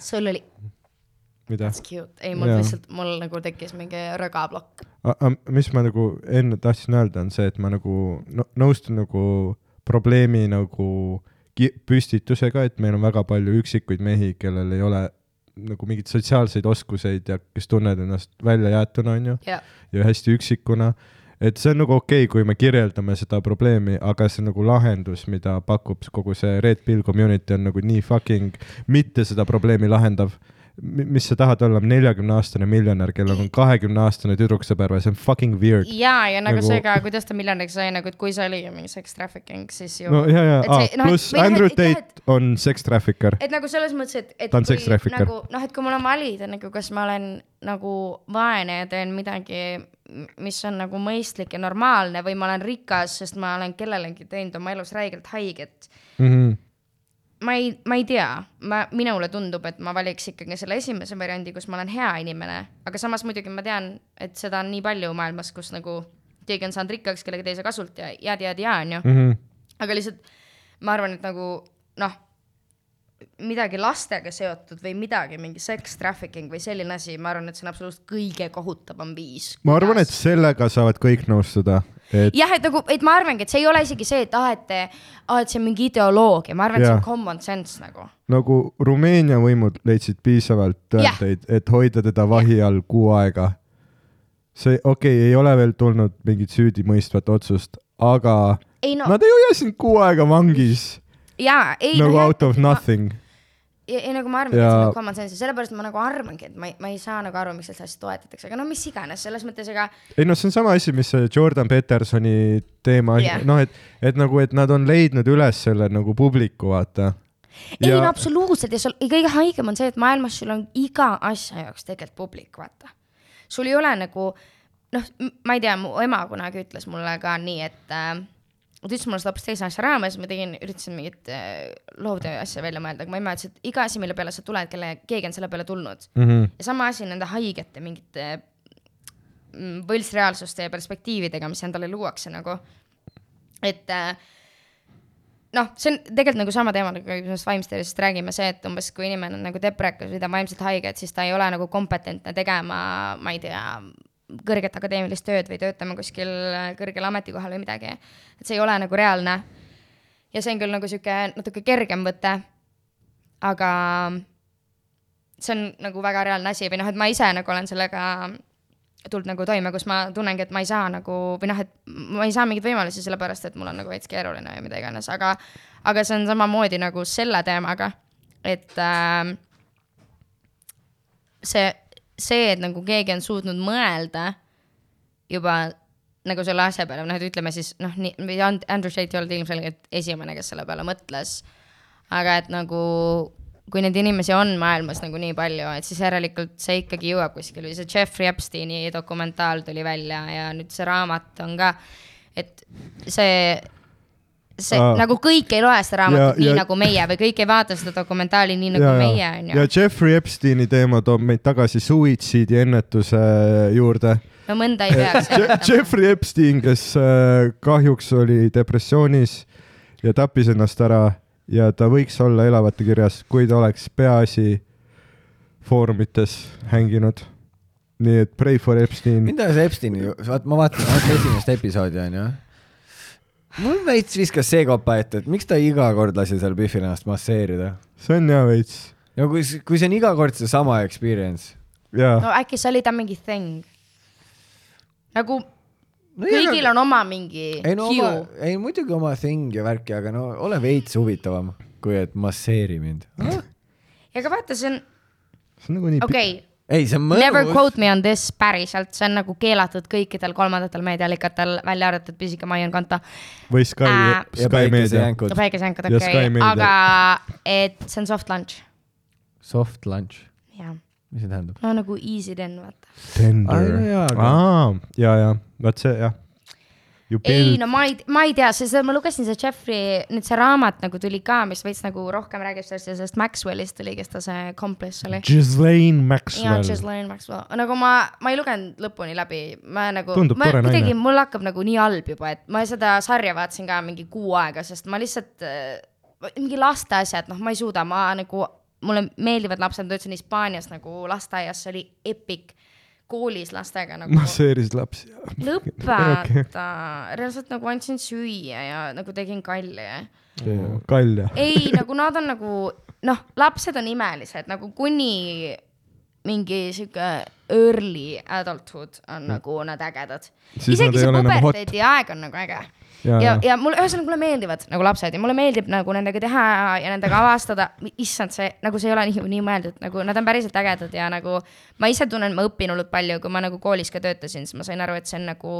sul oli mida , that's cute , ei mul Jaa. lihtsalt , mul nagu tekkis mingi rögaplokk . mis ma nagu enne tahtsin öelda , on see , et ma nagu no- nõustun nagu probleemi nagu ki- püstitusega , et meil on väga palju üksikuid mehi , kellel ei ole nagu mingeid sotsiaalseid oskuseid ja kes tunnevad ennast väljajäetuna , onju . ja ja hästi üksikuna . et see on nagu okei okay, , kui me kirjeldame seda probleemi , aga see nagu lahendus , mida pakub kogu see Red Pill community on nagu nii fucking mitte seda probleemi lahendav . mis sa tahad olla , neljakümne aastane miljonär , kellel on kahekümne aastane tüdruksõber või , see on fucking weird . ja , ja nagu Nagu- see ka , kuidas ta miljonäriks sai , nagu et kui see oli mingi sex trafficking , siis ju no ja , ja Et , see- noh, ah, et- pluss või noh, Andrew et- et jah, Tate on sex trafficker . et nagu selles mõttes , et , et Ta on kui sex trafficker. nagu noh , et kui mul on valida nagu , kas ma olen nagu vaene ja teen midagi , mis on nagu mõistlik ja normaalne või ma olen rikas , sest ma olen kellelegi teinud oma elus räigelt haiget . Mhm, ma ei , ma ei tea , ma , minule tundub , et ma valiks ikkagi selle esimese variandi , kus ma olen hea inimene , aga samas muidugi ma tean , et seda on nii palju maailmas , kus nagu keegi on saanud rikkaks kellegi teise kasult ja jääd , jääd , jää onju . mhm. aga lihtsalt ma arvan , et nagu noh , midagi lastega seotud või midagi , mingi sex trafficking või selline asi , ma arvan , et see on absoluutselt kõige kohutavam viis . ma arvan , et sellega saavad kõik nõustuda , et jah , et nagu , et ma arvangi , et see ei ole isegi see , et aa , et , aa , et see on mingi ideoloogia , ma arvan , et see Jaa. on common sense nagu . nagu Rumeenia võimud leidsid piisavalt Jah. tõendeid , et hoida teda vahi all kuu aega . see , okei okay, , ei ole veel tulnud mingit süüdimõistvat otsust , aga ei no, no. nad ei hoia sind kuu aega vangis jaa , ei ei, nagu no, no, out of nothing . ei, ei nagu ma arvangi Ja- ja... , et see on common sense ja sellepärast ma nagu arvangi , et ma ei , ma ei saa nagu aru , miks seda asja toetatakse , aga no mis iganes , selles mõttes , ega ei noh , see on sama asi , mis see Jordan Petersoni teema Jah. yeah. , noh et , et nagu , et nad on leidnud üles selle nagu publiku , vaata . ei no absoluutselt ja sul ja kõige haigem on see , et maailmas sul on iga asja jaoks tegelikult publik , vaata . sul ei ole nagu noh , ma ei tea , mu ema kunagi ütles mulle ka nii , et äh, ta ütles mulle seda hoopis teise asja raames , ma tegin , üritasin mingit äh, loovtöö asja välja mõelda , aga mu ema ütles , et iga asi , mille peale sa tuled , kelle , keegi on selle peale tulnud mm . -hmm. ja sama asi nende haigete mingite mm, võltsreaalsuste ja perspektiividega , mis endale luuakse nagu . et äh, noh , see on tegelikult nagu sama teema , nagu me just vaimse tervisest räägime , see , et umbes kui inimene on nagu deprekas või ta on vaimselt haige , et siis ta ei ole nagu kompetentne tegema , ma ei tea , kõrget akadeemilist tööd või töötama kuskil kõrgel ametikohal või midagi . et see ei ole nagu reaalne . ja see on küll nagu sihuke natuke kergem võte , aga see on nagu väga reaalne asi või noh , et ma ise nagu olen sellega tulnud nagu toime , kus ma tunnengi , et ma ei saa nagu või noh , et ma ei saa mingeid võimalusi , sellepärast et mul on nagu veits keeruline või mida iganes , aga , aga see on samamoodi nagu selle teemaga , et äh, see , see , et nagu keegi on suutnud mõelda juba nagu selle asja peale , noh , et ütleme siis noh , nii , või And- Andrew Tate ei olnud ilmselgelt esimene , kes selle peale mõtles . aga et nagu , kui neid inimesi on maailmas nagu nii palju , et siis järelikult see ikkagi jõuab kuskile , see Jeffrey Epsteini dokumentaal tuli välja ja nüüd see raamat on ka , et see , see Aa. uh, nagu kõik ei loe seda raamatut Ja- nii ja- nagu meie või kõik ei vaata seda dokumentaali nii nagu ja, ja, meie ja. , onju ja . Jeffrey Epsteini teema toob meid tagasi suitsiidi ennetuse juurde no mõnda ei peaks Je- ennetama . Jeffrey Epstein , kes äh, kahjuks oli depressioonis ja tappis ennast ära ja ta võiks olla elavate kirjas , kui ta oleks peaasi foorumites hänginud . nii et Pray for Epstein , mida see Epsteini , vaat ma vaatasin vaata esimest episoodi onju . mul veits viskas see kopa ette , et miks ta iga kord lasi seal Biffil ennast masseerida . see on hea veits no kui , kui see on iga kord seesama experience . ja no äkki see oli ta mingi thing . nagu No no, ei, kõigil aga- on oma mingi ei Eh, no hiu oma , ei muidugi oma thing ja värki , aga no ole veits huvitavam , kui et masseeri mind . aga vaata , see on , see on nagunii okay. okei okay, , ei , see on mõnus . never quote me on this päriselt , see on nagu keelatud kõikidel kolmandatel meediaallikatel , välja arvatud pisike Maion Konto või Sky Äh, äh, , ja Sky Meedia . päikesejänkud . päikesejänkud , Ja okei Sky okay, , Meedia. aga et see on soft launch , Soft lunch , jah . mis see tähendab ? no nagu easy den , vaata . Ai, no jaa, aga- aa , ja , ja vot see jah . You ei build no ma ei , ma ei tea , sest ma lugesin see Jeffrey , nüüd see raamat nagu tuli ka , mis veits nagu rohkem räägib sellest , sellest Maxwellist tuli , kes ta see accomplice oli . Ghislaine jaa , Maxwell . Ghislaine Maxwell , nagu ma , ma ei lugenud lõpuni läbi , ma nagu , Tundub ma tore naine. kuidagi , mul hakkab nagu nii halb juba , et ma seda sarja vaatasin ka mingi kuu aega , sest ma lihtsalt äh, , mingi laste asjad , noh , ma ei suuda , ma nagu , mulle meeldivad lapsed , ma töötasin Hispaanias nagu lasteaias , see oli epic , koolis lastega nagu masseeris lapsi . lõpetada okay. , reaalselt nagu andsin süüa ja nagu tegin kalja kalja . ei , nagu nad on nagu noh , lapsed on imelised nagu kuni mingi sihuke early adulthood on mm. nagu nad ägedad . Siis nad isegi ei see ole enam hot. puberteedi aeg on nagu äge . Ja, ja, ja ja. , ja mulle , ühesõnaga mulle meeldivad nagu lapsed ja mulle meeldib nagu nendega teha ja nendega avastada , issand , see nagu see ei ole nii, nii mõeldud , nagu nad on päriselt ägedad ja nagu ma ise tunnen , ma õpin hullult palju , kui ma nagu koolis ka töötasin , siis ma sain aru , et see on nagu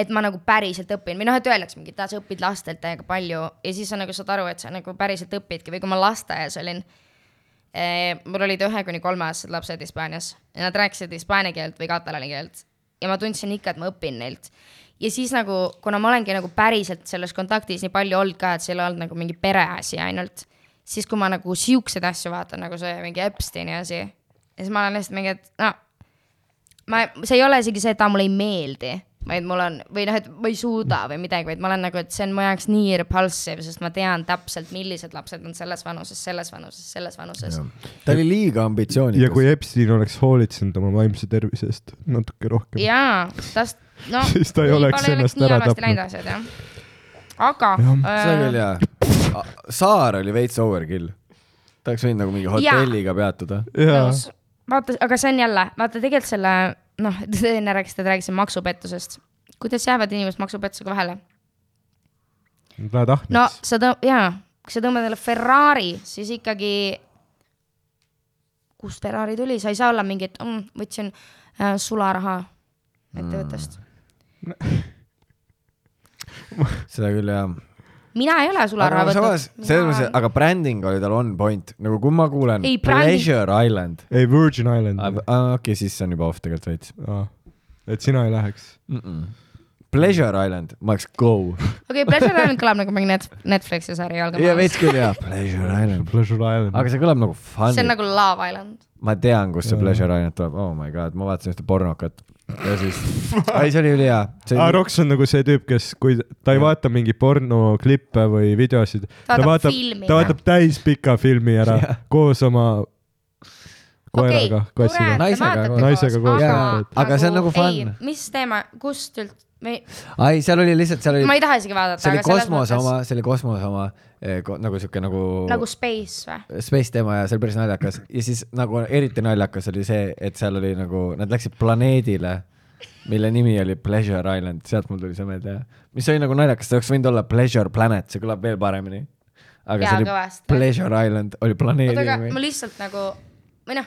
et ma nagu päriselt õpin või noh , et öeldakse mingi , et aa, sa õpid lastelt täiega palju ja siis sa nagu saad aru , et sa nagu päriselt õpidki või kui ma lasteaias olin eh, . mul olid ühe kuni kolmeaastased lapsed Hispaanias ja nad rääkisid hispaania keelt või katalaani keelt ja ma tundsin ikka , et ma õpin neilt . ja siis nagu , kuna ma olengi nagu päriselt selles kontaktis nii palju olnud ka , et see ei ole olnud nagu mingi pereasi ainult , siis kui ma nagu siukseid asju vaatan , nagu see mingi Epsteini asi , siis ma olen lihtsalt mingi , et no ma , see ei ole isegi see , et ta mulle ei meeldi , vaid mul on või noh , et ma ei suuda või midagi , vaid ma olen nagu , et see on mu jaoks nii repulsive , sest ma tean täpselt , millised lapsed on selles vanuses , selles vanuses , selles vanuses . ta oli liiga ambitsioonikas . ja kui Epstein oleks hoolitsenud oma vaimse tervise eest natuke rohkem . jaa , tast , noh . Siis ta ei oleks ennast ära tapnud. läinud asjad jah . aga . äh, see küll jaa . Saar oli veits overkill . ta oleks võinud nagu mingi hotelliga peatuda . jaa , nõus , vaata , aga see on jälle , vaata tegelikult selle noh , te enne rääkisite , rääkisime maksupettusest . kuidas jäävad inimesed maksupettusega vahele ? väga tahtnud no . sa tõ- , jaa , kui sa tõmbad endale Ferrari , siis ikkagi , kust Ferrari tuli , sa ei saa olla mingi , et mm, võtsin äh, sularaha ettevõttest mm. . seda küll jaa . mina ei ole sularaha samas võtnud , selles mõttes , aga branding oli tal on point , nagu kui ma kuulen Ei, branding- Pleasure Island . ei , Virgin Island aa oli . aa, okei , siis see on juba off tegelikult veits et sina ei läheks . mm . -mm. Pleasure Island , ma oleks go . okei , Pleasure Island kõlab nagu mingi net- , Netflixi sari , olgem ja ausad . veits küll jaa . Pleasure Island . Pleasure Island . aga see kõlab nagu fun'i see on . nagu Love Island . ma tean , kust see Pleasure Island tuleb , oh my god , ma vaatasin ühte pornokat ja siis , ei see oli ülihea . aa , Roks on nagu see tüüp , kes , kui ta ei vaata mingi pornoklippe või videosid , ta vaatab vaatab filmi. , ta vaatab täispika filmi ära koos oma koeraga , kassiga . Naisega koos. Naisega koos vaatad. Aga see on nagu ei fun. , mis teema , kust üld- , või ai , seal oli lihtsalt , seal ma oli , ei taha isegi vaadata , see oli aga selles kosmose mõttes oma , see oli kosmose oma eh, ko, nagu sihuke nagu, nagu Space või ? space teema ja see oli päris naljakas ja siis nagu eriti naljakas oli see , et seal oli nagu , nad läksid planeedile , mille nimi oli Pleasure Island , sealt mul tuli see meelde jah . mis oli nagu naljakas , see oleks võinud olla Pleasure Planet , see kõlab veel paremini . aga Jaa, see oli kõvasti. Pleasure Island , oli planeedi oota , aga ma nimi . lihtsalt nagu , või noh ,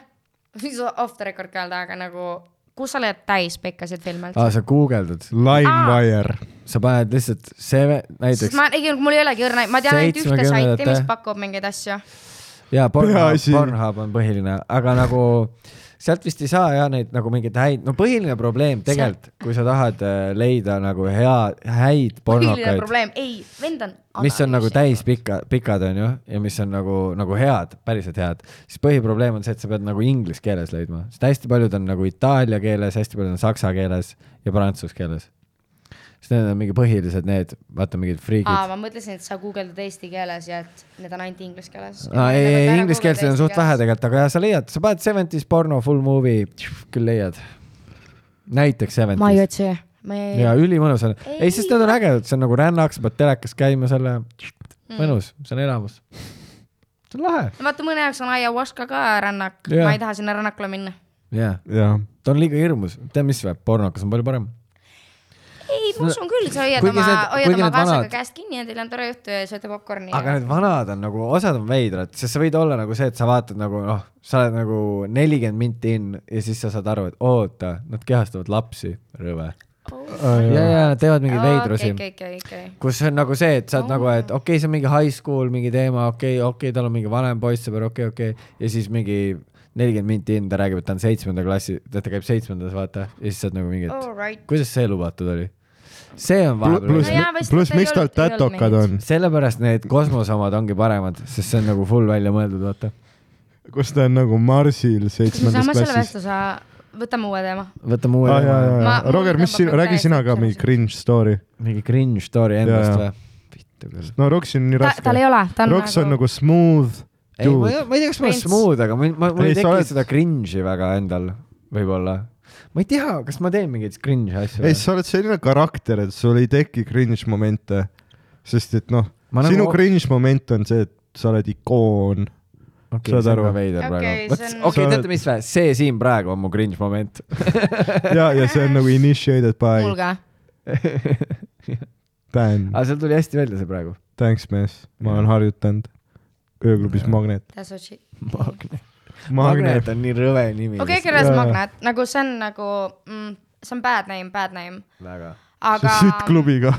siis off the record ka öelda , aga nagu , kus sa oled täis pikkasid filme aa , üldse ? sa guugeldad , Limewire . sa paned lihtsalt see sest näiteks ma ei , mul ei olegi õrna , ma tean ainult ühte Seitsmekümnendate- saiti , mis pakub mingeid asju . jaa , Pornhub , Peaasi- Pornhub on põhiline , aga nagu sealt vist ei saa jah neid nagu mingeid häid , no põhiline probleem tegelikult , kui sa tahad äh, leida nagu hea , häid põhiline pornokaid , probleem , ei , vend on . mis on nagu täispika , pikad onju , ja mis on nagu , nagu head , päriselt head , siis põhiprobleem on see , et sa pead nagu inglise keeles leidma , sest hästi paljud on nagu itaalia keeles , hästi paljud on saksa keeles ja prantsuse keeles . siis need on mingi põhilised need , vaata mingid aa , friigid . ma mõtlesin , et sa guugeldad eesti keeles ja et need on nagu ainult inglise keeles . aa , Ah, ei , ei , ingliskeelseid on suht vähe tegelikult , aga jah , sa leiad , sa paned Seventies porno full movie , küll leiad . näiteks ma ei Seventies . otsi , ma ei . ja ülimõnus on . ei , sest need on ägedad , see on nagu rännak , sa pead telekas käima selle , Mm. mõnus , see on elamus . see on lahe . no vaata , mõne jaoks on ayahuasca ka rännak Jaa. yeah. , ma ei taha sinna rännakule minna . jaa , jah , ta on liiga hirmus . tead , mis või , pornokas on palju parem . ei , ma usun küll , sa hoiad Kuigi oma see- , hoiad kuigi oma need kaasaga vanad- vanad... käest kinni ja teil on tore õhtu ja sööte popkorni . aga need vanad on nagu , osad on veidrad , sest sa võid olla nagu see , et sa vaatad nagu noh , sa oled nagu nelikümmend minti in ja siis sa saad aru , et oota , nad kehastavad lapsi , rõve . ja , ja nad teevad mingeid veidrusi okay, , Oh. okei , Oh. okei , okei . okay. kus on nagu see , et sa oled nagu , et okei okay, , see on mingi high school mingi teema , okei okay, , okei okay, , tal on mingi vanem poissõber , okei okay, , okei okay. ja siis mingi nelikümmend minti in ta räägib , et ta on seitsmenda klassi , ta ta käib seitsmendas , vaata , ja siis sa oled nagu mingi , et Alright . kuidas see lubatud oli . see on vahepeal pluss Oh. No jaa, vist , pluss ta ei miks tal olnud- ei olnud tätokad mingit- on , sellepärast need kosmose omad ongi paremad , sest see on nagu full välja mõeldud , vaata . kus ta on nagu Marsil me seitsmendas saame selle klassis . vestluse , võtame uue teema . võtame uue Ah, jaa, jaa, teema. jaa. Ma- Roger , mul mis sinu , tõmbab räägi täiesti sina ka mingi sarvased. cringe story . mingi cringe story endast Jaa, või jaa. ? vittu küll . no Roks on nii ta , tal ei raske . ole , ta on Roks on nagu smooth ei , ma dude ei , ma ei tea , kas ma olen Prints. smooth , aga ma , ma , mul Ei, ei sa teki oled- seda cringe'i väga endal , võib-olla . ma ei tea , kas ma teen mingeid cringe'i asju ei , sa oled selline karakter , et sul ei teki cringe momente , sest et noh , Ma nagu- sinu nagu... cringe moment on see , et sa oled ikoon . okay, saad see on aru. ka veider Okei, see praegu . on- okei , Sa teate oled- mis või , see siin praegu on mu cringe moment . ja , ja see on nagu initiated by mul ka . Dan , aga Ah, seal tuli hästi välja see praegu . thanks mees , ma olen harjutanud ööklubis Magnet . That's what she . Magnet . Magnet Magnet . on nii rõve nimi . okei , kirjas Jaa. Magnet , nagu see on nagu mm, , see on bad name , bad name , väga . aga . sitt . klubiga .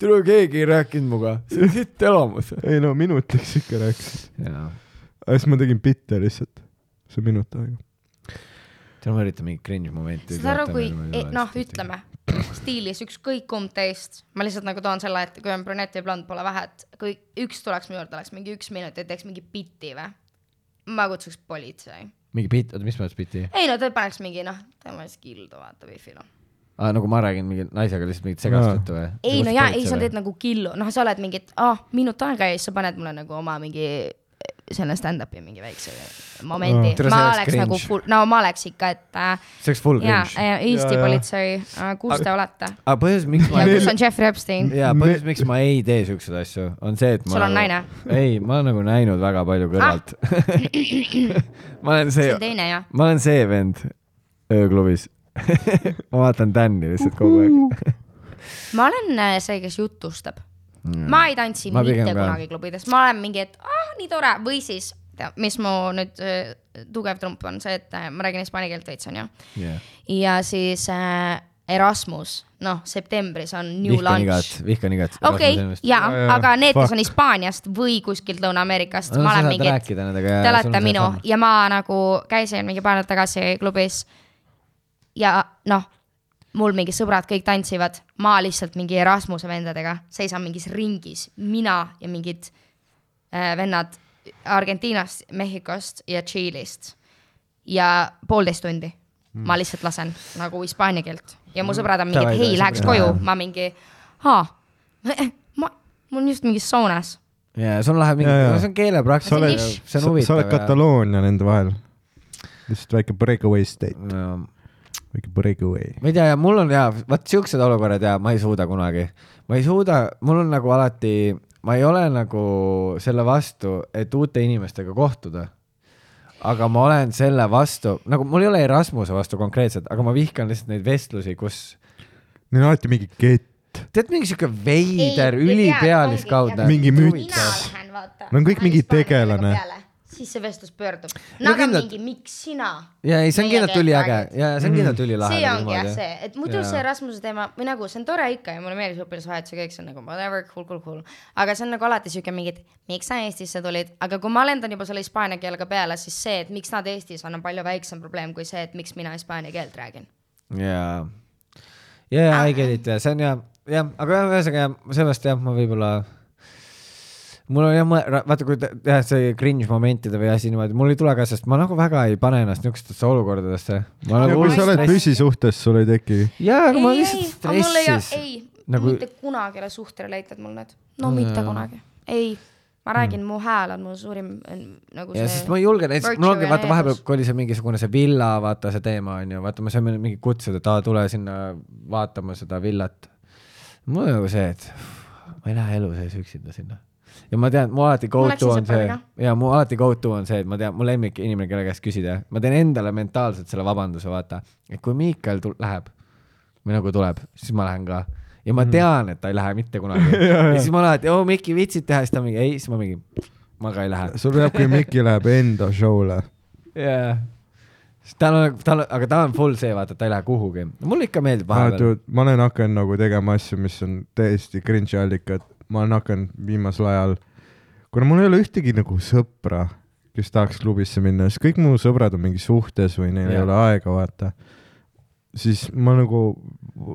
tule , keegi ei rääkinud muga . see on sitt elamus . ei no minutiks ikka rääkis . jaa . aga siis ma tegin bitte lihtsalt . see on minut aega . tead , ma üritan mingit cringe momenti . saad aru , kui , noh , ütleme stiilis ükskõik kumb teist , ma lihtsalt nagu toon selle , et kui on brünett ja blond , pole vähe , et kui üks tuleks minu juurde , oleks mingi üks minut ja teeks mingi biti või ? ma kutsuks politsei . mingi bitt , oota , mis mõttes bitti ? ei no ta paneks mingi noh , tema siis kildu vaata wifi'l on . aa , nagu ma räägin mingi naisega lihtsalt mingit segast Jaa. juttu või ? ei no jaa , ei sa teed nagu killu , noh , sa oled mingi , et aa oh, , minut aega ja siis sa paned mulle nagu oma mingi selle stand-up'i mingi väikse momendi Tere, no, . ma see oleks oleks nagu cringe. full , no ma oleks ikka , et äh, see oleks full jaa cringe ., Eesti Jaa, jaa. politsei , kus te olete ? aga põhjus , miks ma ja , kus on Jeffrey Epstein ? jaa , põhjus , miks ma ei tee siukseid asju , on see , et ma . Sul on naine. ? ei , ma olen nagu näinud väga palju kõrvalt . ma olen see Ah! see on , teine jah . ma olen see vend ööklubis . ma vaatan Tänni lihtsalt kogu aeg . ma olen äh, see , kes jutustab . ma ei tantsi Mm. Ma ma pigem mitte ka. kunagi klubides , ma olen mingi , et ah , nii tore või siis , mis mu nüüd äh, tugev trump on see , et äh, ma räägin hispaania keelt veits onju . ja siis äh, Erasmus , noh , septembris on New vihkan igat Launch ., vihkan igat . okei , ja Jaa, jaa, , aga need , kes fuck. on Hispaaniast või kuskilt Lõuna-Ameerikast No, no, , ma sa olen saad mingi , et rääkida nendega, jaa, te sul olete on minu seesama. ja ma nagu käisin mingi paar nädalat tagasi klubis . ja noh , mul mingi sõbrad kõik tantsivad , ma lihtsalt mingi Erasmuse vendadega seisan mingis ringis , mina ja mingid äh, vennad Argentiinast , Mehhikost ja Tšiilist . ja poolteist tundi ma lihtsalt lasen nagu hispaania keelt ja mu sõbrad on mingid , Mm. Davai, hei , davai, läheks sõbrad. koju , ma mingi , aa , ma , mul on just mingi saunas ja sul läheb mingi Jaa, , jaa. see on keelepraktika . sa oled , see sa on sa huvitav oled . Kataloonia nende vahel . lihtsalt väike breakaway state , katal- väike breakaway . ma ei tea , mul on jaa , vot siuksed olukorrad jaa , ma ei suuda kunagi . ma ei suuda , mul on nagu alati , ma ei ole nagu selle vastu , et uute inimestega kohtuda . aga ma olen selle vastu , nagu mul ei ole Erasmuse vastu konkreetselt , aga ma vihkan lihtsalt neid vestlusi , kus Neil on alati mingi kett , tead , mingi siuke veider , Ei, tead, ülipealiskaudne . ongi, mingi müts mina . lähen vaata . No on kõik mingi tegelane. . siis see vestlus pöördub . No no aga kindlalt. mingi , miks sina ? ja ei , see on Meie kindlalt üliäge keelepraktika. ja see on Mm. kindlalt ülilahe . see ongi jah see , et muidu Jaa. see Rasmuse teema või nagu see on tore ikka ja mulle meeldis õpilasvahetus ja kõik see on nagu whatever , cool , cool , cool . aga see on nagu alati siuke mingi , et miks sa Eestisse tulid , aga kui ma lendan juba selle hispaania keelega peale , siis see , et miks nad Eestis on , on palju väiksem probleem kui see , et miks mina hispaania keelt räägin . jaa , Ah. jaa , I get it , see on jah , jah , aga jah, ühesõnaga jah , sellest jah , ma võib-olla , mul on jah mõe- , vaata kui te- teha see cringe momentide või asi niimoodi , mul ei tule ka , sest ma nagu väga ei pane ennast niisugustesse olukordadesse . ja kui sa oled püsisuhtes , sul ei teki . jaa , aga ma ei , ei lihtsalt , aga mul ei ole , stressis . ei Nagu- nagu... , mitte kunagi ei ole suhtele leitud mul need . no mitte kunagi , ei , ma räägin mm. , mu hääl on mu suurim on nagu Hmm. ja see sest ma ei julge näiteks , mul ongi virtue vaata ja vahepeal needus. , kui oli see mingisugune see villa , vaata see teema onju , vaata me saime mingi kutsed , et aa , tule sinna vaatama seda villat . mul on nagu see , et ma ei lähe elu sees üksinda sinna . ja ma tean , mu alati go läksin to on see sõpradega. , ja mu alati go to on see , et ma tean , mu lemmik inimene , kelle käest küsida , ma teen endale mentaalselt selle vabanduse , vaata , et kui Miikal tul- läheb või nagu tuleb , siis ma lähen ka ja ma tean , et ta ei lähe mitte kunagi ja siis ma alati , oo Miki , viitsid teha , siis ta mingi ei , siis ma mingi , ma ka ei lähe . sul peab , kui Miki läheb enda show'le . jaa . tal on , tal , aga ta on full see , vaata , ta ei lähe kuhugi . mulle ikka meeldib vahepeal . ma olen hakanud nagu tegema asju , mis on täiesti cringe'i allikad . ma olen hakanud viimasel ajal , kuna mul ei ole ühtegi nagu sõpra , kes tahaks klubisse minna , sest kõik mu sõbrad on mingi suhtes või neil ei Jaa. ole aega , vaata . siis ma nagu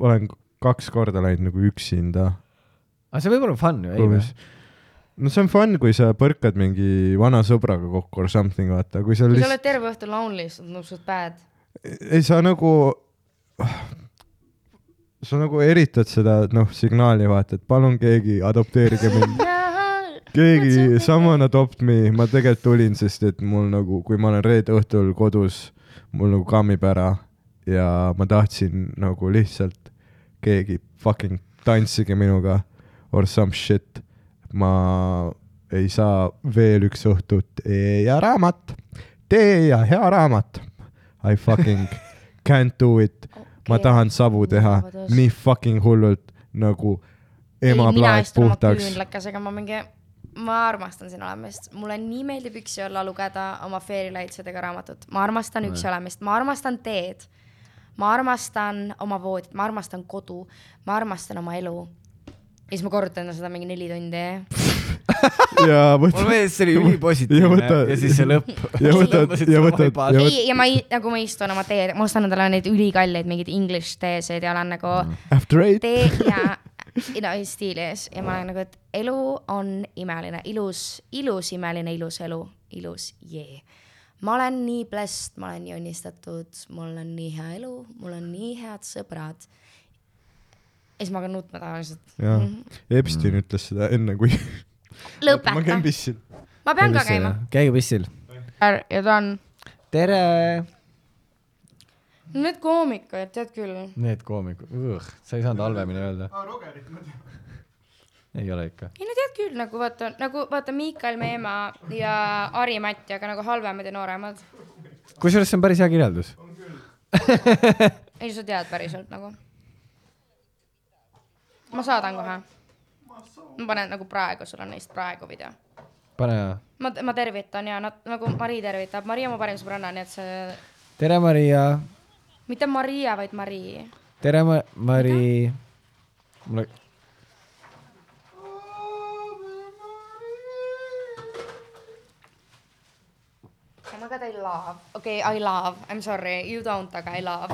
olen kaks korda läinud nagu üksinda aga see võib olla fun ju , ei või klubis ?. no see on fun , kui sa põrkad mingi vana sõbraga kokku or something , vaata , kui sa kui sa lihtsalt oled terve õhtu lonely , siis tundub suht bad . ei sa nagu , sa nagu eritad seda , noh , signaali vaata , et palun keegi adopteerige mind . keegi , someone adopt me , ma tegelikult tulin , sest et mul nagu , kui ma olen reede õhtul kodus , mul nagu kammib ära ja ma tahtsin nagu lihtsalt keegi fucking tantsige minuga or some shit . ma ei saa veel üks õhtut e ja raamat , tee ja hea raamat . I fucking can't do it , ma tahan savu teha Vabadus. nii fucking hullult nagu ema plaat puhtaks . küünlakesega , ma mingi , ma armastan siin olemist , mulle nii meeldib üksi olla , lugeda oma Fairy Lightsidega raamatut , ma armastan üksi olemist , ma armastan teed . ma armastan oma voodit , ma armastan kodu , ma armastan oma elu . ja siis ma korrutan seda mingi neli tundi . ja mulle võtad , meeldis , see oli Ja ülipositiivne ja, võta- ja siis see lõpp . ja võtad , ja võtad , ja võtad ei , ja ma ei , nagu ma istun oma teed , ma ostan endale neid ülikalleid mingeid English teesid ja olen nagu mm. after eight . tee ja no stiilis ja ma olen nagu , et elu on imeline , ilus , ilus imeline , ilus elu , ilus jee yeah. . ma olen nii blessed , ma olen nii õnnistatud , mul on nii hea elu , mul on nii head sõbrad . ja siis ma hakkan nutma tavaliselt . jaa , Epstein ütles seda enne , kui ma lõpeta käin , pissil . ma pean ka käima . käige pissil . ja ta on , tere . need koomikud , tead küll . Need koomikud , sa ei saanud halvemini öelda . ei ole ikka . ei no tead küll , nagu vaata , nagu vaata Miikal , meie ema ja Ari-Matti , aga nagu halvemad ja nooremad . kusjuures see on päris hea kirjeldus . ei , sa tead päriselt nagu . ma saadan kohe . ma panen nagu praegu , sul on neist praegu video . pane hea . ma , ma tervitan ja nad nagu Mari tervitab , Mari on mu parim sõbranna , nii et see , tere , Maria . mitte Maria , vaid Mari . tere , Mari . mulle , ma ka I love , okei okay, I love , I m sorry , you don't , aga I love .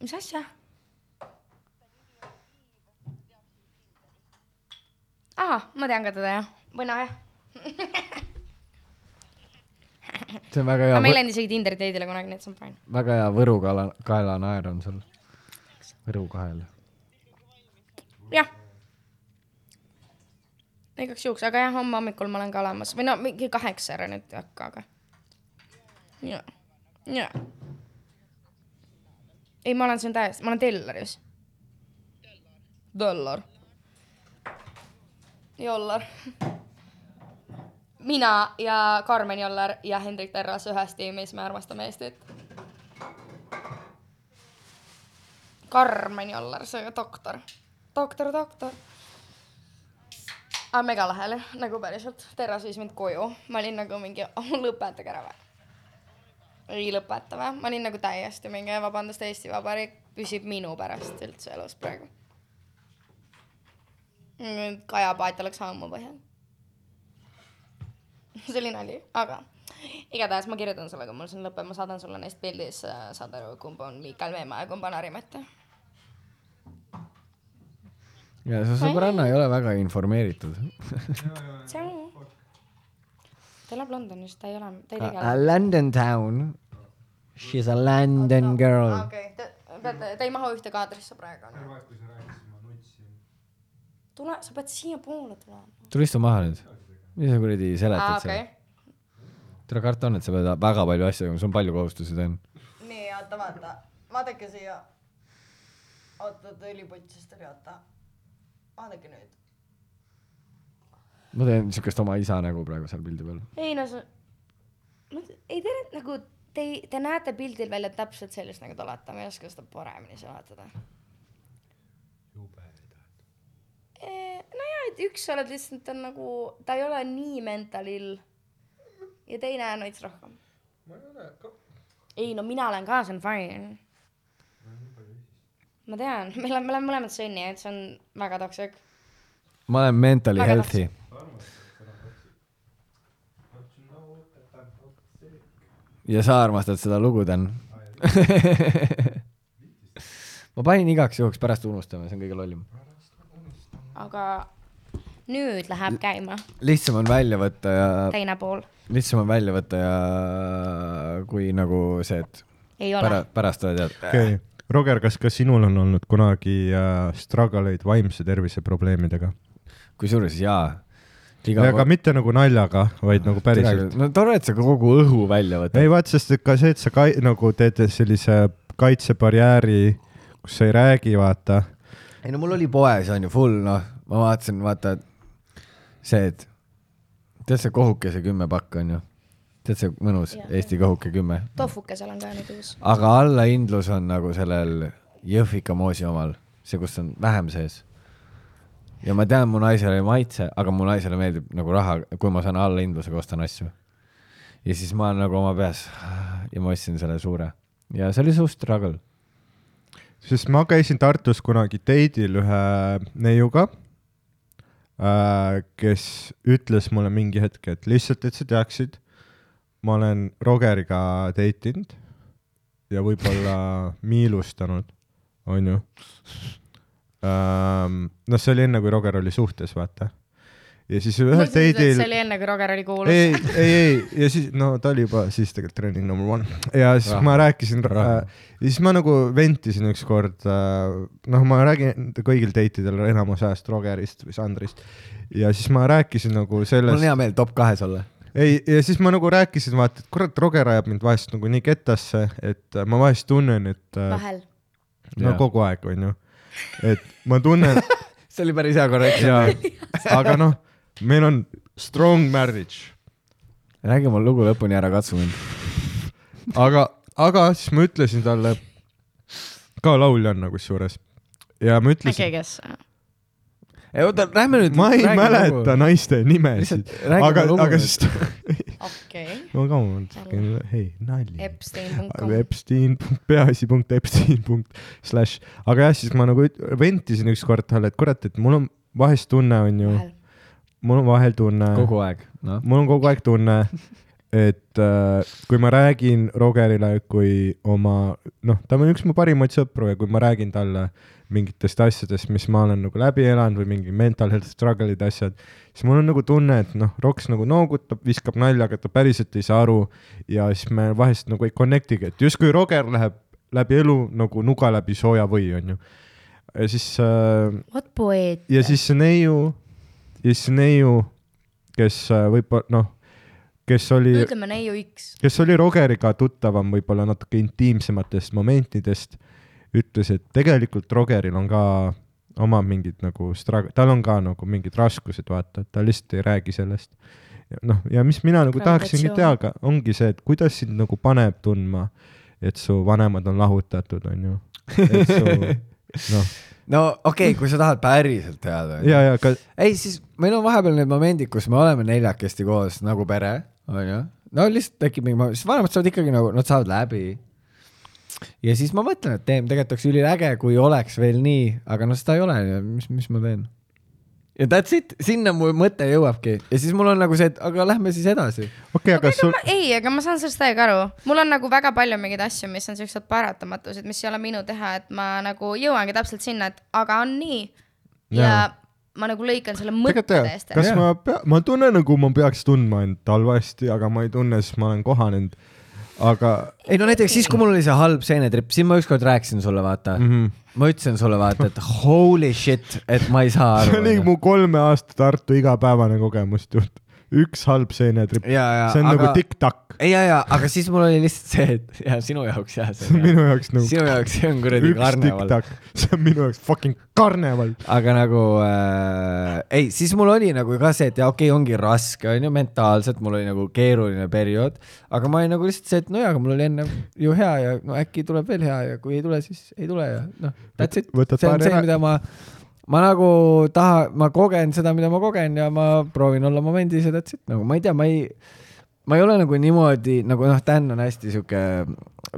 mis asja ? ahah , ma tean ka teda jah , või noh jah see on väga aga ma ei hea , läinud isegi Tinder date'ile kunagi , nii et see on fine . väga hea Võru kala , kaelanaer on sul . Võru kael jah . igaks juhuks , aga jah , homme hommikul ma olen ka olemas või no mingi kaheksa ära nüüd ei hakka , aga . ja , ja . ei , ma olen siin täiesti , ma olen Telleris . Dollar . Jollar . mina ja Karmen Jollar ja Hendrik Terras ühes tiimis , me armastame Eestit . Karmen Jollar , see doktor , doktor , doktor . aga mega lahe oli , nagu päriselt , Terras viis mind koju , ma olin nagu mingi oh, , lõpetage ära või . ei lõpeta või , ma olin nagu täiesti mingi , vabandust , Eesti Vabariik püsib minu pärast üldse elus praegu . Kaja Paat oleks ammu põhjal . see oli nali , aga igatahes ma kirjutan sulle , kui mul siin lõpeb , ma äh, saadan sulle neist pildis , saad aru , kumb on Miikal Veemaa ja kumb on Harimata . ja su sõbranna ei ole väga informeeritud . see on . ta elab Londonis , ta ei ole , ta ei tegele . London town . She is a London girl . okei , te peate , te ei mahu ühte kaadrisse praegu . tule , sa pead siiapoole tulema . tule istu maha nüüd . mis sa kuradi aa , seletad okei seal ?. tere , karta on , et sa pead väga palju asju , sul on palju kohustusi täna . nii , oota , vaata , vaadake siia . oota , oota , õlipotsist oli , oota . vaadake nüüd . ma teen siukest oma isa nägu praegu seal pildi peal . ei no sa , ei te nagu , te , te näete pildil välja täpselt sellist , nagu te olete , ma ei oska seda paremini seletada . nojah , et üks sa oled lihtsalt , ta on nagu , ta ei ole nii mental ill ja teine on veits rohkem . ei no mina olen ka , see on fine . ma tean , me oleme , me oleme mõlemad sõnni , et see on väga toksik . ma olen mentally Väga healthy . ja sa armastad seda lugu , Dan ? ma panin igaks juhuks pärast unustama , see on kõige lollim . aga nüüd läheb käima lihtsam on välja võtta ja , teine pool . lihtsam on välja võtta ja kui nagu see , et ei ole . pära- , pärast oled tead . okei okay. , Roger , kas ka sinul on olnud kunagi äh, struggle eid vaimse tervise probleemidega ? kusjuures jaa . aga mitte nagu naljaga , vaid nagu päriselt . no tore , et sa kogu õhu välja võtad . ei vaat , sest et ka see , et sa kai- , nagu teed sellise kaitsebarjääri , kus sa ei räägi , vaata . ei no mul oli poes on ju full noh , ma vaatasin , vaata see , et tead see kohukese kümme pakk on ju , tead see mõnus ja, Eesti kohuke kümme , tofuke seal on ka nüüd uus . aga allahindlus on nagu sellel Jõhvika moosi omal , see , kus on vähem sees . ja ma tean , mu naisele ei maitse , aga mu naisele meeldib nagu raha , kui ma saan allahindlusega ostan asju . ja siis ma olen nagu oma peas ja ma ostsin selle suure ja see oli suur struggle . sest ma käisin Tartus kunagi date'il ühe neiuga äh, , kes ütles mulle mingi hetk , et lihtsalt , et sa teaksid , ma olen Rogeriga date inud ja võib-olla miilustanud , onju ähm, . noh , see oli enne , kui Roger oli suhtes , vaata . ja siis ühel date'il see . oli enne , kui Roger oli kuulus . ei , ei , ei ja siis no ta oli juba siis tegelikult treening number one ja siis Rahva. ma rääkisin äh, Rahva. ja siis ma nagu ventisin ükskord äh, , noh , ma räägin kõigil date idel enamus ajast Rogerist või Sandrist ja siis ma rääkisin nagu mul on sellest , hea meel top kahes olla . ei , ja siis ma nagu rääkisin , vaata , et kurat , Roger ajab mind vahest nagu nii kettasse , et äh, ma vahest tunnen , et äh, vahel . no Jaa. kogu aeg , onju , et ma tunnen see oli päris hea korrektsioon . ja aga noh , meil on strong marriage räägi oma lugu lõpuni ära , katsu mind . aga , aga siis ma ütlesin talle , ka laulja on nagu kusjuures ja ma äkki ütlesin , kes ? ei oota , lähme nüüd . ma ei mäleta . naiste nimesid lihtsalt , räägi aga oma , lugu aga nüüd. siis ta , okei . no come on , hei , nali . Epstein.com . Epstein , peaasi punkt Epstein punkt slash , aga jah , siis ma nagu üt- ventisin ükskord talle , et kurat , et mul on vahest tunne on ju , mul on vahel tunne , kogu aeg , noh . mul on kogu aeg tunne , et äh, kui ma räägin Rogerile kui oma , noh , ta on üks mu parimaid sõpru ja kui ma räägin talle mingitest asjadest , mis ma olen nagu läbi elanud või mingi mental health struggle'id , asjad , siis mul on nagu tunne , et noh , Roks nagu noogutab , viskab nalja , aga ta päriselt ei saa aru ja siis me vahest nagu ei connect'igi , et justkui Roger läheb läbi elu nagu nuga läbi sooja või , onju . ja siis äh, vot poeet . ja siis see neiu , ja siis see neiu , kes äh, võib-olla noh , kes oli , ütleme neiu X . kes oli Rogeriga tuttavam võib-olla natuke intiimsematest momentidest , ütles , et tegelikult Rogeril on ka oma mingid nagu strag- , tal on ka nagu mingid raskused , vaata , et ta lihtsalt ei räägi sellest . noh , ja mis mina nagu tahaksingi Gravitatsioon. teada , ongi see , et kuidas sind nagu paneb tundma , et su vanemad on lahutatud , on ju . et su , noh , no okei okay, , kui sa tahad päriselt teada . ja , ja ka ei , siis meil on vahepeal need momendid , kus me oleme neljakesti koos nagu pere , onju . no lihtsalt tekib mingi , siis vanemad saavad ikkagi nagu , nad saavad läbi . ja siis ma mõtlen , et teeme , tegelikult oleks üliäge , kui oleks veel nii , aga noh , seda ei ole , mis , mis ma teen . ja that's it , sinna mu mõte jõuabki ja siis mul on nagu see , et aga lähme siis edasi . okei okay, , aga sul , ei , aga ma saan sellest täiega aru , mul on nagu väga palju mingeid asju , mis on siuksed paratamatused , mis ei ole minu teha , et ma nagu jõuangi täpselt sinna , et aga on nii . ja Jaa. ma nagu lõikan selle mõtte tegelikult jah , täiesti kas ära . ma pea , ma tunnen nagu ma peaks tundma end halvasti , aga ma ei tunne , sest ma olen kohanenud . aga ei no näiteks siis , kui mul oli see halb seenetripp , siis ma ükskord rääkisin sulle , vaata mm . Mhm. -hmm. ma ütlesin sulle , vaata , et holy shit , et ma ei saa see aru . oli mu kolme aasta Tartu igapäevane kogemus , tead . üks halb seenetripp , ja , ja , see on aga... nagu aga , tiktak , ja , ja , aga siis mul oli lihtsalt see , et ja sinu jaoks jah , see see on on jah. minu jaoks nagu sinu jaoks see on kuradi üks karneval , tiktak , see on minu jaoks fucking karneval . aga nagu äh, ei , siis mul oli nagu ka see , et ja okei okay, , ongi raske , onju , mentaalselt mul oli nagu keeruline periood , aga ma olin nagu lihtsalt see , et nojah , aga mul oli enne ju hea ja no äkki tuleb veel hea ja kui ei tule , siis ei tule ja noh , that's it . Võtad see on paar see , era- mida ma , ma nagu taha , ma kogen seda , mida ma kogen ja ma proovin olla momendis ja that's it , nagu ma ei tea , ma ei , ma ei ole nagu niimoodi nagu noh , Dan on hästi sihuke ,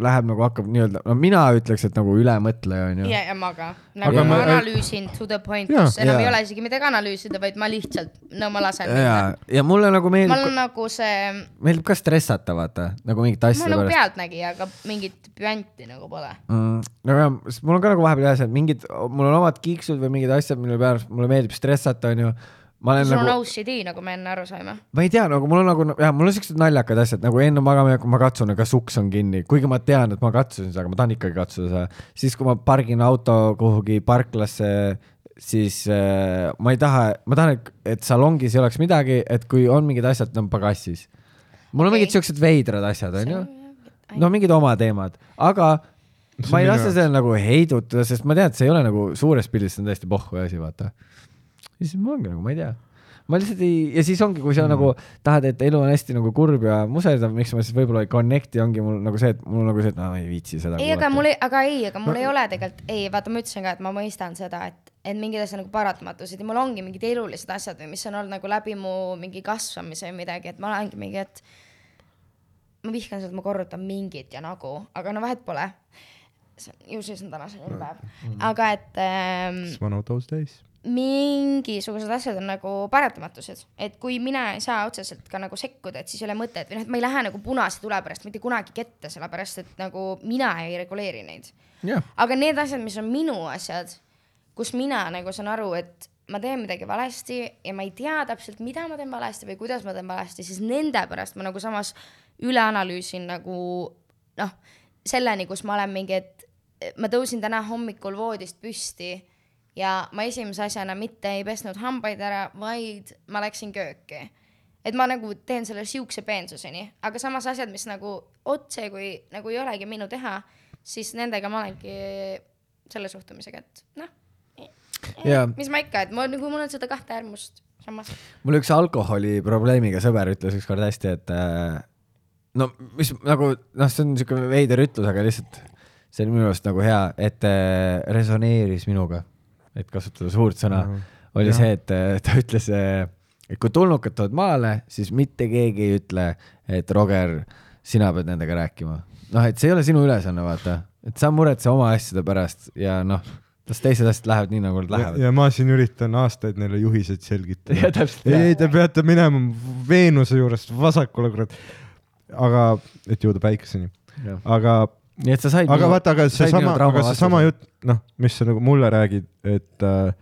läheb nagu hakkab nii-öelda , no mina ütleks , et nagu ülemõtleja onju . ja , ja ma ka . nagu Aga ma, ma ma- analüüsin to the point , Jaa. kus enam Jaa. ei ole isegi midagi analüüsida , vaid ma lihtsalt , no ma lasen ja minna ., ja mulle nagu ma meeldib olen , nagu see , meeldib ka stressata , vaata , nagu mingite ma asjade olen nagu pärast . pealtnägija , aga mingit püanti nagu pole . Mm, no aga sest mul on ka nagu vahepeal jah , see mingid , mul on omad kiiksud või mingid asjad , mille peale mulle meeldib stressata , onju . ma olen sul on nagu , OCD , nagu me enne aru saime . ma ei tea , nagu mul on nagu jah , mul on siuksed naljakad asjad nagu enne magamaminekut ma katsun , kas uks on kinni , kuigi ma tean , et ma katsusin seda , aga ma tahan ikkagi katsuda seda . siis , kui ma pargin auto kuhugi parklasse , siis äh, ma ei taha , ma tahan , et salongis ei oleks midagi , et kui on mingid asjad , nad on pagassis . mul on okay. mingid siuksed veidrad asjad , onju . no mingid oma teemad , aga See on ma ei minu lase jaoks. sellel nagu heidutada , sest ma tean , et see ei ole nagu suures pildis , see on täiesti pohhu asi , vaata . ja siis mul ongi nagu , ma ei tea , ma lihtsalt ei , ja siis ongi , kui sa mm. nagu tahad , et elu on hästi nagu kurb ja muserdav , miks ma siis võib-olla ei connect'i , ongi mul nagu see , et mul on nagu see , et no ma ei viitsi seda . ei , aga mul , aga ei , aga mul ei ole tegelikult , ei , vaata , ma ütlesin ka , et ma mõistan seda , et , et mingid asjad nagu paratamatused ja mul ongi mingid elulised asjad või mis on olnud nagu läbi mu mingi kasvamise või midagi , et ma olengi mingi , et ma vihkan seda , et ma korrutan mingit ja nagu , aga no vahet pole . ju siis on täna selline päev , Mm. aga et ähm, It's one of those days . mingisugused asjad on nagu paratamatused , et kui mina ei saa otseselt ka nagu sekkuda , et siis ei ole mõtet või noh , et ma ei lähe nagu punase tule pärast mitte kunagi kette , sellepärast et nagu mina ei reguleeri neid . jah , aga need asjad , mis on minu asjad , kus mina nagu saan aru , et ma teen midagi valesti ja ma ei tea täpselt , mida ma teen valesti või kuidas ma teen valesti , siis nende pärast ma nagu samas üle analüüsin nagu noh , selleni , kus ma olen mingi , et ma tõusin täna hommikul voodist püsti ja ma esimese asjana mitte ei pesnud hambaid ära , vaid ma läksin kööki . et ma nagu teen selle siukse peensuseni , aga samas asjad , mis nagu otse kui nagu ei olegi minu teha , siis nendega ma olengi selle suhtumisega , et noh , ja mis ma ikka , et ma nagu , mul on seda kahte äärmust samas . mul üks alkoholiprobleemiga sõber ütles ükskord hästi , et äh, no mis nagu noh , see on niisugune veider ütlus , aga lihtsalt see on minu arust nagu hea , et äh, resoneeris minuga , et kasutada suurt sõna mm , -hmm. oli ja. see , et äh, ta ütles , et kui tulnukad tulevad maale , siis mitte keegi ei ütle , et Roger , sina pead nendega rääkima . noh , et see ei ole sinu ülesanne , vaata , et sa muretse oma asjade pärast ja noh , las teised asjad lähevad nii , nagu nad lähevad . ja ma siin üritan aastaid neile juhiseid selgitada . ja täpselt . ei , ei , te peate minema Veenuse juurest vasakule , kurat . aga , et jõuda päikeseni . Jah. aga , nii et sa said . aga vaata , aga seesama , aga seesama jutt , noh , mis sa nagu mulle räägid , et äh,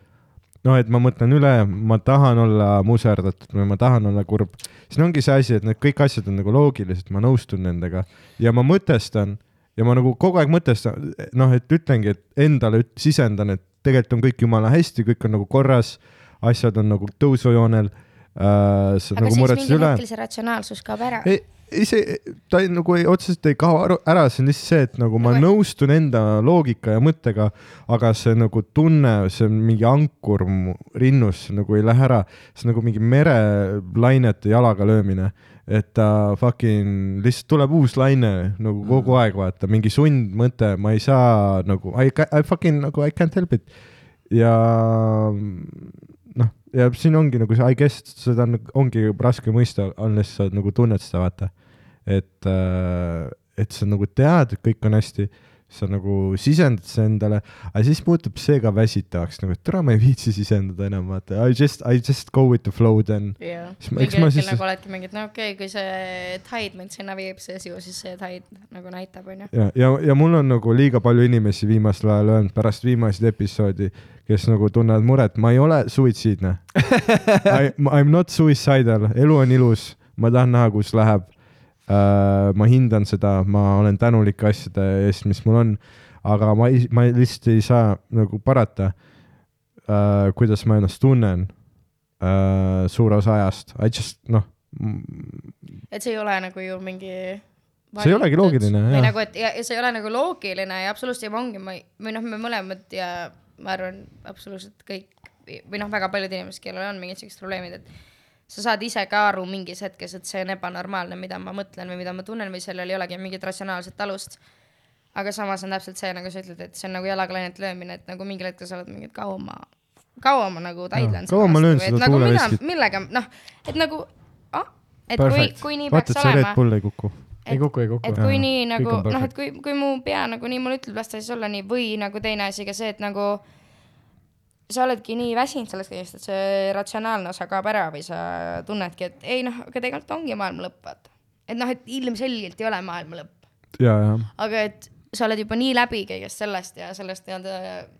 noh , et ma mõtlen üle , ma tahan olla muserdatud või ma tahan olla kurb . siin ongi see asi , et need kõik asjad on nagu loogilised , ma nõustun nendega ja ma mõtestan ja ma nagu kogu aeg mõtestan , noh , et ütlengi , et endale üt- sisendan , et tegelikult on kõik jumala hästi , kõik on nagu korras , asjad on nagu tõusujoonel äh, . sa aga nagu siis muretsed mingil üle . hetkel see ratsionaalsus kaob ära . ei , see , ta ei, nagu ei, otseselt ei kao aru, ära , see on lihtsalt see , et nagu ma Nagu- nõustun enda loogika ja mõttega , aga see nagu tunne , see on mingi ankur mu rinnus , nagu ei lähe ära . see on nagu mingi merelainete jalaga löömine , et ta fucking , lihtsalt tuleb uus laine nagu kogu aeg , vaata , mingi sundmõte , ma ei saa nagu , I, ca- I fucking nagu I can't help it . ja noh , ja siin ongi nagu see I guess seda on, ongi raske mõista , unless sa äh, nagu tunned seda , vaata . et , et sa nagu tead , et kõik on hästi , sa nagu sisendad see endale , aga siis muutub see ka väsitavaks nagu , et täna ma ei viitsi sisendada enam , vaata I just , I just go with the flow then . jah . Siis ma- mingi eks ma hetkel siis- nagu oledki mingi , et no okei okay, , kui see Tide mind sinna viib , siis ju siis see Tide nagu näitab , onju . ja , ja , ja mul on nagu liiga palju inimesi viimasel ajal öelnud pärast viimast episoodi , kes nagu tunnevad muret , ma ei ole suitsiidne . I m not suicidal , elu on ilus , ma tahan näha , kus läheb uh, . ma hindan seda , ma olen tänulik asjade eest , mis mul on , aga ma , ma lihtsalt ei saa nagu parata uh, , kuidas ma ennast tunnen uh, suure osa ajast , I just noh , et see ei ole nagu ju mingi . See ei olegi loogiline, või jah. nagu , et ja, ja see ei ole nagu loogiline ja absoluutselt ja ma ongi , ma ei , või noh , me mõlemad ja ma arvan , absoluutselt kõik või noh , väga paljud inimesed , kellel on mingid sellised probleemid , et sa saad ise ka aru mingis hetkes , et see on ebanormaalne , mida ma mõtlen või mida ma tunnen või sellel ei olegi mingit ratsionaalset alust . aga samas on täpselt see , nagu sa ütled , et see on nagu jalaga lainet löömine , et nagu mingil hetkel sa oled mingi , et kaua ma , kaua ma nagu taidlen . kaua ma löön seda nagu, mida- tuuleveskit? millega , noh , et nagu ah, , et Perfect. kui , kui nii vaata , peaks et see Red olema , Bull ei kuku . ei kuku , ei kuku et . kui nii nagu noh , et kui , kui mu pea nagu nii mulle ütleb , las ta siis olla nii või nagu teine asi ka see , et nagu sa oledki nii väsinud sellest kõigest , et see ratsionaalne osa kaob ära või sa tunnedki , et ei noh , aga tegelikult ongi maailma lõpp , vaata . et noh , et ilmselgelt ei ole maailma lõpp , ja , ja aga et sa oled juba nii läbi kõigest sellest ja sellest nii-öelda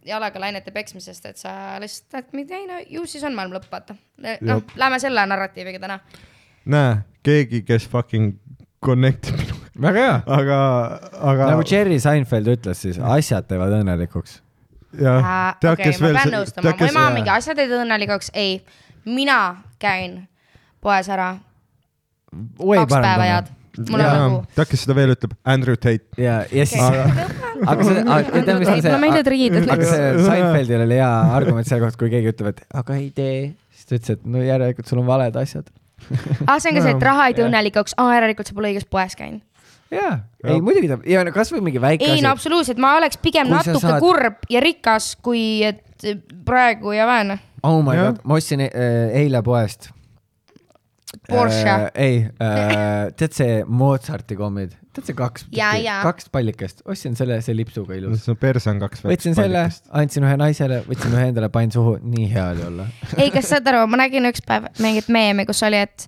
jalaga lainete peksmisest , et sa lihtsalt , et mida ei no ju siis on maailma lõpp , vaata . noh , lähme selle narratiiviga täna . näe , keegi , kes fucking connect ib minuga , väga hea . aga , aga nagu Jerry Seinfeld ütles siis , Mm. asjad teevad õnnelikuks . jah , Ah, okei tead , okay, , kes ma veel pean nõustuma , mu ema on mingi asjad ei tee õnnelikuks , ei , mina käin poes ära kaks päeva head , mul on nagu . tead , kes seda veel ütleb , Andrew Tate . ja , ja siis , aga see , ütleme , mis on see . no ma ei tea , et riigid aga ütleks . see Seinfeldil oli hea argument selle kohta , kui keegi ütleb , et aga ei tee , siis ta ütles , et no järelikult sul on valed asjad . Ah, aa , see on ka see , et raha ei tee õnnelikuks , aa , järelikult sa pole õiges poes käinud . jaa , ei muidugi ta , ja no kasvõi mingi väike ei no asi . absoluutselt , ma oleks pigem Kui sa natuke saad- saad... kurb ja rikas , kui et praegu ja vaene . oh my Jah. god , ma ostsin e e- eile poest . Porsche äh, . ei äh, , tead see Mozarti kommid , tead see kaks Jaa, , jaa. kaks pallikest , ostsin selle , see lipsuga ilus . no perse on kaks võtsin selle , andsin ühe naisele , võtsin ühe endale , panin suhu , nii hea oli olla . ei , kas saad aru , ma nägin ükspäev mingit meemi , kus oli , et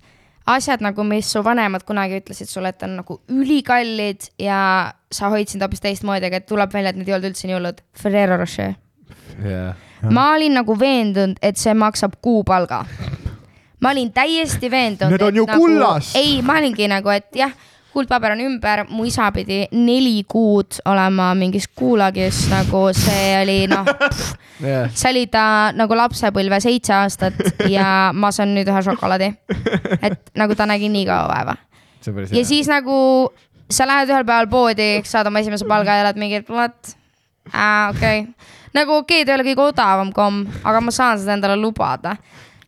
asjad nagu , mis su vanemad kunagi ütlesid sulle , et on nagu ülikallid ja sa hoidsid hoopis teistmoodi , aga tuleb välja , et need ei olnud üldse nii hullud . Ferrero Rocher . ma olin nagu veendunud , et see maksab kuupalga . ma olin täiesti veendunud . Need on ju nagu, kullast! ei , ma olingi nagu , et jah , kuldpaber on ümber , mu isa pidi neli kuud olema mingis kuulagis , nagu see oli noh , see oli ta nagu lapsepõlve seitse aastat ja ma saan nüüd ühe šokolaadi . et nagu ta nägi nii kaua vaeva see on päris ja siis nagu sa lähed ühel päeval poodi , saad oma esimese palga ja oled mingi , et what , okei . nagu okei okay, , ta ei ole kõige odavam komm , aga ma saan seda endale lubada .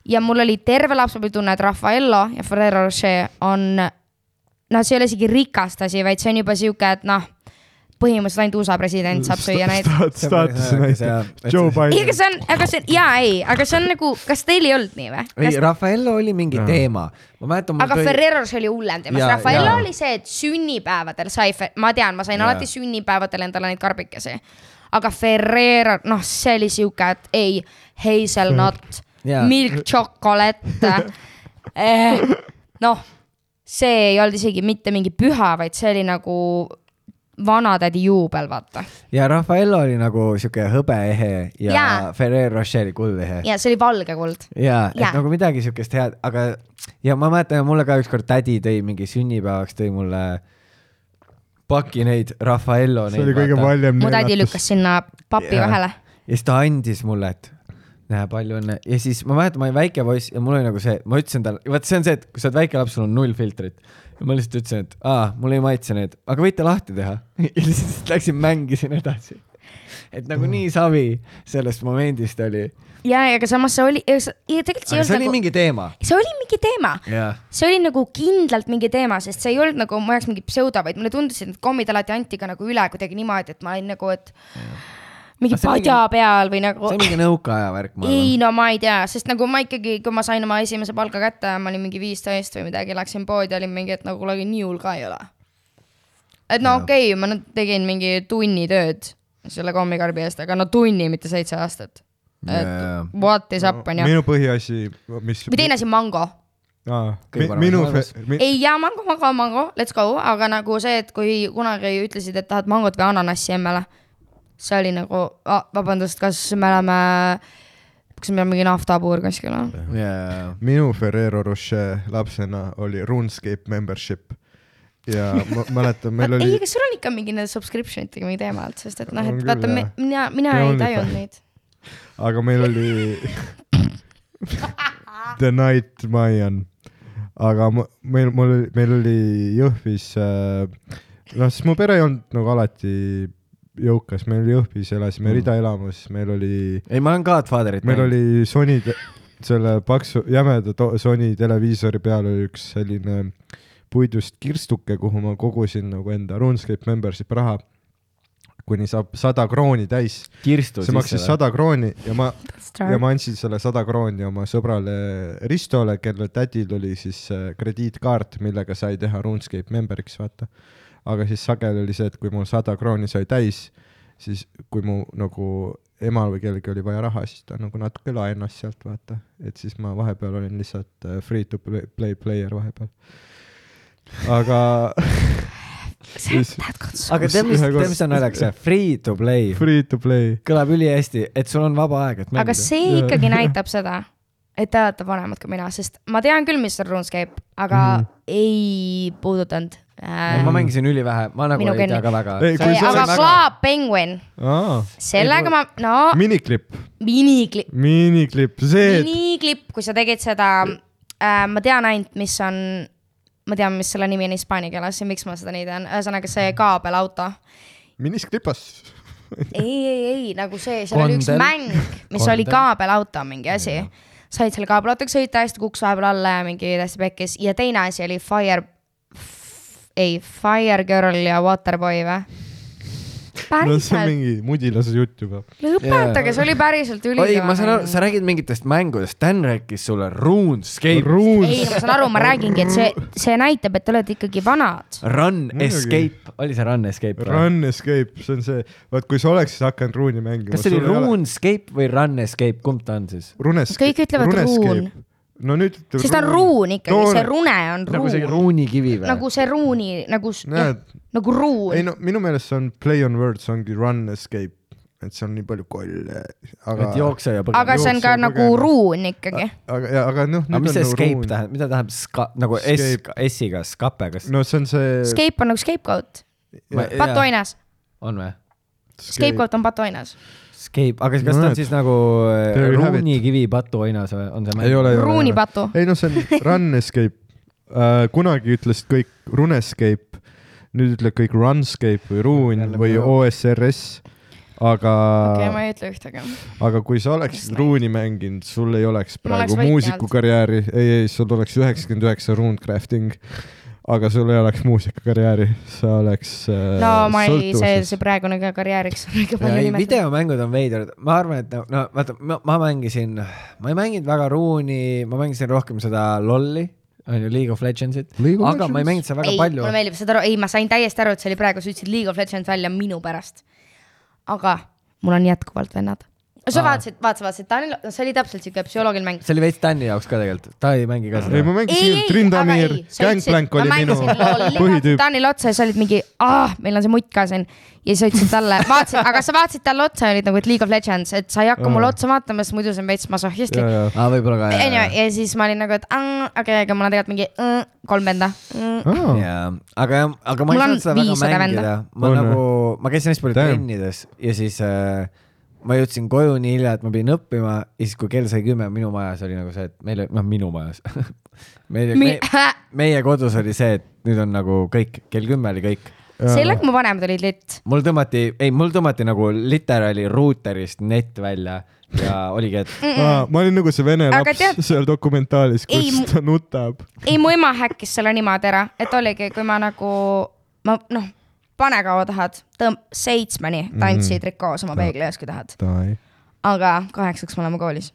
ja mul oli terve lapsepõlve tunne , et Raffaello ja Ferrero Rocher on , noh , see ei ole isegi rikast asi , vaid see on juba sihuke , et noh , põhimõtteliselt ainult USA president saab süüa neid . staatuse näitaja , Joe ei , ei , aga Biden . see on , aga see on , jaa , ei , aga see on nagu , kas teil ei olnud nii või ? Raffaello oli mingi teema , ma mäletan . aga Ferrero see oli hullem teema , Jaa, sest Raffaello jaa. oli see , et sünnipäevadel sai , ma tean , ma sain Jaa. ja. alati sünnipäevadel endale neid karbikesi . aga Ferrero , noh , see oli sihuke , et ei , hazelnut Jaa. , milk chocolate eh, . noh , see ei olnud isegi mitte mingi püha , vaid see oli nagu vanatädi juubel , vaata . ja Raffaello oli nagu sihuke hõbeehe ja, ja. Jaa. Ferrero Rocher kuldehe . ja see oli valge kuld . ja , Jaa. et nagu midagi siukest head , aga ja ma mäletan , mulle ka ükskord tädi tõi mingi sünnipäevaks tõi mulle paki neid Raffaello . see oli kõige valjem . mu tädi . lükkas sinna papi Jaa. vahele . ja siis ta andis mulle , et näe , palju õnne ja siis ma mäletan , ma olin väike poiss ja mul oli nagu see , ma ütlesin talle , vaat see on see , et kui sa oled väike laps , sul on null filtrit . ja ma lihtsalt ütlesin , et aa , mulle ei maitse need , aga võite lahti teha . ja lihtsalt läksin mängisin edasi . et Mm. nagu nii savi sellest momendist oli . ja , ja aga samas see oli , tegelikult see ei aga see olnud oli nagu , mingi teema . see oli mingi teema jaa . see oli nagu kindlalt mingi teema , sest see ei olnud nagu mu jaoks mingi pseudo , vaid mulle tundus , et need kommid alati anti ka nagu üle kuidagi niimoodi , et ma olin nagu , et mingi Aga see on padja peal või nagu see on . mingi nõukaaja värk , ma ei arvan . no ma ei tea , sest nagu ma ikkagi , kui ma sain oma esimese palka nagu kätte , ma olin mingi viisteist või midagi , läksin poodi , olin mingi , et no kuule , nii hull ka ei ole . et no okei okay, , ma nüüd tegin mingi tunni tööd selle kommikarbi eest , aga no tunni , mitte seitse aastat . Jajah. What is up , onju . minu põhiasi , mis . või teine asi , mango . Kõige parem minu asi , maailmas. mi, ei jaa , mango , mango , mango , let's go , aga nagu see , et kui kunagi ütlesid , et tahad mangot või ananassi emmele , see oli nagu ah, , vabandust , kas me oleme , kas meil on mingi naftapuur kuskil või ? jaa , minu Ferrero Rocher lapsena oli RuneScape membership ja ma mäletan , meil ei , oli aga sul on ikka mingi nende subscription itega mingi teema olnud , sest et noh , et On küll, vaata , jah. mina , mina Ja ei OnlyFans. tajunud neid . aga meil oli The Night Mayan , aga mu- meil , mul , meil oli Jõhvis äh, , noh , siis mu pere ei olnud nagu alati jõukas , meil oli Jõhvis , elasime mm. ridaelamus , meil oli , ei , ma olen Godfatherit meil . oli Sony , selle paksu , jämeda to- Sony televiisori peal oli üks selline puidust kirstuke , kuhu ma kogusin nagu enda RuneScape membership raha kuni saab sada krooni täis , kirstu see maksis . sada krooni ja ma ja Star. ma andsin selle sada krooni oma sõbrale Ristole , kelle tädil oli siis äh, krediitkaart , millega sai teha RuneScape member'iks , vaata . aga siis sageli oli see , et kui mul sada krooni sai täis , siis kui mu nagu emal või kellelgi oli vaja raha , siis ta nagu natuke laenas sealt , vaata . et siis ma vahepeal olin lihtsalt äh, free to play, play player vahepeal . aga siis aga tead , mis , tead , mis on naljakas , free to play free to play , kõlab ülihästi , et sul on vaba aeg , et aga mängida . see ikkagi näitab seda , et te olete vanemad kui mina , sest ma tean küll , mis seal ruumis käib , aga Mhm. mm. ei puudutanud äh, . ma mängisin ülivähe , ma nagu Minu ei tea kinni. ka väga . Ei, kui see , sa aga oleks- Klaab Penguin , aa , sellega ma , no miniklipp , miniklipp , miniklipp , see , et miniklipp , kui sa tegid seda äh, , ma tean ainult , mis on , ma tean , mis selle nimi on hispaania keeles ja miks ma seda nii tean , ühesõnaga see kaabelauto . minisklipas ei , ei , ei nagu see , seal oli üks Kondel. mäng , mis oli kaabelauto mingi asi . said selle kaabelautoga sõita , hästi kukkus vahepeal alla ja mingi täiesti pekkis ja teine asi oli Fire , ei , Fire Girl ja Waterboy või ? no see on päriselt , mingi mudilase jutt juba . lõpetage , see oli päriselt oi ülikõva . ma saan aru , sa räägid mingitest mängudest , Dan rääkis sulle RuneScape , ei , Runes , ma saan aru , ma räägingi , et see , see näitab , et te olete ikkagi vanad . Run Muidugi. Escape , oli see Run Escape või ? Run Escape , see on see , vaat kui sa oleksid hakanud Rune'i mängima . kas see oli ? RuneScape või Run Escape , kumb ta on siis ? Runes- . Kõik ütlevad Ruun. . no nüüd . sest ta on ruun ikkagi , see . rune on nagu see ruun . ruunikivi või ? nagu see ruuni , nagu , näed , nagu ei ruun . no minu meelest see on play on words ongi Run Escape , et seal on nii palju kolle , aga . et jookse ja põgene . aga see on ka jooksja põgeneb. nagu ruun ikkagi . aga , aga noh . aga mis see escape ? tähendab , mida tähendab ska- , nagu S Escape. , S-iga skape , kas no see on see . Scape on nagu scapegoat , Ma- jaa, patoinas . on või ? Scapegoat on patoinas . Escape , aga kas ta Näed. on siis nagu äh, There you have it. ruunikivi patuoinas või on see mäng ? ei ole , ei ole . ruunipatu . ei no see on Run Escape uh, . kunagi ütlesid kõik Runescape , nüüd ütlevad kõik Runscape või Ruun Jälle või ma- OSRS , aga okei , ma okay, , ei ütle ühtegi . aga kui sa oleksid Ruuni mänginud , sul ei oleks Ma oleks praegu vaikne muusikukarjääri , ei , ei , sul oleks üheksakümmend üheksa Runecrafting , aga sul ei oleks muusikakarjääri , sa oleks uh, no ma ei , see , see praegune ka karjääriks on ikka palju ei , nimetatud . videomängud on veidrad , ma arvan , et no, no vaata , ma mängisin , ma ei mänginud väga Rune'i , ma mängisin rohkem seda lolli , on ju , League of Legendsit , aga League of Legends. ma ei mänginud seda väga ei , ei, palju mulle . meeldib , saad aru , ei , ma sain täiesti aru , et see oli praegu , sa ütlesid League of Legends välja minu pärast . aga mul on jätkuvalt vennad . sa vaatasid , vaatasid , vaatasid , Tanel , see oli täpselt siuke psühholoogiline mäng . see oli veits Tänni jaoks ka tegelikult , ta ei mängi ka ei , seda . ma mängisin Trindamir , Gangplank oli minu põhitüüp . Taanil otsa ja sa olid mingi , ah , meil on see mutt ka siin . ja siis sa ütlesid talle , vaatasid , aga sa vaatasid talle otsa ja olid nagu , et League of Legends , et sa ei hakka mulle otsa vaatama , sest muidu see on veits masohhistlik . aa , võib-olla ka onju , jah . ja siis ma olin nagu , et aa, okei , aga mul on tegelikult mingi mm, kolm venda mm. . Ah, jaa , aga jah , aga ma Mul ei on saanud seda väga 500 venda. mängida , ma On on, nagu , ma käisin hästi palju Damn. trennides ja siis äh, ma jõudsin koju nii hilja , et ma pidin õppima ja siis , kui kell sai kümme minu majas , oli nagu see , et meil , noh , minu majas . meil , Mi- meie kodus oli see , et nüüd on nagu kõik , kell kümme oli kõik . sellega mu vanemad olid litt . mul tõmmati , ei , mul tõmmati nagu literaali ruuterist net välja ja oligi , et aa , ma olin nagu see vene Aga laps tead- seal dokumentaalis , kus Ei, mu- ta nutab . ei , mu ema häkkis selle niimoodi ära , et oligi , kui ma nagu , ma noh , pane kaua tahad , tõmb- , seitsmeni tantsi trikoos oma peegli ees , kui tahad . aga kaheksaks me oleme koolis .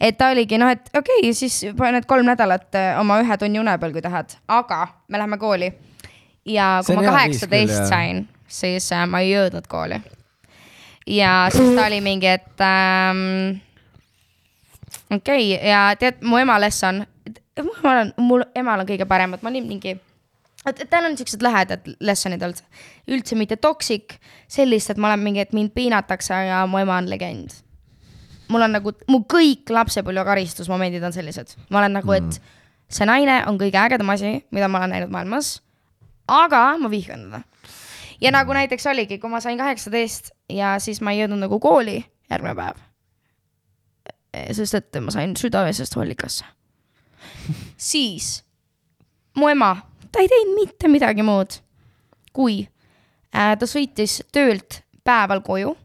et ta oligi noh , et okei okay, , siis paned kolm nädalat äh, oma ühe tunni une peal , kui tahad , aga me läheme kooli . ja See on kui ma hea viis küll, kaheksateist jah. sain , siis äh, ma ei jõudnud kooli . ja siis ta oli mingi , et ähm, okei okay, ja tead , mu emal on , mu emal on , mul emal on kõige paremad , ma olin mingi , et et tal on siuksed lähedad lessonid olnud , üldse mitte toksik , sellist , et ma olen mingi , et mind piinatakse , aga mu ema on legend . mul on nagu , mu kõik lapsepõlve karistusmomendid on sellised , ma olen nagu , et see naine on kõige ägedam asi , mida ma olen näinud maailmas , aga ma vihkan teda ja nagu näiteks oligi , kui ma sain kaheksateist ja siis ma ei jõudnud nagu kooli järgmine päev . sest et ma sain südaöösest hollikasse . siis mu ema , ta ei teinud mitte midagi muud , kui äh, ta sõitis töölt päeval koju .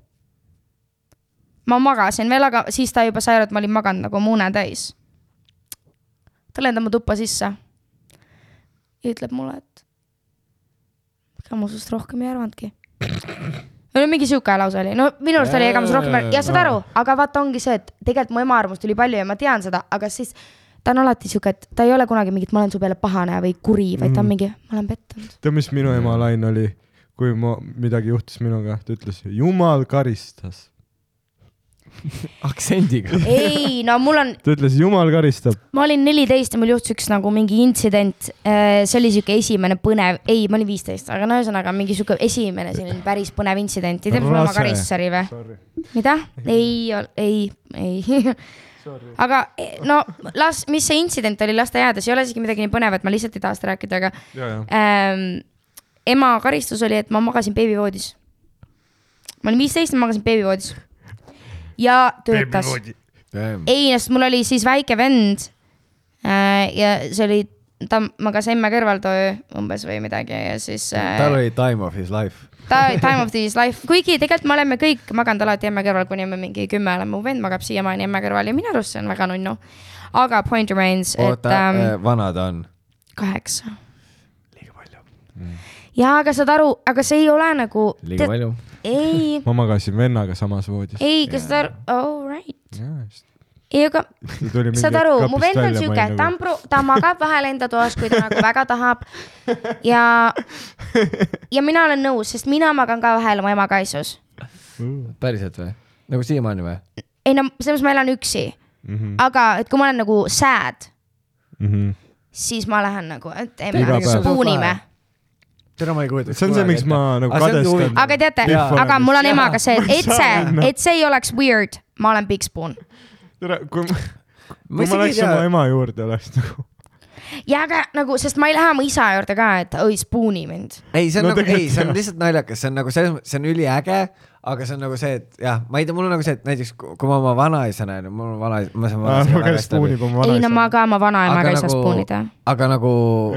ma magasin veel , aga siis ta juba sai aru , et ma olin maganud nagu mune täis . ta lendab mu tuppa sisse ja ütleb mulle , et ega ma sinust rohkem ei arvanudki . no mingi sihuke lause oli , no minu arust oli , ega ma sinust rohkem ei arvanud , ja saad aru , aga vaata , ongi see , et tegelikult mu ema arvamust oli palju ja ma tean seda , aga siis ta on alati sihuke , et ta ei ole kunagi mingi , et ma olen su peale pahane või kuri , vaid ta on mingi , ma olen pettunud . tead , mis minu ema lain oli , kui ma , midagi juhtus minuga , ta ütles , jumal karistas . aktsendiga . ei , no mul on , ta ütles , jumal karistab . ma olin neliteist ja mul juhtus üks nagu mingi intsident . see oli sihuke esimene põnev , ei , ma olin viisteist , aga no ühesõnaga mingi sihuke esimene selline päris põnev intsident , ei tea , mis mul oma Rase. karistus oli või ? mida ? ei , ei , ei . aga no las , mis see intsident oli , las ta jääda , see ei ole isegi midagi nii põnevat , ma lihtsalt ei taha seda rääkida , aga ähm, ema karistus oli , et ma magasin beebivoodis . ma olin viisteist ja magasin beebivoodis . ja töötas . ei , sest mul oli siis väike vend äh, ja see oli , ta magas emme kõrval too öö umbes või midagi ja siis äh, tal oli time of his life . ta , time of his life , kuigi tegelikult me oleme kõik maganud alati emme kõrval , kuni me mingi kümme oleme , mu vend magab siiamaani emme kõrval ja minu arust see on väga nunnu . aga point remains , et oota äh, ähm, , vana ta on ? kaheksa . liiga palju . jaa , aga saad aru , aga see ei ole nagu , Mm. liiga palju . ei , ma magasin vennaga samas voodis . ei , kas saad aru , all right . saad ei , aga saad aru , mu vend on siuke , nagu. ta on pro- , ta magab vahel enda toas , kui ta nagu väga tahab . ja , ja mina olen nõus , sest mina magan ka vahel oma ema kaisus . päriselt või ? nagu siiamaani või ? ei no selles mõttes ma elan üksi , Mhm, aga et kui ma olen nagu sad , siis ma lähen nagu , et teeme Iga päev. , puunime . tere , ma ei kujuta . see on see , miks ma nagu kadestan . aga teate , Jaa. aga mul on Jaa. emaga see , et saan. see , et see ei oleks weird , ma olen Big Spoon . tere , kui ma , ma kui ma isegi ei läks oma tea . ema juurde , oleks nagu . ja aga nagu , sest ma ei lähe oma isa juurde ka , et oi , spooni mind . ei , see on No nagu , ei , tegelikult see on jah. lihtsalt naljakas , see on nagu selles mõttes , see on üliäge , aga see on nagu see , et jah , ma ei tea , mul on nagu see , et näiteks ku- kui ma oma vanaisa näen , mul on vanaisa , ma saan ma vanaisaga käis puunib oma ei no ma vanaisa . ka oma vanaemaga ei saa nagu- spoonida . aga nagu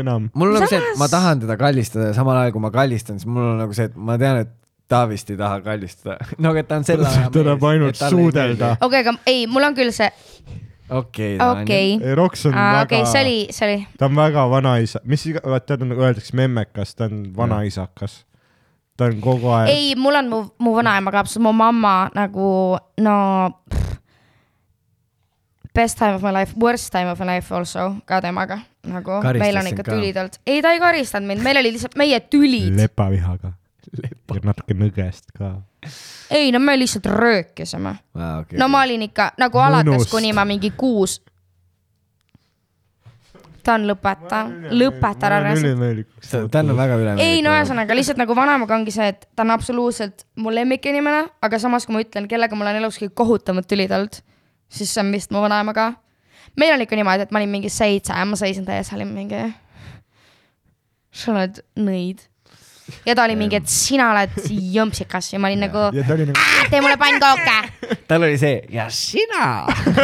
Enam. mul on nagu see , et ma tahan teda kallistada ja samal ajal kui ma kallistan , siis mul on nagu see , et ma tean , et Taavist ei taha kallistada . no aga ta on selle aja Ta tahab ainult suudelda. okei , aga ei , mul on küll see , okei , okei . ei , Roks on okei , see oli väga , see oli , ta on väga vanaisa , mis iga , vaata ta on nagu öeldakse memmekas , ta on vanaisakas . ta on kogu aeg . ei , mul on mu , mu vanaema ka absoluutselt , mu mamma nagu no . Best time of my life , worst time of my life also ka temaga nagu Karistas meil on sind ikka ka? tülidelt , ei ta ei karistanud mind , meil oli lihtsalt meie tülid , lepavihaga . ja natuke nõgest ka . ei no me lihtsalt röökisime . okei . no ma olin ikka nagu alates Mõnust. , kuni ma mingi kuus . ta on lõpeta , lõpeta ära raisk- ülimeelikuks . ta on nagu väga ülemine . ei no . ühesõnaga lihtsalt nagu vanaemaga ongi see , et ta on absoluutselt mu lemmikinimene , aga samas , kui ma ütlen , kellega mul on elus kõige kohutavamad tülid olnud , siis see on vist mu vanaema ka . meil oli ikka niimoodi , et ma olin mingi seitse ja ma seisin ta ees , olin mingi . sa oled nõid . ja ta oli mingi , et sina oled jõmpsikas ja ma olin nagu , ja ta oli nagu , tee mulle pannkooke . tal oli see ja sina .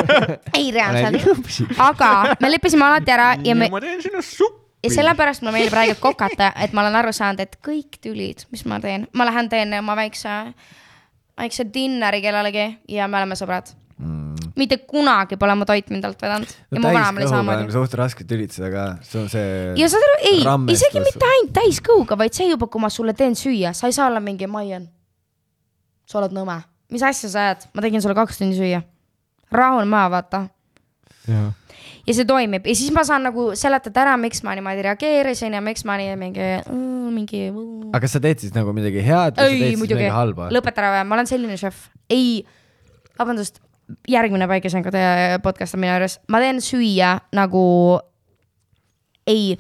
ei reaalselt , aga me leppisime alati ära ja me ma teen sinust suppi . ja sellepärast mulle meeldib praegu kokata , et ma olen aru saanud , et kõik tülid , mis ma teen , ma lähen teen oma väikse , väikse dinneri kellelegi ja me oleme sõbrad mm. . mitte kunagi pole mu toit mind alt vedanud ja mu vanaema oli samamoodi . suht raske tülitseda ka , see on see . ja saad aru , ei , isegi mitte ainult täiskõhuga , vaid see juba , kui ma sulle teen süüa , sa ei saa olla mingi Maian . sa oled nõme , mis asja sa ajad , ma tegin sulle kaks tundi süüa . rahune maha , vaata . jaa . ja see toimib ja siis ma saan nagu seletada ära , miks ma niimoodi reageerisin ja miks ma nii mingi , mingi . aga kas sa teed siis nagu midagi head või sa ei teed siis muidugi midagi halba ?, lõpeta ära , ma olen selline šef , ei , vabandust , järgmine päikesengude podcast on minu juures , ma teen süüa nagu , ei ,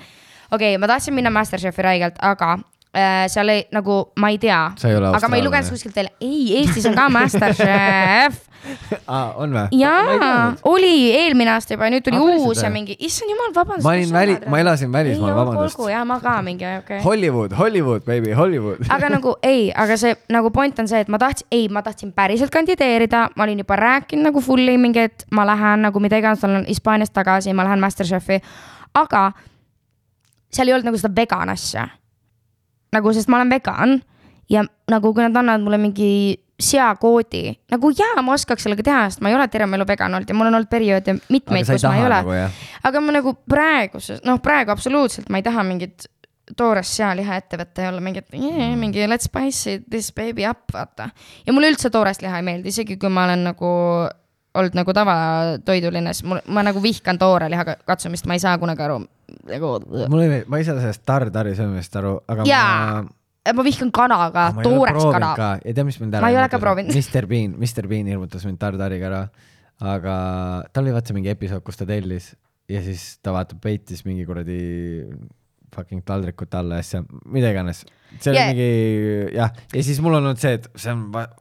okei okay, , ma tahtsin minna Masterchefi räigelt , aga äh, seal ei , nagu ma ei tea , Sa ei ole aga ma ei lugenud austraallane. kuskilt välja , ei , Eestis on ka Masterchef aa , on või ? jaa , oli eelmine aasta juba , nüüd tuli Aa, päriselt uus ja või? mingi , issand jumal , vabandust . ma olin väli , ma elasin välismaal , vabandust . olgu , jaa , ma ka mingi , okei okay. . Hollywood , Hollywood , baby , Hollywood . aga nagu ei , aga see nagu point on see , et ma tahtsin , ei , ma tahtsin päriselt kandideerida , ma olin juba rääkinud nagu fully mingi , et ma lähen nagu mida iganes , olen Hispaaniast tagasi , ma lähen Masterchefi , aga seal ei olnud nagu seda vegan asja . nagu , sest ma olen vegan ja nagu kui nad annavad mulle mingi seakoodi , nagu jaa , ma oskaks sellega teha , sest ma ei ole terve mu elu vegan olnud ja mul on olnud perioode mitmeid , kus ma ei ole nagu jah ? aga ma nagu praeguses , noh , praegu absoluutselt ma ei taha mingit toorest sealiha ette võtta ja olla mingit yeah, , mingi let's spice this baby up , vaata . ja mulle üldse toorest liha ei meeldi , isegi kui ma olen nagu olnud nagu tavatoiduline , siis mul , ma nagu vihkan toore liha ka- katsumist , ma ei saa kunagi aru , nagu . mul ei , ma ei saa sellest tartari söömisest aru , aga Jaa, ma vihkan kana ka , ma ei ole toorest proovinud kana . ka ja tead , mis mind ära Ma ei ole ka proovinud. Mr Bean , Mr Bean hirmutas mind tartariga ära , aga tal oli vaata mingi episood , kus ta tellis ja siis ta vaata peitis mingi kuradi fucking taldrikut alla ja asja , mida iganes . see oli Yeah. mingi jah , ja siis mul on olnud see , et see on ,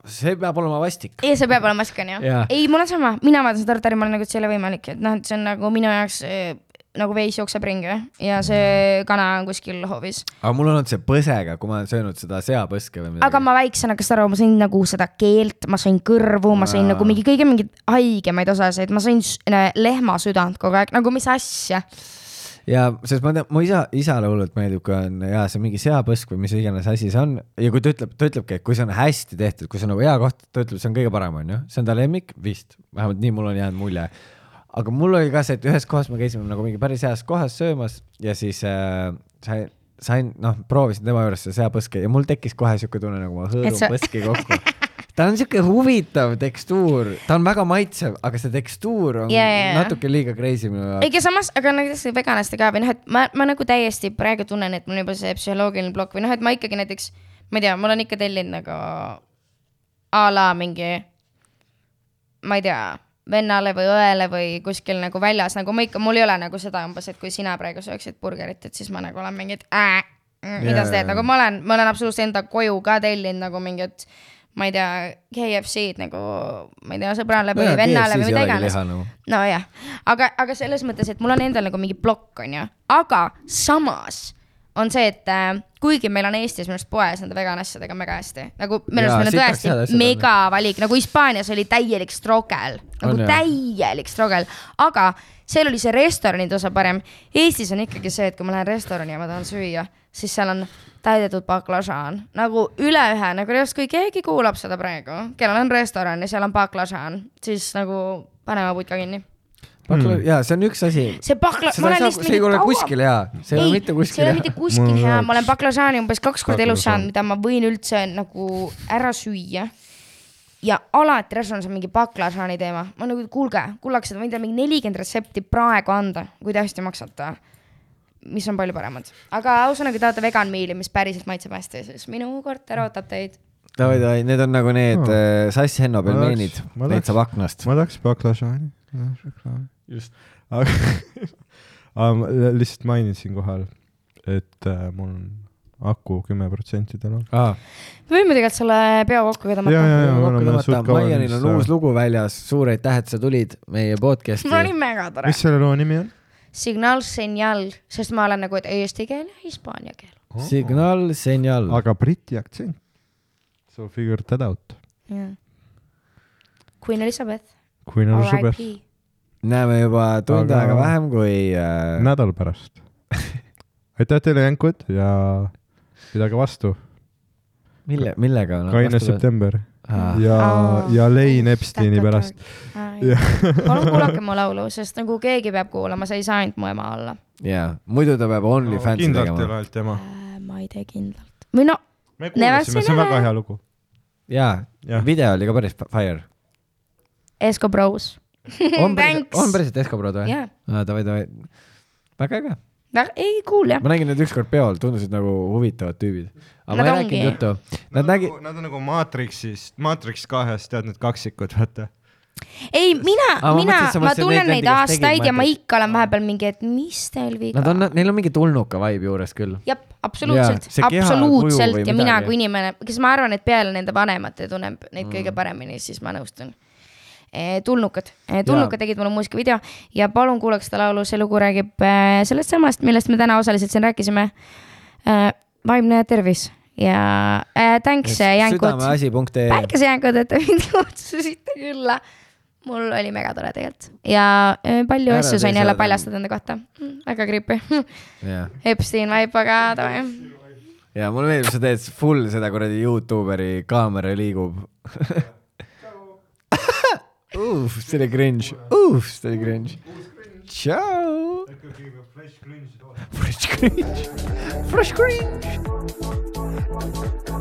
see peab olema vastik . ei , see peab olema maskan jah Jaa. yeah. . ei , mul on sama , mina vaatan seda tartari , ma olen nagu , et see ei ole võimalik , et noh , et see on nagu minu jaoks eh, nagu veis jookseb ringi ja see kana on kuskil hoovis . aga mul on olnud see põsega , kui ma olen söönud seda seapõske või midagi . aga ma väiksena , kas sa aru , ma sõin nagu seda keelt , ma sõin kõrvu , ma sõin Aa. nagu mingi kõige mingeid haigemaid osasid , ma sõin s- nä- lehma südant kogu aeg , nagu mis asja . ja sest ma tean , mu isa , isale hullult meeldib , kui on ja see mingi seapõsk või mis iganes asi see on ja kui ta ütleb , ta ütlebki , et kui see on hästi tehtud , kui see on nagu hea koht , ta ütleb , see on kõige parem , onju , see on ta lemmik vist , vähemalt nii mul on jäänud mulje . aga mul oli ka see , et ühes kohas me käisime nagu mingi päris heas kohas söömas ja siis äh, sain , sain , noh , proovisin tema juures seda seapõske ja mul tekkis kohe siuke tunne , nagu ma hõõrun sa- sa... põski kokku ta on siuke huvitav tekstuur , ta on väga maitsev , aga see tekstuur on Jaa, jaa, yeah, jaa. natuke liiga crazy minu jaoks . ega samas , aga näiteks veganlaste ka või noh , et ma , ma nagu täiesti praegu tunnen , et mul on juba see psühholoogiline plokk või noh , et ma ikkagi näiteks , ma ei tea , ma olen ikka tellinud nagu a la mingi , ma ei tea vennale või õele või kuskil nagu väljas , nagu ma ikka , mul ei ole nagu seda umbes , et kui sina praegu sööksid burgerit , et siis ma nagu olen mingi , et äh, mm, mida sa Jaa, jaa, teed , nagu ma olen , ma olen absoluutselt enda koju ka tellinud nagu mingit , ma ei tea , KFC-d nagu , ma ei tea , sõbrale või Nojah, vennale või KFC-s ei mida olegi iganes liha nagu. . nojah , aga , aga selles mõttes , et mul on endal nagu mingi plokk , onju , aga samas on see , et äh, kuigi meil on Eestis minu arust poes nende vegan asjadega on väga hästi , nagu minu Jaa, arust meil on sitaks head asjad tõesti on. mega valik , nagu Hispaanias oli täielik strogel , nagu On, jah. täielik strogel , aga seal oli see restoranide osa parem . Eestis on ikkagi see , et kui ma lähen restorani ja ma tahan süüa , siis seal on täidetud baklažaan nagu üle ühe , nagu justkui keegi kuulab seda praegu , kellel on restoran ja seal on baklažaan , siis nagu paneme putka kinni . bakla- Hmm. mm. , jaa , see on üks asi . see bakla- , ma seda ei olen saa , lihtsalt see ei ole kuskil hea , see ei ole mitte see ei kuskil ole mitte hea . kuskil Mul on hea , ka ma olen baklažaani umbes kaks korda elus Baklažaan. saanud , mida ma võin üldse nagu ära süüa . ja alati restoranis on mingi baklažaani teema , ma nagu , kuulge , kullakesed , ma võin teile mingi nelikümmend retsepti praegu anda , kui te hästi maksate . mis on palju paremad , aga ausõnaga tahate vegan meal'i , mis päriselt maitseb hästi , siis minu korter ootab teid . davai , davai , need on nagu need oh. Sass Henno Ma pelmeenid tahaks- , ma neid tahaks- saab aknast . ma tahaks baklažaani . just . aga aga ma li- lihtsalt mainin siinkohal , et äh, mul on aku kümme protsenti täna . Ah, me võime tegelikult selle peo kokku ja , tõmmata . ja , ja me oleme suht kaua . Maianil on uus lugu väljas , Suur aitäh , et sa tulid meie mul oli podcast'i . mega tore mis . selle loo nimi on ? signaal , signal , sest ma olen nagu , et eesti keel ja hispaania keel . signaal , senjal . aga briti aktsent . So figure that out . Queen Elizabeth . kui neil sobib RIP . näeme juba tund Aga- aega vähem kui äh, nädal pärast . aitäh teile , jänkud ja pidage vastu . mille , millega no, . kaine . september Ah. ja Aa. , ja Lein Epsteini pärast . Jah. palun kuulake mu laulu , sest nagu keegi peab kuulama , see ei saa ainult mu ema olla . jaa , muidu ta peab OnlyFansi kindlalt ei ole tegema . ainult tema . Äh, ma ei tea kindlalt . või no , me Näeme kuulasime , see on sinna. väga hea lugu . jaa Jah. , video oli ka päris fire . Esko Bros . on Thanks. päriselt , on päriselt Escobrod või Jaa. ? Davai , davai . väga äge . ei , cool jah . ma nägin neid ükskord peol , tundusid nagu huvitavad tüübid . aga ma Nad ei ongi. rääkinud juttu . Nad nägi- , Nad on nagu Matrixist , Matrix kahest , tead need kaksikud , vaata . ei , mina Aa, , ma mina mõtlesin, sa , ma mõtlesid neid tunnen neid vendi, kes tegid aastaid ja ma Matrix. ikka olen vahepeal mingi , et mis teil viga nad on , neil on mingi tulnuka vibe juures küll . jah , absoluutselt Jaa, see , keha, kuju absoluutselt või ja mina midagi. kui inimene , kes ma arvan , et peale nende vanemate tunneb neid mm. kõige paremini , siis ma nõustun . tulnukad , tulnukad tegid mulle muusikavideo ja palun kuulake seda laulu , see lugu räägib eh, sellest samast , millest me täna osaliselt siin rääkisime . vaimne tervis ja eh, thanks jänkud , südameasi.ee . päikesejänkud , et te mind kutsusite külla mul oli megatore tegelikult ja eh, palju Ära asju tee sain jälle seda. paljastada enda kohta , väga creepy ja , Epstein vibe , aga davai . ja mulle meeldib , sa teed full seda kuradi Youtuberi kaamera liigub . Uff , see oli cringe , uff , see oli cringe . tšau . Fresh cringe , fresh cringe .